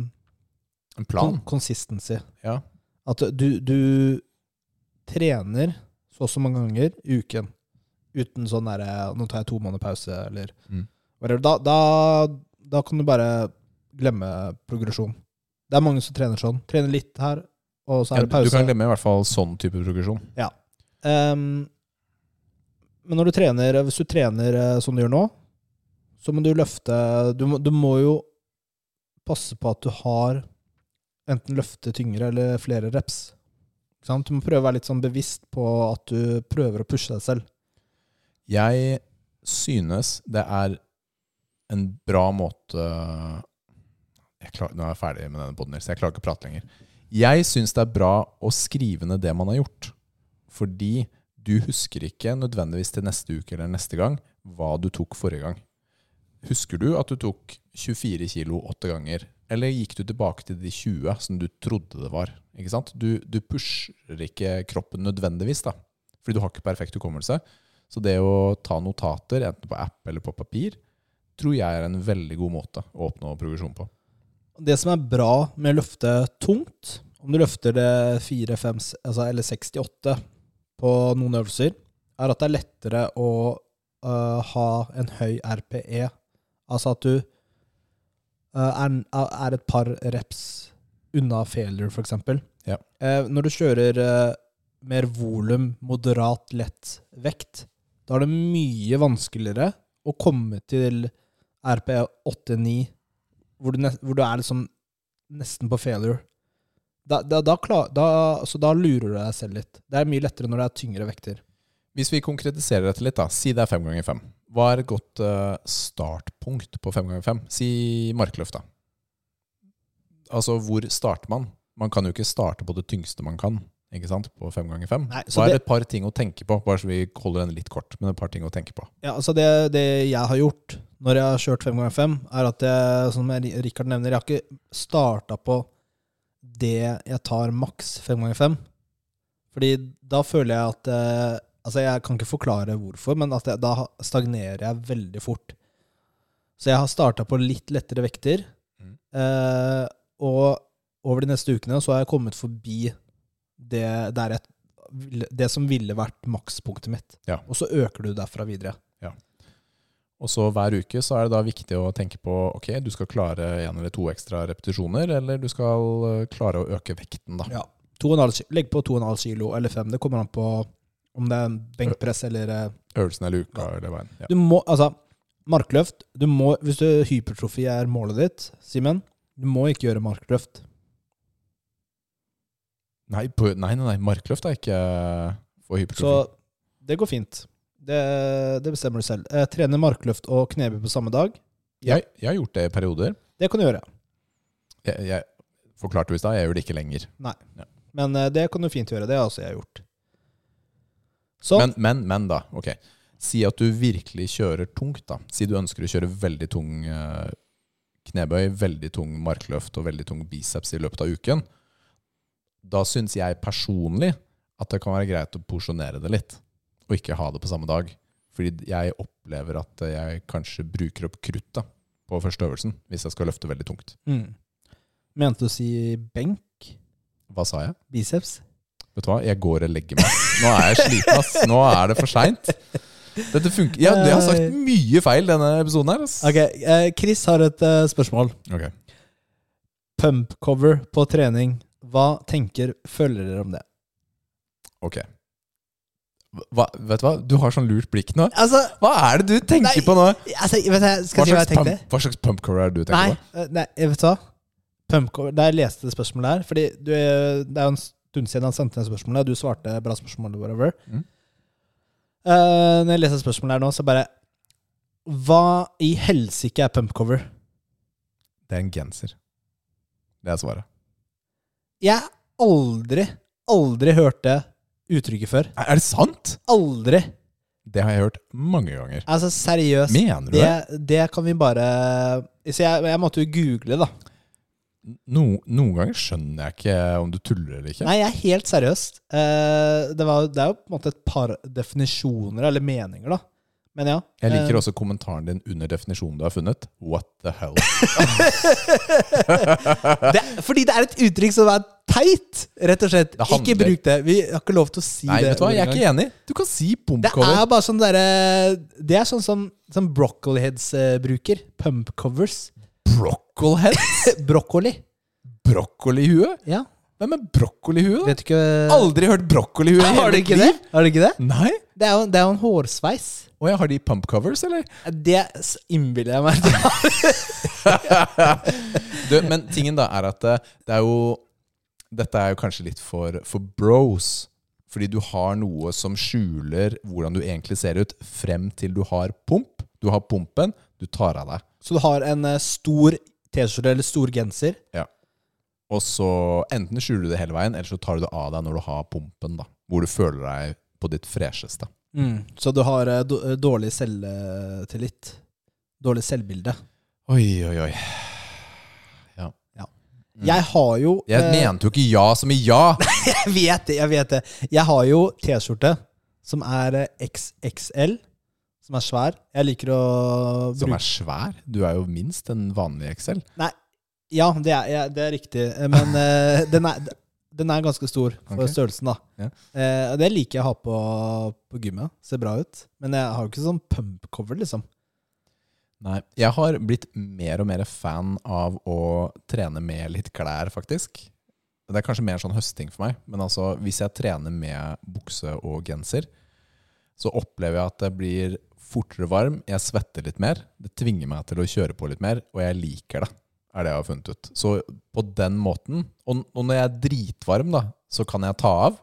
[SPEAKER 1] kon
[SPEAKER 2] En plan.
[SPEAKER 1] consistency.
[SPEAKER 2] Ja.
[SPEAKER 1] At du, du trener så og så mange ganger i uken. Uten sånn derre 'nå tar jeg to måneder pause', eller
[SPEAKER 2] Mm.
[SPEAKER 1] whatever. Da, da, da kan du bare glemme progresjon. Det er mange som trener sånn. Trener litt her, og så
[SPEAKER 2] Ja,
[SPEAKER 1] er det
[SPEAKER 2] du, du
[SPEAKER 1] pause.
[SPEAKER 2] kan glemme i hvert fall sånn type progresjon.
[SPEAKER 1] Ehm, men når du trener, hvis du trener eh, som du gjør nå, så må du løfte du må, du må jo passe på at du har enten løfte tyngre eller flere reps. Ikke sant? Du må prøve å være litt sånn bevisst på at du prøver å pushe deg selv.
[SPEAKER 2] Jeg synes det er en bra måte jeg klar, Nå er jeg ferdig med denne podden, så jeg klarer ikke å prate lenger. Jeg synes det er bra å skrive ned det man har gjort. Fordi du husker ikke nødvendigvis til neste uke eller neste gang hva du tok forrige gang. Husker du at du tok 24 kilo åtte ganger? Eller gikk du tilbake til de 20 som du trodde det var? Ikke sant? Du, du pusher ikke kroppen nødvendigvis, da. Fordi du har ikke perfekt hukommelse. Så det å ta notater, enten på app eller på papir, tror jeg er en veldig god måte å oppnå progresjon på.
[SPEAKER 1] Det som er bra med å løfte tungt, om du løfter det 4, 5 altså, eller 68 på noen øvelser, er at det er lettere å øh, ha en høy RPE. Altså at du øh, er, er et par reps unna failure, for eksempel.
[SPEAKER 2] Ja.
[SPEAKER 1] Eh, når du kjører eh, mer volum, moderat, lett vekt, da er det mye vanskeligere å komme til E RPE 8-9 hvor du, nes- hvor du er liksom nesten på failure. Da, da, da, klar, da, så da lurer du deg selv litt. Det er mye lettere når det er tyngre vekter.
[SPEAKER 2] Hvis vi konkretiserer dette litt, da, si det er fem ganger fem. Hva er et godt eh, startpunkt på fem ganger fem? Si markløft, da. Altså, hvor starter man? Man kan jo ikke starte på det tyngste man kan ikke sant, på fem ganger fem.
[SPEAKER 1] Nei, så
[SPEAKER 2] Hva er
[SPEAKER 1] det-
[SPEAKER 2] et par ting å tenke på? Bare så vi holder den litt kort, men et par ting å tenke på.
[SPEAKER 1] Ja, altså det, det jeg har gjort når jeg har kjørt fem ganger fem, er at jeg, som jeg- Rikard nevner, jeg har ikke starta på det jeg tar maks fem ganger fem. Fordi da føler jeg at eh, Altså, jeg kan ikke forklare hvorfor, men at jeg, da stagnerer jeg veldig fort. Så jeg har starta på litt lettere vekter.
[SPEAKER 2] Mm.
[SPEAKER 1] eh, og over de neste ukene så har jeg kommet forbi det, der jeg, ville- det som ville vært makspunktet mitt.
[SPEAKER 2] Ja.
[SPEAKER 1] Og så øker du derfra videre.
[SPEAKER 2] Og så hver uke så er det da viktig å tenke på ok, du skal klare en eller to ekstra repetisjoner, eller du skal eh, klare å øke vekten, da.
[SPEAKER 1] Ja. To og en halv ki- Legg på 2,5 kilo eller 5. Det kommer an på om det er en benkpress eller eh,
[SPEAKER 2] Øvelsen eller uka eller veien. Ja.
[SPEAKER 1] Du må, altså Markløft du må, Hvis du hypertrofi er målet ditt, Simen, du må ikke gjøre markløft.
[SPEAKER 2] Nei, på, nei, nei, nei, markløft er ikke for
[SPEAKER 1] Så
[SPEAKER 2] hypertrofi.
[SPEAKER 1] det går fint. Det, det bestemmer du selv. Eh, trene markløft og knebøy på samme dag,
[SPEAKER 2] Jeg, jeg har gjort det i perioder.
[SPEAKER 1] det kan du gjøre.
[SPEAKER 2] Jeg, jeg forklarte jo i stad, jeg gjør det ikke lenger.
[SPEAKER 1] Men eh, det kan du fint gjøre. Det har også jeg gjort. Sånn.
[SPEAKER 2] Men, men, men da, ok. Si at du virkelig kjører tungt, da. Si du ønsker å kjøre veldig tung eh, knebøy, veldig tung markløft og veldig tung biceps i løpet av uken. Da syns jeg personlig at det kan være greit å porsjonere det litt, og ikke ha det på samme dag. Fordi jeg opplever at jeg kanskje bruker opp kruttet på første øvelsen hvis jeg skal løfte veldig tungt.
[SPEAKER 1] mm. Mente du å si benk?
[SPEAKER 2] Hva sa jeg?
[SPEAKER 1] Biceps?
[SPEAKER 2] Vet du hva, jeg går og legger meg. Nå er jeg sliten, ass. Nå er det for seint. Dette funker. Ja, jeg har sagt mye feil denne episoden her, ass.
[SPEAKER 1] Ok, eh, Chris har et eh, spørsmål.
[SPEAKER 2] Ok.
[SPEAKER 1] Pump cover på trening. Hva tenker følgere om det?
[SPEAKER 2] Ok. Hva, vet du hva? Du har sånn lurt blikk nå.
[SPEAKER 1] Altså,
[SPEAKER 2] Hva er det du tenker
[SPEAKER 1] Nei,
[SPEAKER 2] på nå?
[SPEAKER 1] altså vet du,
[SPEAKER 2] Hva
[SPEAKER 1] skal jeg si hva
[SPEAKER 2] slags,
[SPEAKER 1] jeg tenkte?
[SPEAKER 2] pump, hva slags pump cover er det du
[SPEAKER 1] Nei,
[SPEAKER 2] tenker på?
[SPEAKER 1] eh, nei, vet du hva? Pump cover, da jeg leste det spørsmålet her Fordi du, eh, det er jo en stund siden han sendte det spørsmålet, og du svarte bra spørsmål, whatever.
[SPEAKER 2] Mm.
[SPEAKER 1] Eh, når jeg leser spørsmålet her nå, så bare Hva i helsike er pump cover?
[SPEAKER 2] Det er en genser. Det er svaret.
[SPEAKER 1] Jeg har aldri, aldri hørt det uttrykket før.
[SPEAKER 2] Er er det sant?
[SPEAKER 1] Aldri.
[SPEAKER 2] Det har jeg hørt mange ganger.
[SPEAKER 1] Altså, seriøst.
[SPEAKER 2] Mener du det?
[SPEAKER 1] Det, det kan vi bare Så jeg, jeg måtte jo google, da.
[SPEAKER 2] No, noen ganger skjønner jeg ikke om du tuller eller ikke.
[SPEAKER 1] Nei, jeg er helt seriøs. Eh, det, var, det er jo på en måte et par definisjoner, eller meninger, da. Men ja.
[SPEAKER 2] Jeg liker også kommentaren din under definisjonen du har funnet. What the hell?
[SPEAKER 1] Eh, det. Fordi det er et uttrykk som er teit, rett og slett.
[SPEAKER 2] handler-
[SPEAKER 1] Ikke bruk det. Vi har ikke lov til å si
[SPEAKER 2] Nei,
[SPEAKER 1] det.
[SPEAKER 2] vet du hva,
[SPEAKER 1] ordet
[SPEAKER 2] jeg er
[SPEAKER 1] engang.
[SPEAKER 2] ikke enig. Du kan si pump
[SPEAKER 1] det
[SPEAKER 2] cover.
[SPEAKER 1] er bare sånn derre Det er sånn som, som Broccoliheads eh, bruker. Pump covers.
[SPEAKER 2] Broccolhead?
[SPEAKER 1] Broccoli.
[SPEAKER 2] Brokkolihue?
[SPEAKER 1] Ja.
[SPEAKER 2] Hvem er brokkolihue?
[SPEAKER 1] Vet du ikke
[SPEAKER 2] Aldri hørt brokkolihue i
[SPEAKER 1] Har
[SPEAKER 2] hele
[SPEAKER 1] du
[SPEAKER 2] mitt
[SPEAKER 1] ikke det?
[SPEAKER 2] liv!
[SPEAKER 1] Har du ikke det?
[SPEAKER 2] Nei?
[SPEAKER 1] Det er jo, det er jo en hårsveis.
[SPEAKER 2] Og jeg har de pump covers, eller?
[SPEAKER 1] Det s- innbiller jeg meg.
[SPEAKER 2] Du, men tingen da er at eh, det er jo Dette er jo kanskje litt for, for bros. Fordi du har noe som skjuler hvordan du egentlig ser ut, frem til du har pump. Du har pumpen, du tar av deg.
[SPEAKER 1] Så du har en eh, stor T-skjorte eller stor genser.
[SPEAKER 2] Og så enten skjuler du det hele veien, eller så tar du det av deg når du har pumpen. da Hvor du føler deg på ditt fresheste. Mm.
[SPEAKER 1] Så du har eh, då- eh, dårlig selvtillit. Dårlig selvbilde.
[SPEAKER 2] Oi, oi, oi. Mm.
[SPEAKER 1] Jeg har jo
[SPEAKER 2] Jeg
[SPEAKER 1] eh,
[SPEAKER 2] mente jo ikke ja som i ja!
[SPEAKER 1] Jeg vet det, jeg vet det. Jeg har jo T-skjorte som er eh, XXL, som er svær. Jeg liker å
[SPEAKER 2] Som
[SPEAKER 1] bruke
[SPEAKER 2] er svær. Du er jo minst en vanlig Excel.
[SPEAKER 1] Ja, det er, ja, det er riktig. eh, Men eh, den, er, den er ganske stor for
[SPEAKER 2] Ok.
[SPEAKER 1] størrelsen, da.
[SPEAKER 2] Ja.
[SPEAKER 1] Eh, og det liker jeg å ha på, på gymmet. Ser bra ut. Men jeg har jo ikke sånn pump cover, liksom.
[SPEAKER 2] Nei. Jeg har blitt mer og mer fan av å trene med litt klær, faktisk. Det er kanskje mer sånn høsting for meg, men altså, hvis jeg trener med bukse og genser, så opplever jeg at jeg blir fortere varm, jeg svetter litt mer, det tvinger meg til å kjøre på litt mer, og jeg liker det, er det jeg har funnet ut. Så på den måten, og, og når jeg er dritvarm da, så kan jeg ta av,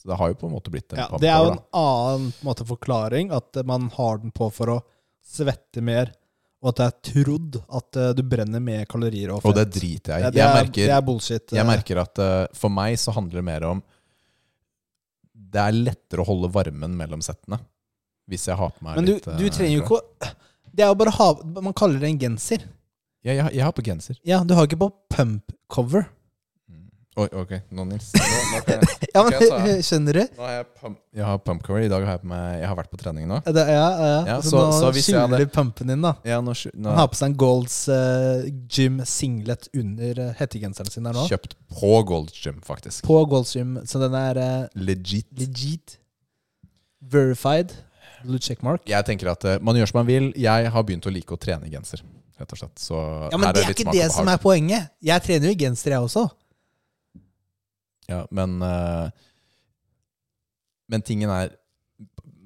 [SPEAKER 2] så det har jo på en måte blitt en
[SPEAKER 1] Ja,
[SPEAKER 2] pump
[SPEAKER 1] det er jo
[SPEAKER 2] over, da.
[SPEAKER 1] en annen på en måte, forklaring, at eh, man har den på for å svette mer, og at det er trodd at eh, du brenner med kalorier og fett.
[SPEAKER 2] Og det driter jeg
[SPEAKER 1] Ja,
[SPEAKER 2] i.
[SPEAKER 1] det,
[SPEAKER 2] Jeg
[SPEAKER 1] er-
[SPEAKER 2] merker
[SPEAKER 1] det er bullshit.
[SPEAKER 2] Jeg merker at eh, for meg så handler det mer om Det er lettere å holde varmen mellom settene. Hvis jeg har på meg
[SPEAKER 1] Men du,
[SPEAKER 2] litt eh,
[SPEAKER 1] du trenger jo ikke å Det er jo bare å ha Man kaller det en genser.
[SPEAKER 2] ja, jeg, jeg har på genser.
[SPEAKER 1] Ja, du har ikke på pump cover.
[SPEAKER 2] Oi, ok, nå Nils. Nå, nå kan jeg,
[SPEAKER 1] Ja, men
[SPEAKER 2] Ok, så er-
[SPEAKER 1] skjønner du?
[SPEAKER 2] nå har jeg, pump, jeg har pump cover. I dag har jeg på meg Jeg har vært på trening nå.
[SPEAKER 1] Ja, Det, ja, ja.
[SPEAKER 2] Ja,
[SPEAKER 1] så,
[SPEAKER 2] så- så
[SPEAKER 1] nå
[SPEAKER 2] hvis jeg
[SPEAKER 1] skjuler
[SPEAKER 2] hadde-
[SPEAKER 1] du pumpen din, da.
[SPEAKER 2] Ja, nå, skj- nå
[SPEAKER 1] Han har på seg en Golds eh, Gym singlet under eh, hettegenseren sin der nå.
[SPEAKER 2] kjøpt på Gold Gym, faktisk.
[SPEAKER 1] På Golds Gym, så den er eh,
[SPEAKER 2] Legit.
[SPEAKER 1] legit. Verified. Blue checkmark.
[SPEAKER 2] Jeg tenker at eh, man gjør som man vil. Jeg har begynt å like å trene i genser, rett og slett. Så
[SPEAKER 1] Ja, men
[SPEAKER 2] her
[SPEAKER 1] det
[SPEAKER 2] er
[SPEAKER 1] er
[SPEAKER 2] litt
[SPEAKER 1] ikke
[SPEAKER 2] smak
[SPEAKER 1] det
[SPEAKER 2] og
[SPEAKER 1] som
[SPEAKER 2] behag.
[SPEAKER 1] er poenget. Jeg trener jo i genser, jeg også.
[SPEAKER 2] Ja, men eh, Men tingen er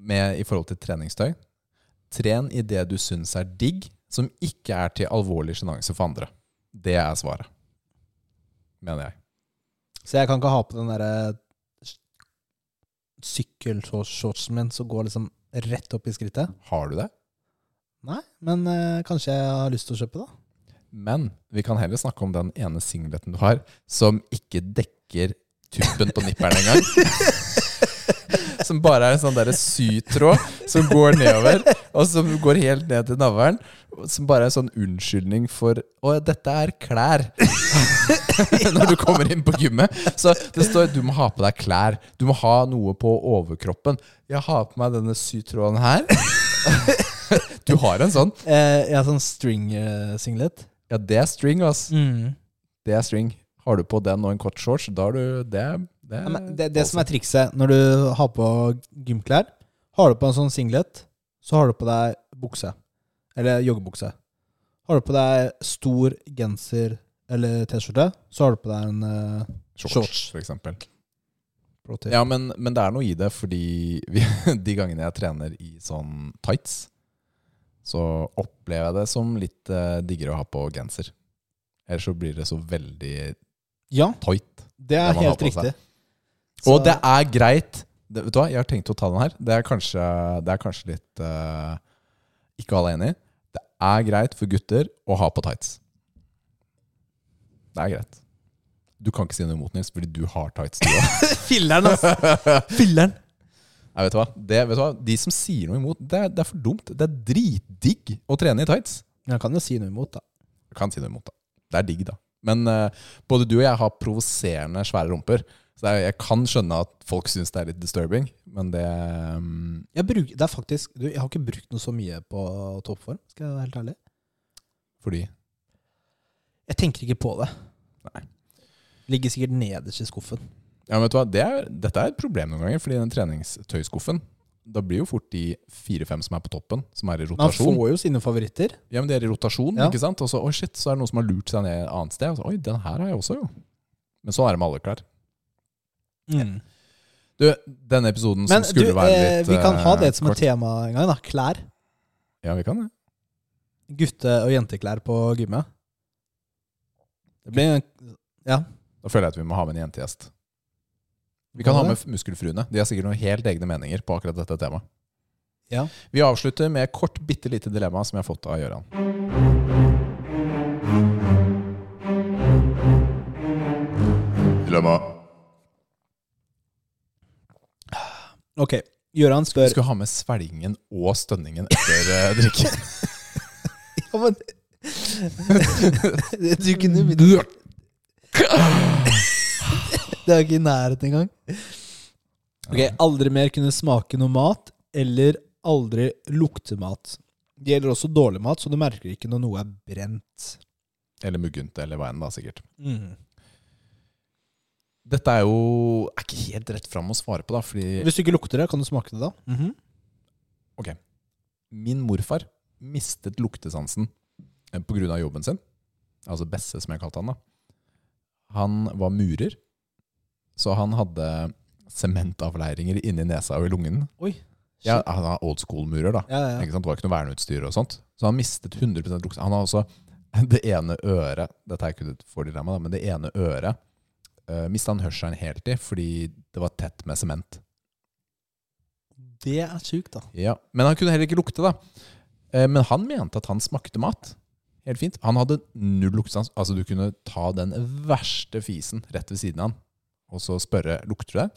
[SPEAKER 2] med, I forhold til treningstøy Tren i det du syns er digg, som ikke er til alvorlig sjenanse for andre. Det er svaret. Mener jeg.
[SPEAKER 1] Så jeg kan ikke ha på den eh, derre sykkelshortsen min som går liksom rett opp i skrittet.
[SPEAKER 2] Har du det?
[SPEAKER 1] Nei, men eh, kanskje jeg har lyst til å kjøpe det. da.
[SPEAKER 2] Men vi kan heller snakke om den ene singleten du har, som ikke dekker tuppen på nipperen engang. Som bare er en sånn derre sytråd som går nedover, og som går helt ned til navlen. Som bare er en sånn unnskyldning for Å, dette er klær! Når du kommer inn på gymmet. Så det står du må ha på deg klær. Du må ha noe på overkroppen. Jeg har på meg denne sytråden her. Du har en sånn.
[SPEAKER 1] Eh, jeg har sånn string-singlet.
[SPEAKER 2] Ja, det er string, ass.
[SPEAKER 1] Mm.
[SPEAKER 2] Det er string. Har du på den og en kort shorts, da er du Det, det,
[SPEAKER 1] Ja, men det, det som er trikset når du har på gymklær Har du på en sånn singlet, så har du på deg bukse. Eller joggebukse. Har du på deg stor genser eller T-skjorte, så har du på deg en eh,
[SPEAKER 2] shorts,
[SPEAKER 1] shorts.
[SPEAKER 2] for eksempel.
[SPEAKER 1] pro-tip.
[SPEAKER 2] Ja, men, men det er noe i det, fordi vi, de gangene jeg trener i sånn tights, så opplever jeg det som litt eh, diggere å ha på genser. Ellers så blir det så veldig
[SPEAKER 1] ja,
[SPEAKER 2] tight.
[SPEAKER 1] det
[SPEAKER 2] Det
[SPEAKER 1] er
[SPEAKER 2] man har
[SPEAKER 1] helt
[SPEAKER 2] på seg.
[SPEAKER 1] riktig. Så-
[SPEAKER 2] Og det er greit. Det, vet du hva, jeg har tenkt å ta den her. Det er kanskje, det er kanskje litt eh, Ikke alle er enig. Det er greit for gutter å ha på tights. Det er greit. Du kan ikke si noe imot, Nils, fordi du har tights. Du også.
[SPEAKER 1] Filler'n, altså! Filler'n!
[SPEAKER 2] Nei, vet, du hva? Det, vet du hva? De som sier noe imot, det er, det er for dumt. Det er dritdigg å trene i tights.
[SPEAKER 1] Jeg kan jo si noe imot, da.
[SPEAKER 2] Jeg kan si noe imot, da. Det er digg, da. Men eh, både du og jeg har provoserende svære rumper. Så jeg, jeg kan skjønne at folk syns det er litt disturbing, men det mm,
[SPEAKER 1] Jeg, bruk, det er faktisk, du, jeg har ikke brukt noe så mye på toppform, skal jeg være helt ærlig.
[SPEAKER 2] Fordi
[SPEAKER 1] Jeg tenker ikke på det.
[SPEAKER 2] Nei.
[SPEAKER 1] Ligger sikkert nederst i skuffen.
[SPEAKER 2] Ja, men vet du hva? Det er, dette er et problem noen ganger, fordi den treningstøyskuffen Da blir jo fort de fire-fem som er på toppen, som er i
[SPEAKER 1] Men han
[SPEAKER 2] rotasjon.
[SPEAKER 1] får jo sine favoritter.
[SPEAKER 2] Ja, men de er i rotasjon,
[SPEAKER 1] Ja.
[SPEAKER 2] ikke sant? Og så oi shit, så er det noen som har lurt seg ned et annet sted. Og så, oi, den her har jeg også, jo. Men sånn er det med alle klær.
[SPEAKER 1] Mm.
[SPEAKER 2] Du, denne episoden som
[SPEAKER 1] Men du,
[SPEAKER 2] skulle være
[SPEAKER 1] eh,
[SPEAKER 2] litt
[SPEAKER 1] vi kan ha det
[SPEAKER 2] eh,
[SPEAKER 1] som et
[SPEAKER 2] kort.
[SPEAKER 1] tema en gang, da. Klær.
[SPEAKER 2] Ja, vi kan det.
[SPEAKER 1] Gutte- og jenteklær på gymmet. Det blir Ja.
[SPEAKER 2] Da føler jeg at vi må ha med en jentegjest. Vi kan ha med muskelfruene. De har sikkert noen helt egne meninger på akkurat dette temaet.
[SPEAKER 1] Ja.
[SPEAKER 2] Vi avslutter med et kort, bitte lite dilemma som jeg har fått av Gøran. Dilemma.
[SPEAKER 1] Ok. Gøran
[SPEAKER 2] Du
[SPEAKER 1] spør
[SPEAKER 2] skulle ha med svelgingen og stønningen etter uh, drikken.
[SPEAKER 1] Ja, men- Du kunne begynt Det er jo ikke i nærheten engang. Ok, Aldri mer kunne smake noe mat, eller aldri lukte mat. Det gjelder også dårlig mat, så du merker ikke når noe er brent.
[SPEAKER 2] Eller muggent, eller hva enn, da, sikkert. Mm. Dette er jo er ikke helt rett fram å svare på, da, fordi
[SPEAKER 1] Hvis du ikke lukter det, kan du smake det da?
[SPEAKER 2] Mhm. min morfar mistet luktesansen eh, på grunn av jobben sin. Altså Besse, som jeg kalte han da. Han var murer, så han hadde sementavleiringer inni nesa og i lungen.
[SPEAKER 1] Oi.
[SPEAKER 2] Ja, han var old school-murer, da.
[SPEAKER 1] Ja, ja, ja.
[SPEAKER 2] Ikke sant? Det var ikke noe verneutstyr og sånt. Så han mistet 100 luktesansen. Han har også det ene øret Dette er ikke et fordilemma, da, men det ene øret uh, mista han hørselen helt i fordi det var tett med sement.
[SPEAKER 1] Det er sjukt, da.
[SPEAKER 2] Ja, Men han kunne heller ikke lukte, da. Eh, Men han mente at han smakte mat. Helt fint. Han hadde null luktesans. Altså, du kunne ta den verste fisen rett ved siden av han, og så spørre lukter du det.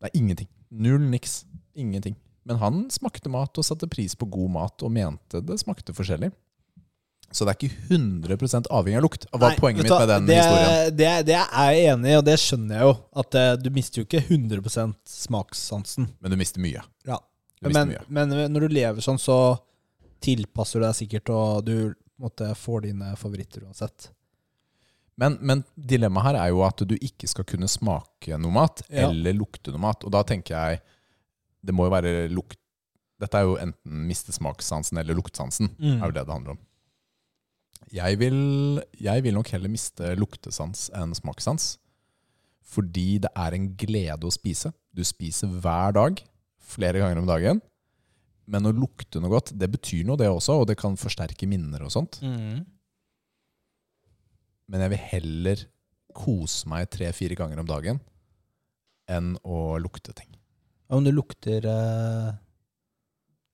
[SPEAKER 2] Det er ingenting. Null niks. Ingenting. Men han smakte mat og satte pris på god mat og mente det smakte forskjellig. Så det er ikke 100 avhengig av lukt. Hva
[SPEAKER 1] Nei,
[SPEAKER 2] er poenget
[SPEAKER 1] vet
[SPEAKER 2] mitt
[SPEAKER 1] du hva,
[SPEAKER 2] med den
[SPEAKER 1] det,
[SPEAKER 2] historien?
[SPEAKER 1] Det, det er jeg enig i, og det skjønner jeg jo. At eh, du mister jo ikke 100 smakssansen.
[SPEAKER 2] Men du mister mye.
[SPEAKER 1] Ja.
[SPEAKER 2] Du mister
[SPEAKER 1] Men,
[SPEAKER 2] mye.
[SPEAKER 1] men når du lever sånn, så tilpasser du deg sikkert, og du på en måte, får dine favoritter uansett.
[SPEAKER 2] Men, men dilemmaet her er jo at du ikke skal kunne smake noe mat,
[SPEAKER 1] Ja.
[SPEAKER 2] eller lukte noe mat. Og da tenker jeg Det må jo være lukt Dette er jo enten miste smakssansen eller luktesansen.
[SPEAKER 1] Mm.
[SPEAKER 2] er jo det det handler om. Jeg vil, jeg vil nok heller miste luktesans enn smakssans. Fordi det er en glede å spise. Du spiser hver dag, flere ganger om dagen. Men å lukte noe godt, det betyr noe, det også, og det kan forsterke minner og sånt.
[SPEAKER 1] Mm.
[SPEAKER 2] Men jeg vil heller kose meg tre-fire ganger om dagen enn å lukte ting.
[SPEAKER 1] Ja, men det lukter eh,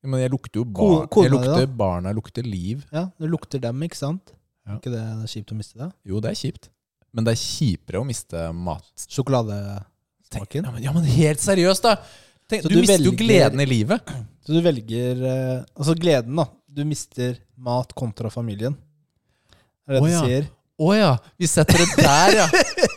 [SPEAKER 2] Men jeg lukter jo
[SPEAKER 1] Ko-
[SPEAKER 2] barn,
[SPEAKER 1] kona
[SPEAKER 2] jeg
[SPEAKER 1] di, da?
[SPEAKER 2] lukter barna, jeg lukter liv.
[SPEAKER 1] Ja, det lukter dem, ikke sant?
[SPEAKER 2] Ja.
[SPEAKER 1] Er ikke det kjipt å miste det?
[SPEAKER 2] Jo, det er kjipt. Men det er kjipere å miste mat. Tenk-
[SPEAKER 1] Sjokoladesmaken.
[SPEAKER 2] Ja, men, ja, men helt seriøst, da! Tenk,
[SPEAKER 1] Så
[SPEAKER 2] du,
[SPEAKER 1] du
[SPEAKER 2] mister jo
[SPEAKER 1] velger-
[SPEAKER 2] gleden i livet.
[SPEAKER 1] Så du velger eh, Altså gleden, da. Du mister mat kontra familien. Er det
[SPEAKER 2] Å,
[SPEAKER 1] det
[SPEAKER 2] ja.
[SPEAKER 1] du sier?
[SPEAKER 2] Å ja, vi setter det der, ja.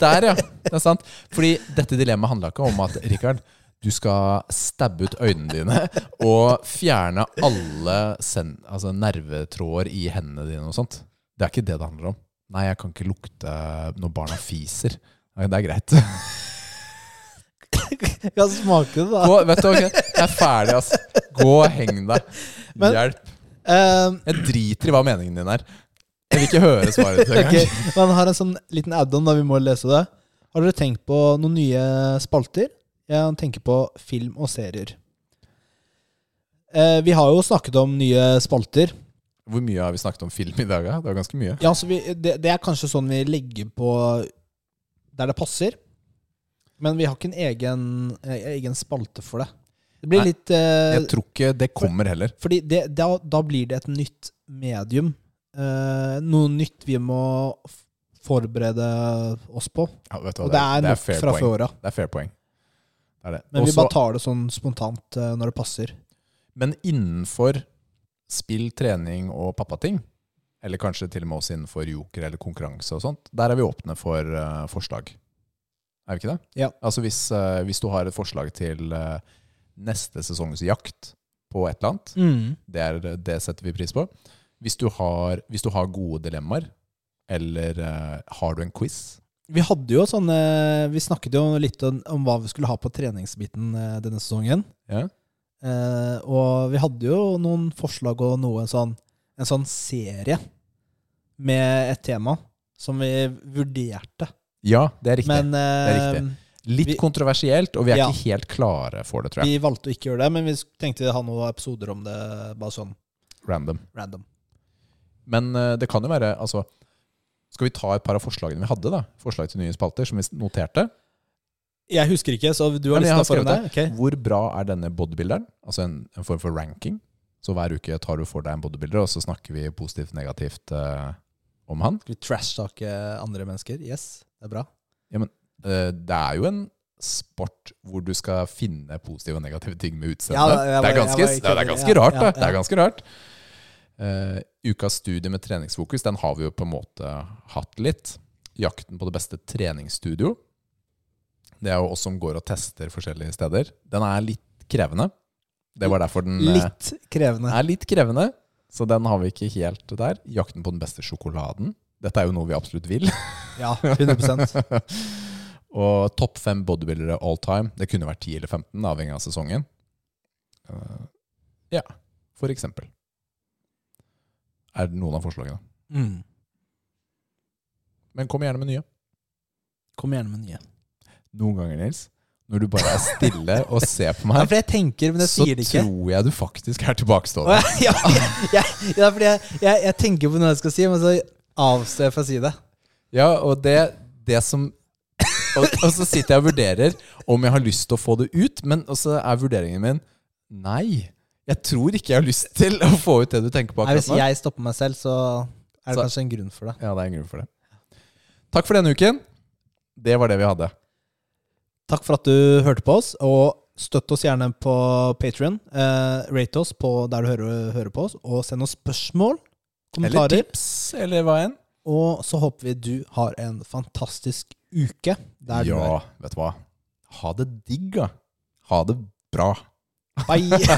[SPEAKER 2] Der, ja. Det er sant. Fordi dette dilemmaet handla ikke om at Rikard, du skal stabbe ut øynene dine og fjerne alle sen altså nervetråder i hendene dine og sånt. Det er ikke det det handler om. Nei, jeg kan ikke lukte når barna fiser. Nei, Det er greit.
[SPEAKER 1] Ja, smake det, da.
[SPEAKER 2] Gå, vet du, ok, Jeg er ferdig, ass. Gå og heng deg.
[SPEAKER 1] Men-
[SPEAKER 2] Hjelp.
[SPEAKER 1] Eh,
[SPEAKER 2] Jeg driter i hva meningen din er. Jeg vil ikke høre svaret ditt engang.
[SPEAKER 1] ok, Man har en sånn liten add-on da vi må lese det. Har dere tenkt på noen nye spalter? Jeg tenker på film og serier. Eh, vi har jo snakket om nye spalter.
[SPEAKER 2] Hvor mye har vi snakket om film i dag? da? Det var ganske mye.
[SPEAKER 1] Ja, så vi, det, det er kanskje sånn vi legger på der det passer. Men vi har ikke en egen, eh, egen spalte for det. Det blir
[SPEAKER 2] Nei,
[SPEAKER 1] litt eh,
[SPEAKER 2] Jeg tror ikke det kommer heller.
[SPEAKER 1] Fordi det, da, da blir det et nytt medium. Eh, noe nytt vi må f- forberede oss på.
[SPEAKER 2] Ja, vet du, hva,
[SPEAKER 1] Og det er
[SPEAKER 2] det er
[SPEAKER 1] nok
[SPEAKER 2] fair
[SPEAKER 1] fra
[SPEAKER 2] poeng.
[SPEAKER 1] før av.
[SPEAKER 2] Det er fair poeng. Det er det.
[SPEAKER 1] Men
[SPEAKER 2] Også-
[SPEAKER 1] vi bare tar det sånn spontant eh, når det passer.
[SPEAKER 2] men innenfor spill, trening og pappating, eller kanskje til og med også innenfor joker eller konkurranse og sånt, der er vi åpne for eh, forslag. Er vi ikke det?
[SPEAKER 1] Ja.
[SPEAKER 2] Altså hvis, eh, hvis du har et forslag til eh, neste sesongs jakt på et eller annet, Det, er, det setter vi pris på. Hvis du har, hvis du har gode dilemmaer, eller eh, har du en quiz
[SPEAKER 1] Vi hadde jo sånne Vi snakket jo litt om, om hva vi skulle ha på treningsbiten eh, denne sesongen.
[SPEAKER 2] ja.
[SPEAKER 1] Eh, og vi hadde jo noen forslag og noe sånn En sånn serie med et tema som vi vurderte.
[SPEAKER 2] ja, det er riktig.
[SPEAKER 1] Men eh,
[SPEAKER 2] Det er riktig. Litt
[SPEAKER 1] vi-
[SPEAKER 2] kontroversielt, og vi er
[SPEAKER 1] Ja.
[SPEAKER 2] ikke helt klare for det, tror
[SPEAKER 1] vi
[SPEAKER 2] jeg.
[SPEAKER 1] valgte å ikke gjøre det, men vi tenkte å ha noen episoder om det, bare sånn
[SPEAKER 2] Random.
[SPEAKER 1] random.
[SPEAKER 2] Men eh, det kan jo være altså, Skal vi ta et par av forslagene vi hadde? da? Forslag til nye spalter, som vi noterte.
[SPEAKER 1] Jeg husker ikke, så du
[SPEAKER 2] Ja,
[SPEAKER 1] har
[SPEAKER 2] men
[SPEAKER 1] lista
[SPEAKER 2] jeg har
[SPEAKER 1] foran deg?
[SPEAKER 2] skrevet
[SPEAKER 1] Okay.
[SPEAKER 2] Hvor bra er denne bodybuilderen? Altså en, en form for ranking. Så hver uke tar du for deg en bodybuilder, og så snakker vi positivt negativt eh, om han.
[SPEAKER 1] Skal vi trash-take andre mennesker? Yes, det er bra.
[SPEAKER 2] Eh, det er jo en sport hvor du skal finne positive og negative ting med
[SPEAKER 1] Ja,
[SPEAKER 2] utseendet.
[SPEAKER 1] jeg var-
[SPEAKER 2] det er
[SPEAKER 1] jeg
[SPEAKER 2] ganske,
[SPEAKER 1] var-
[SPEAKER 2] det er ganske
[SPEAKER 1] ja,
[SPEAKER 2] rart,
[SPEAKER 1] ja,
[SPEAKER 2] da.
[SPEAKER 1] ja.
[SPEAKER 2] Det er ganske rart. Eh, ukas studie med treningsfokus, den har vi jo på en måte hatt litt. Jakten på det beste treningsstudio. Det er jo oss som går og tester forskjellige steder. Den er litt krevende. Det var derfor den eh,
[SPEAKER 1] Litt krevende.
[SPEAKER 2] er litt krevende, så den har vi ikke helt der. Jakten på den beste sjokoladen. Dette er jo noe vi absolutt vil.
[SPEAKER 1] Ja, 100
[SPEAKER 2] og topp fem bodybuildere all time. Det kunne vært 10 eller 15, avhengig av sesongen. Eh, ja, for eksempel. Er det noen av forslagene?
[SPEAKER 1] Mm.
[SPEAKER 2] Men kom gjerne med nye.
[SPEAKER 1] Kom gjerne med nye.
[SPEAKER 2] Noen ganger, Nils, når du bare er stille og ser på
[SPEAKER 1] Ja,
[SPEAKER 2] meg,
[SPEAKER 1] for jeg tenker, men jeg
[SPEAKER 2] så
[SPEAKER 1] sier det ikke.
[SPEAKER 2] tror jeg du faktisk er tilbakestående.
[SPEAKER 1] Ja, ja, ja, ja, fordi jeg, jeg, jeg tenker på noe jeg skal si, men så avstår jeg fra å si det.
[SPEAKER 2] Ja, og det, det som og, og så sitter jeg og vurderer om jeg har lyst til å få det ut, men og så er vurderingen min nei. Jeg tror ikke jeg har lyst til å få ut det du tenker på
[SPEAKER 1] Nei, hvis
[SPEAKER 2] akkurat nå.
[SPEAKER 1] jeg stopper meg selv, så er det
[SPEAKER 2] Så-
[SPEAKER 1] kanskje en grunn for det.
[SPEAKER 2] Ja, det er en grunn for det. Takk for denne uken. Det var det vi hadde.
[SPEAKER 1] Takk for at du hørte på oss, og støtt oss gjerne på Patrion. Eh, rate oss på der du hører, hører på oss, og send oss spørsmål,
[SPEAKER 2] Eller
[SPEAKER 1] kommentarer.
[SPEAKER 2] tips, eller hva enn.
[SPEAKER 1] Og så håper vi du har en fantastisk uke der du
[SPEAKER 2] Ja,
[SPEAKER 1] er.
[SPEAKER 2] vet du hva. Ha det digg, da. Ha det bra.
[SPEAKER 1] Bye!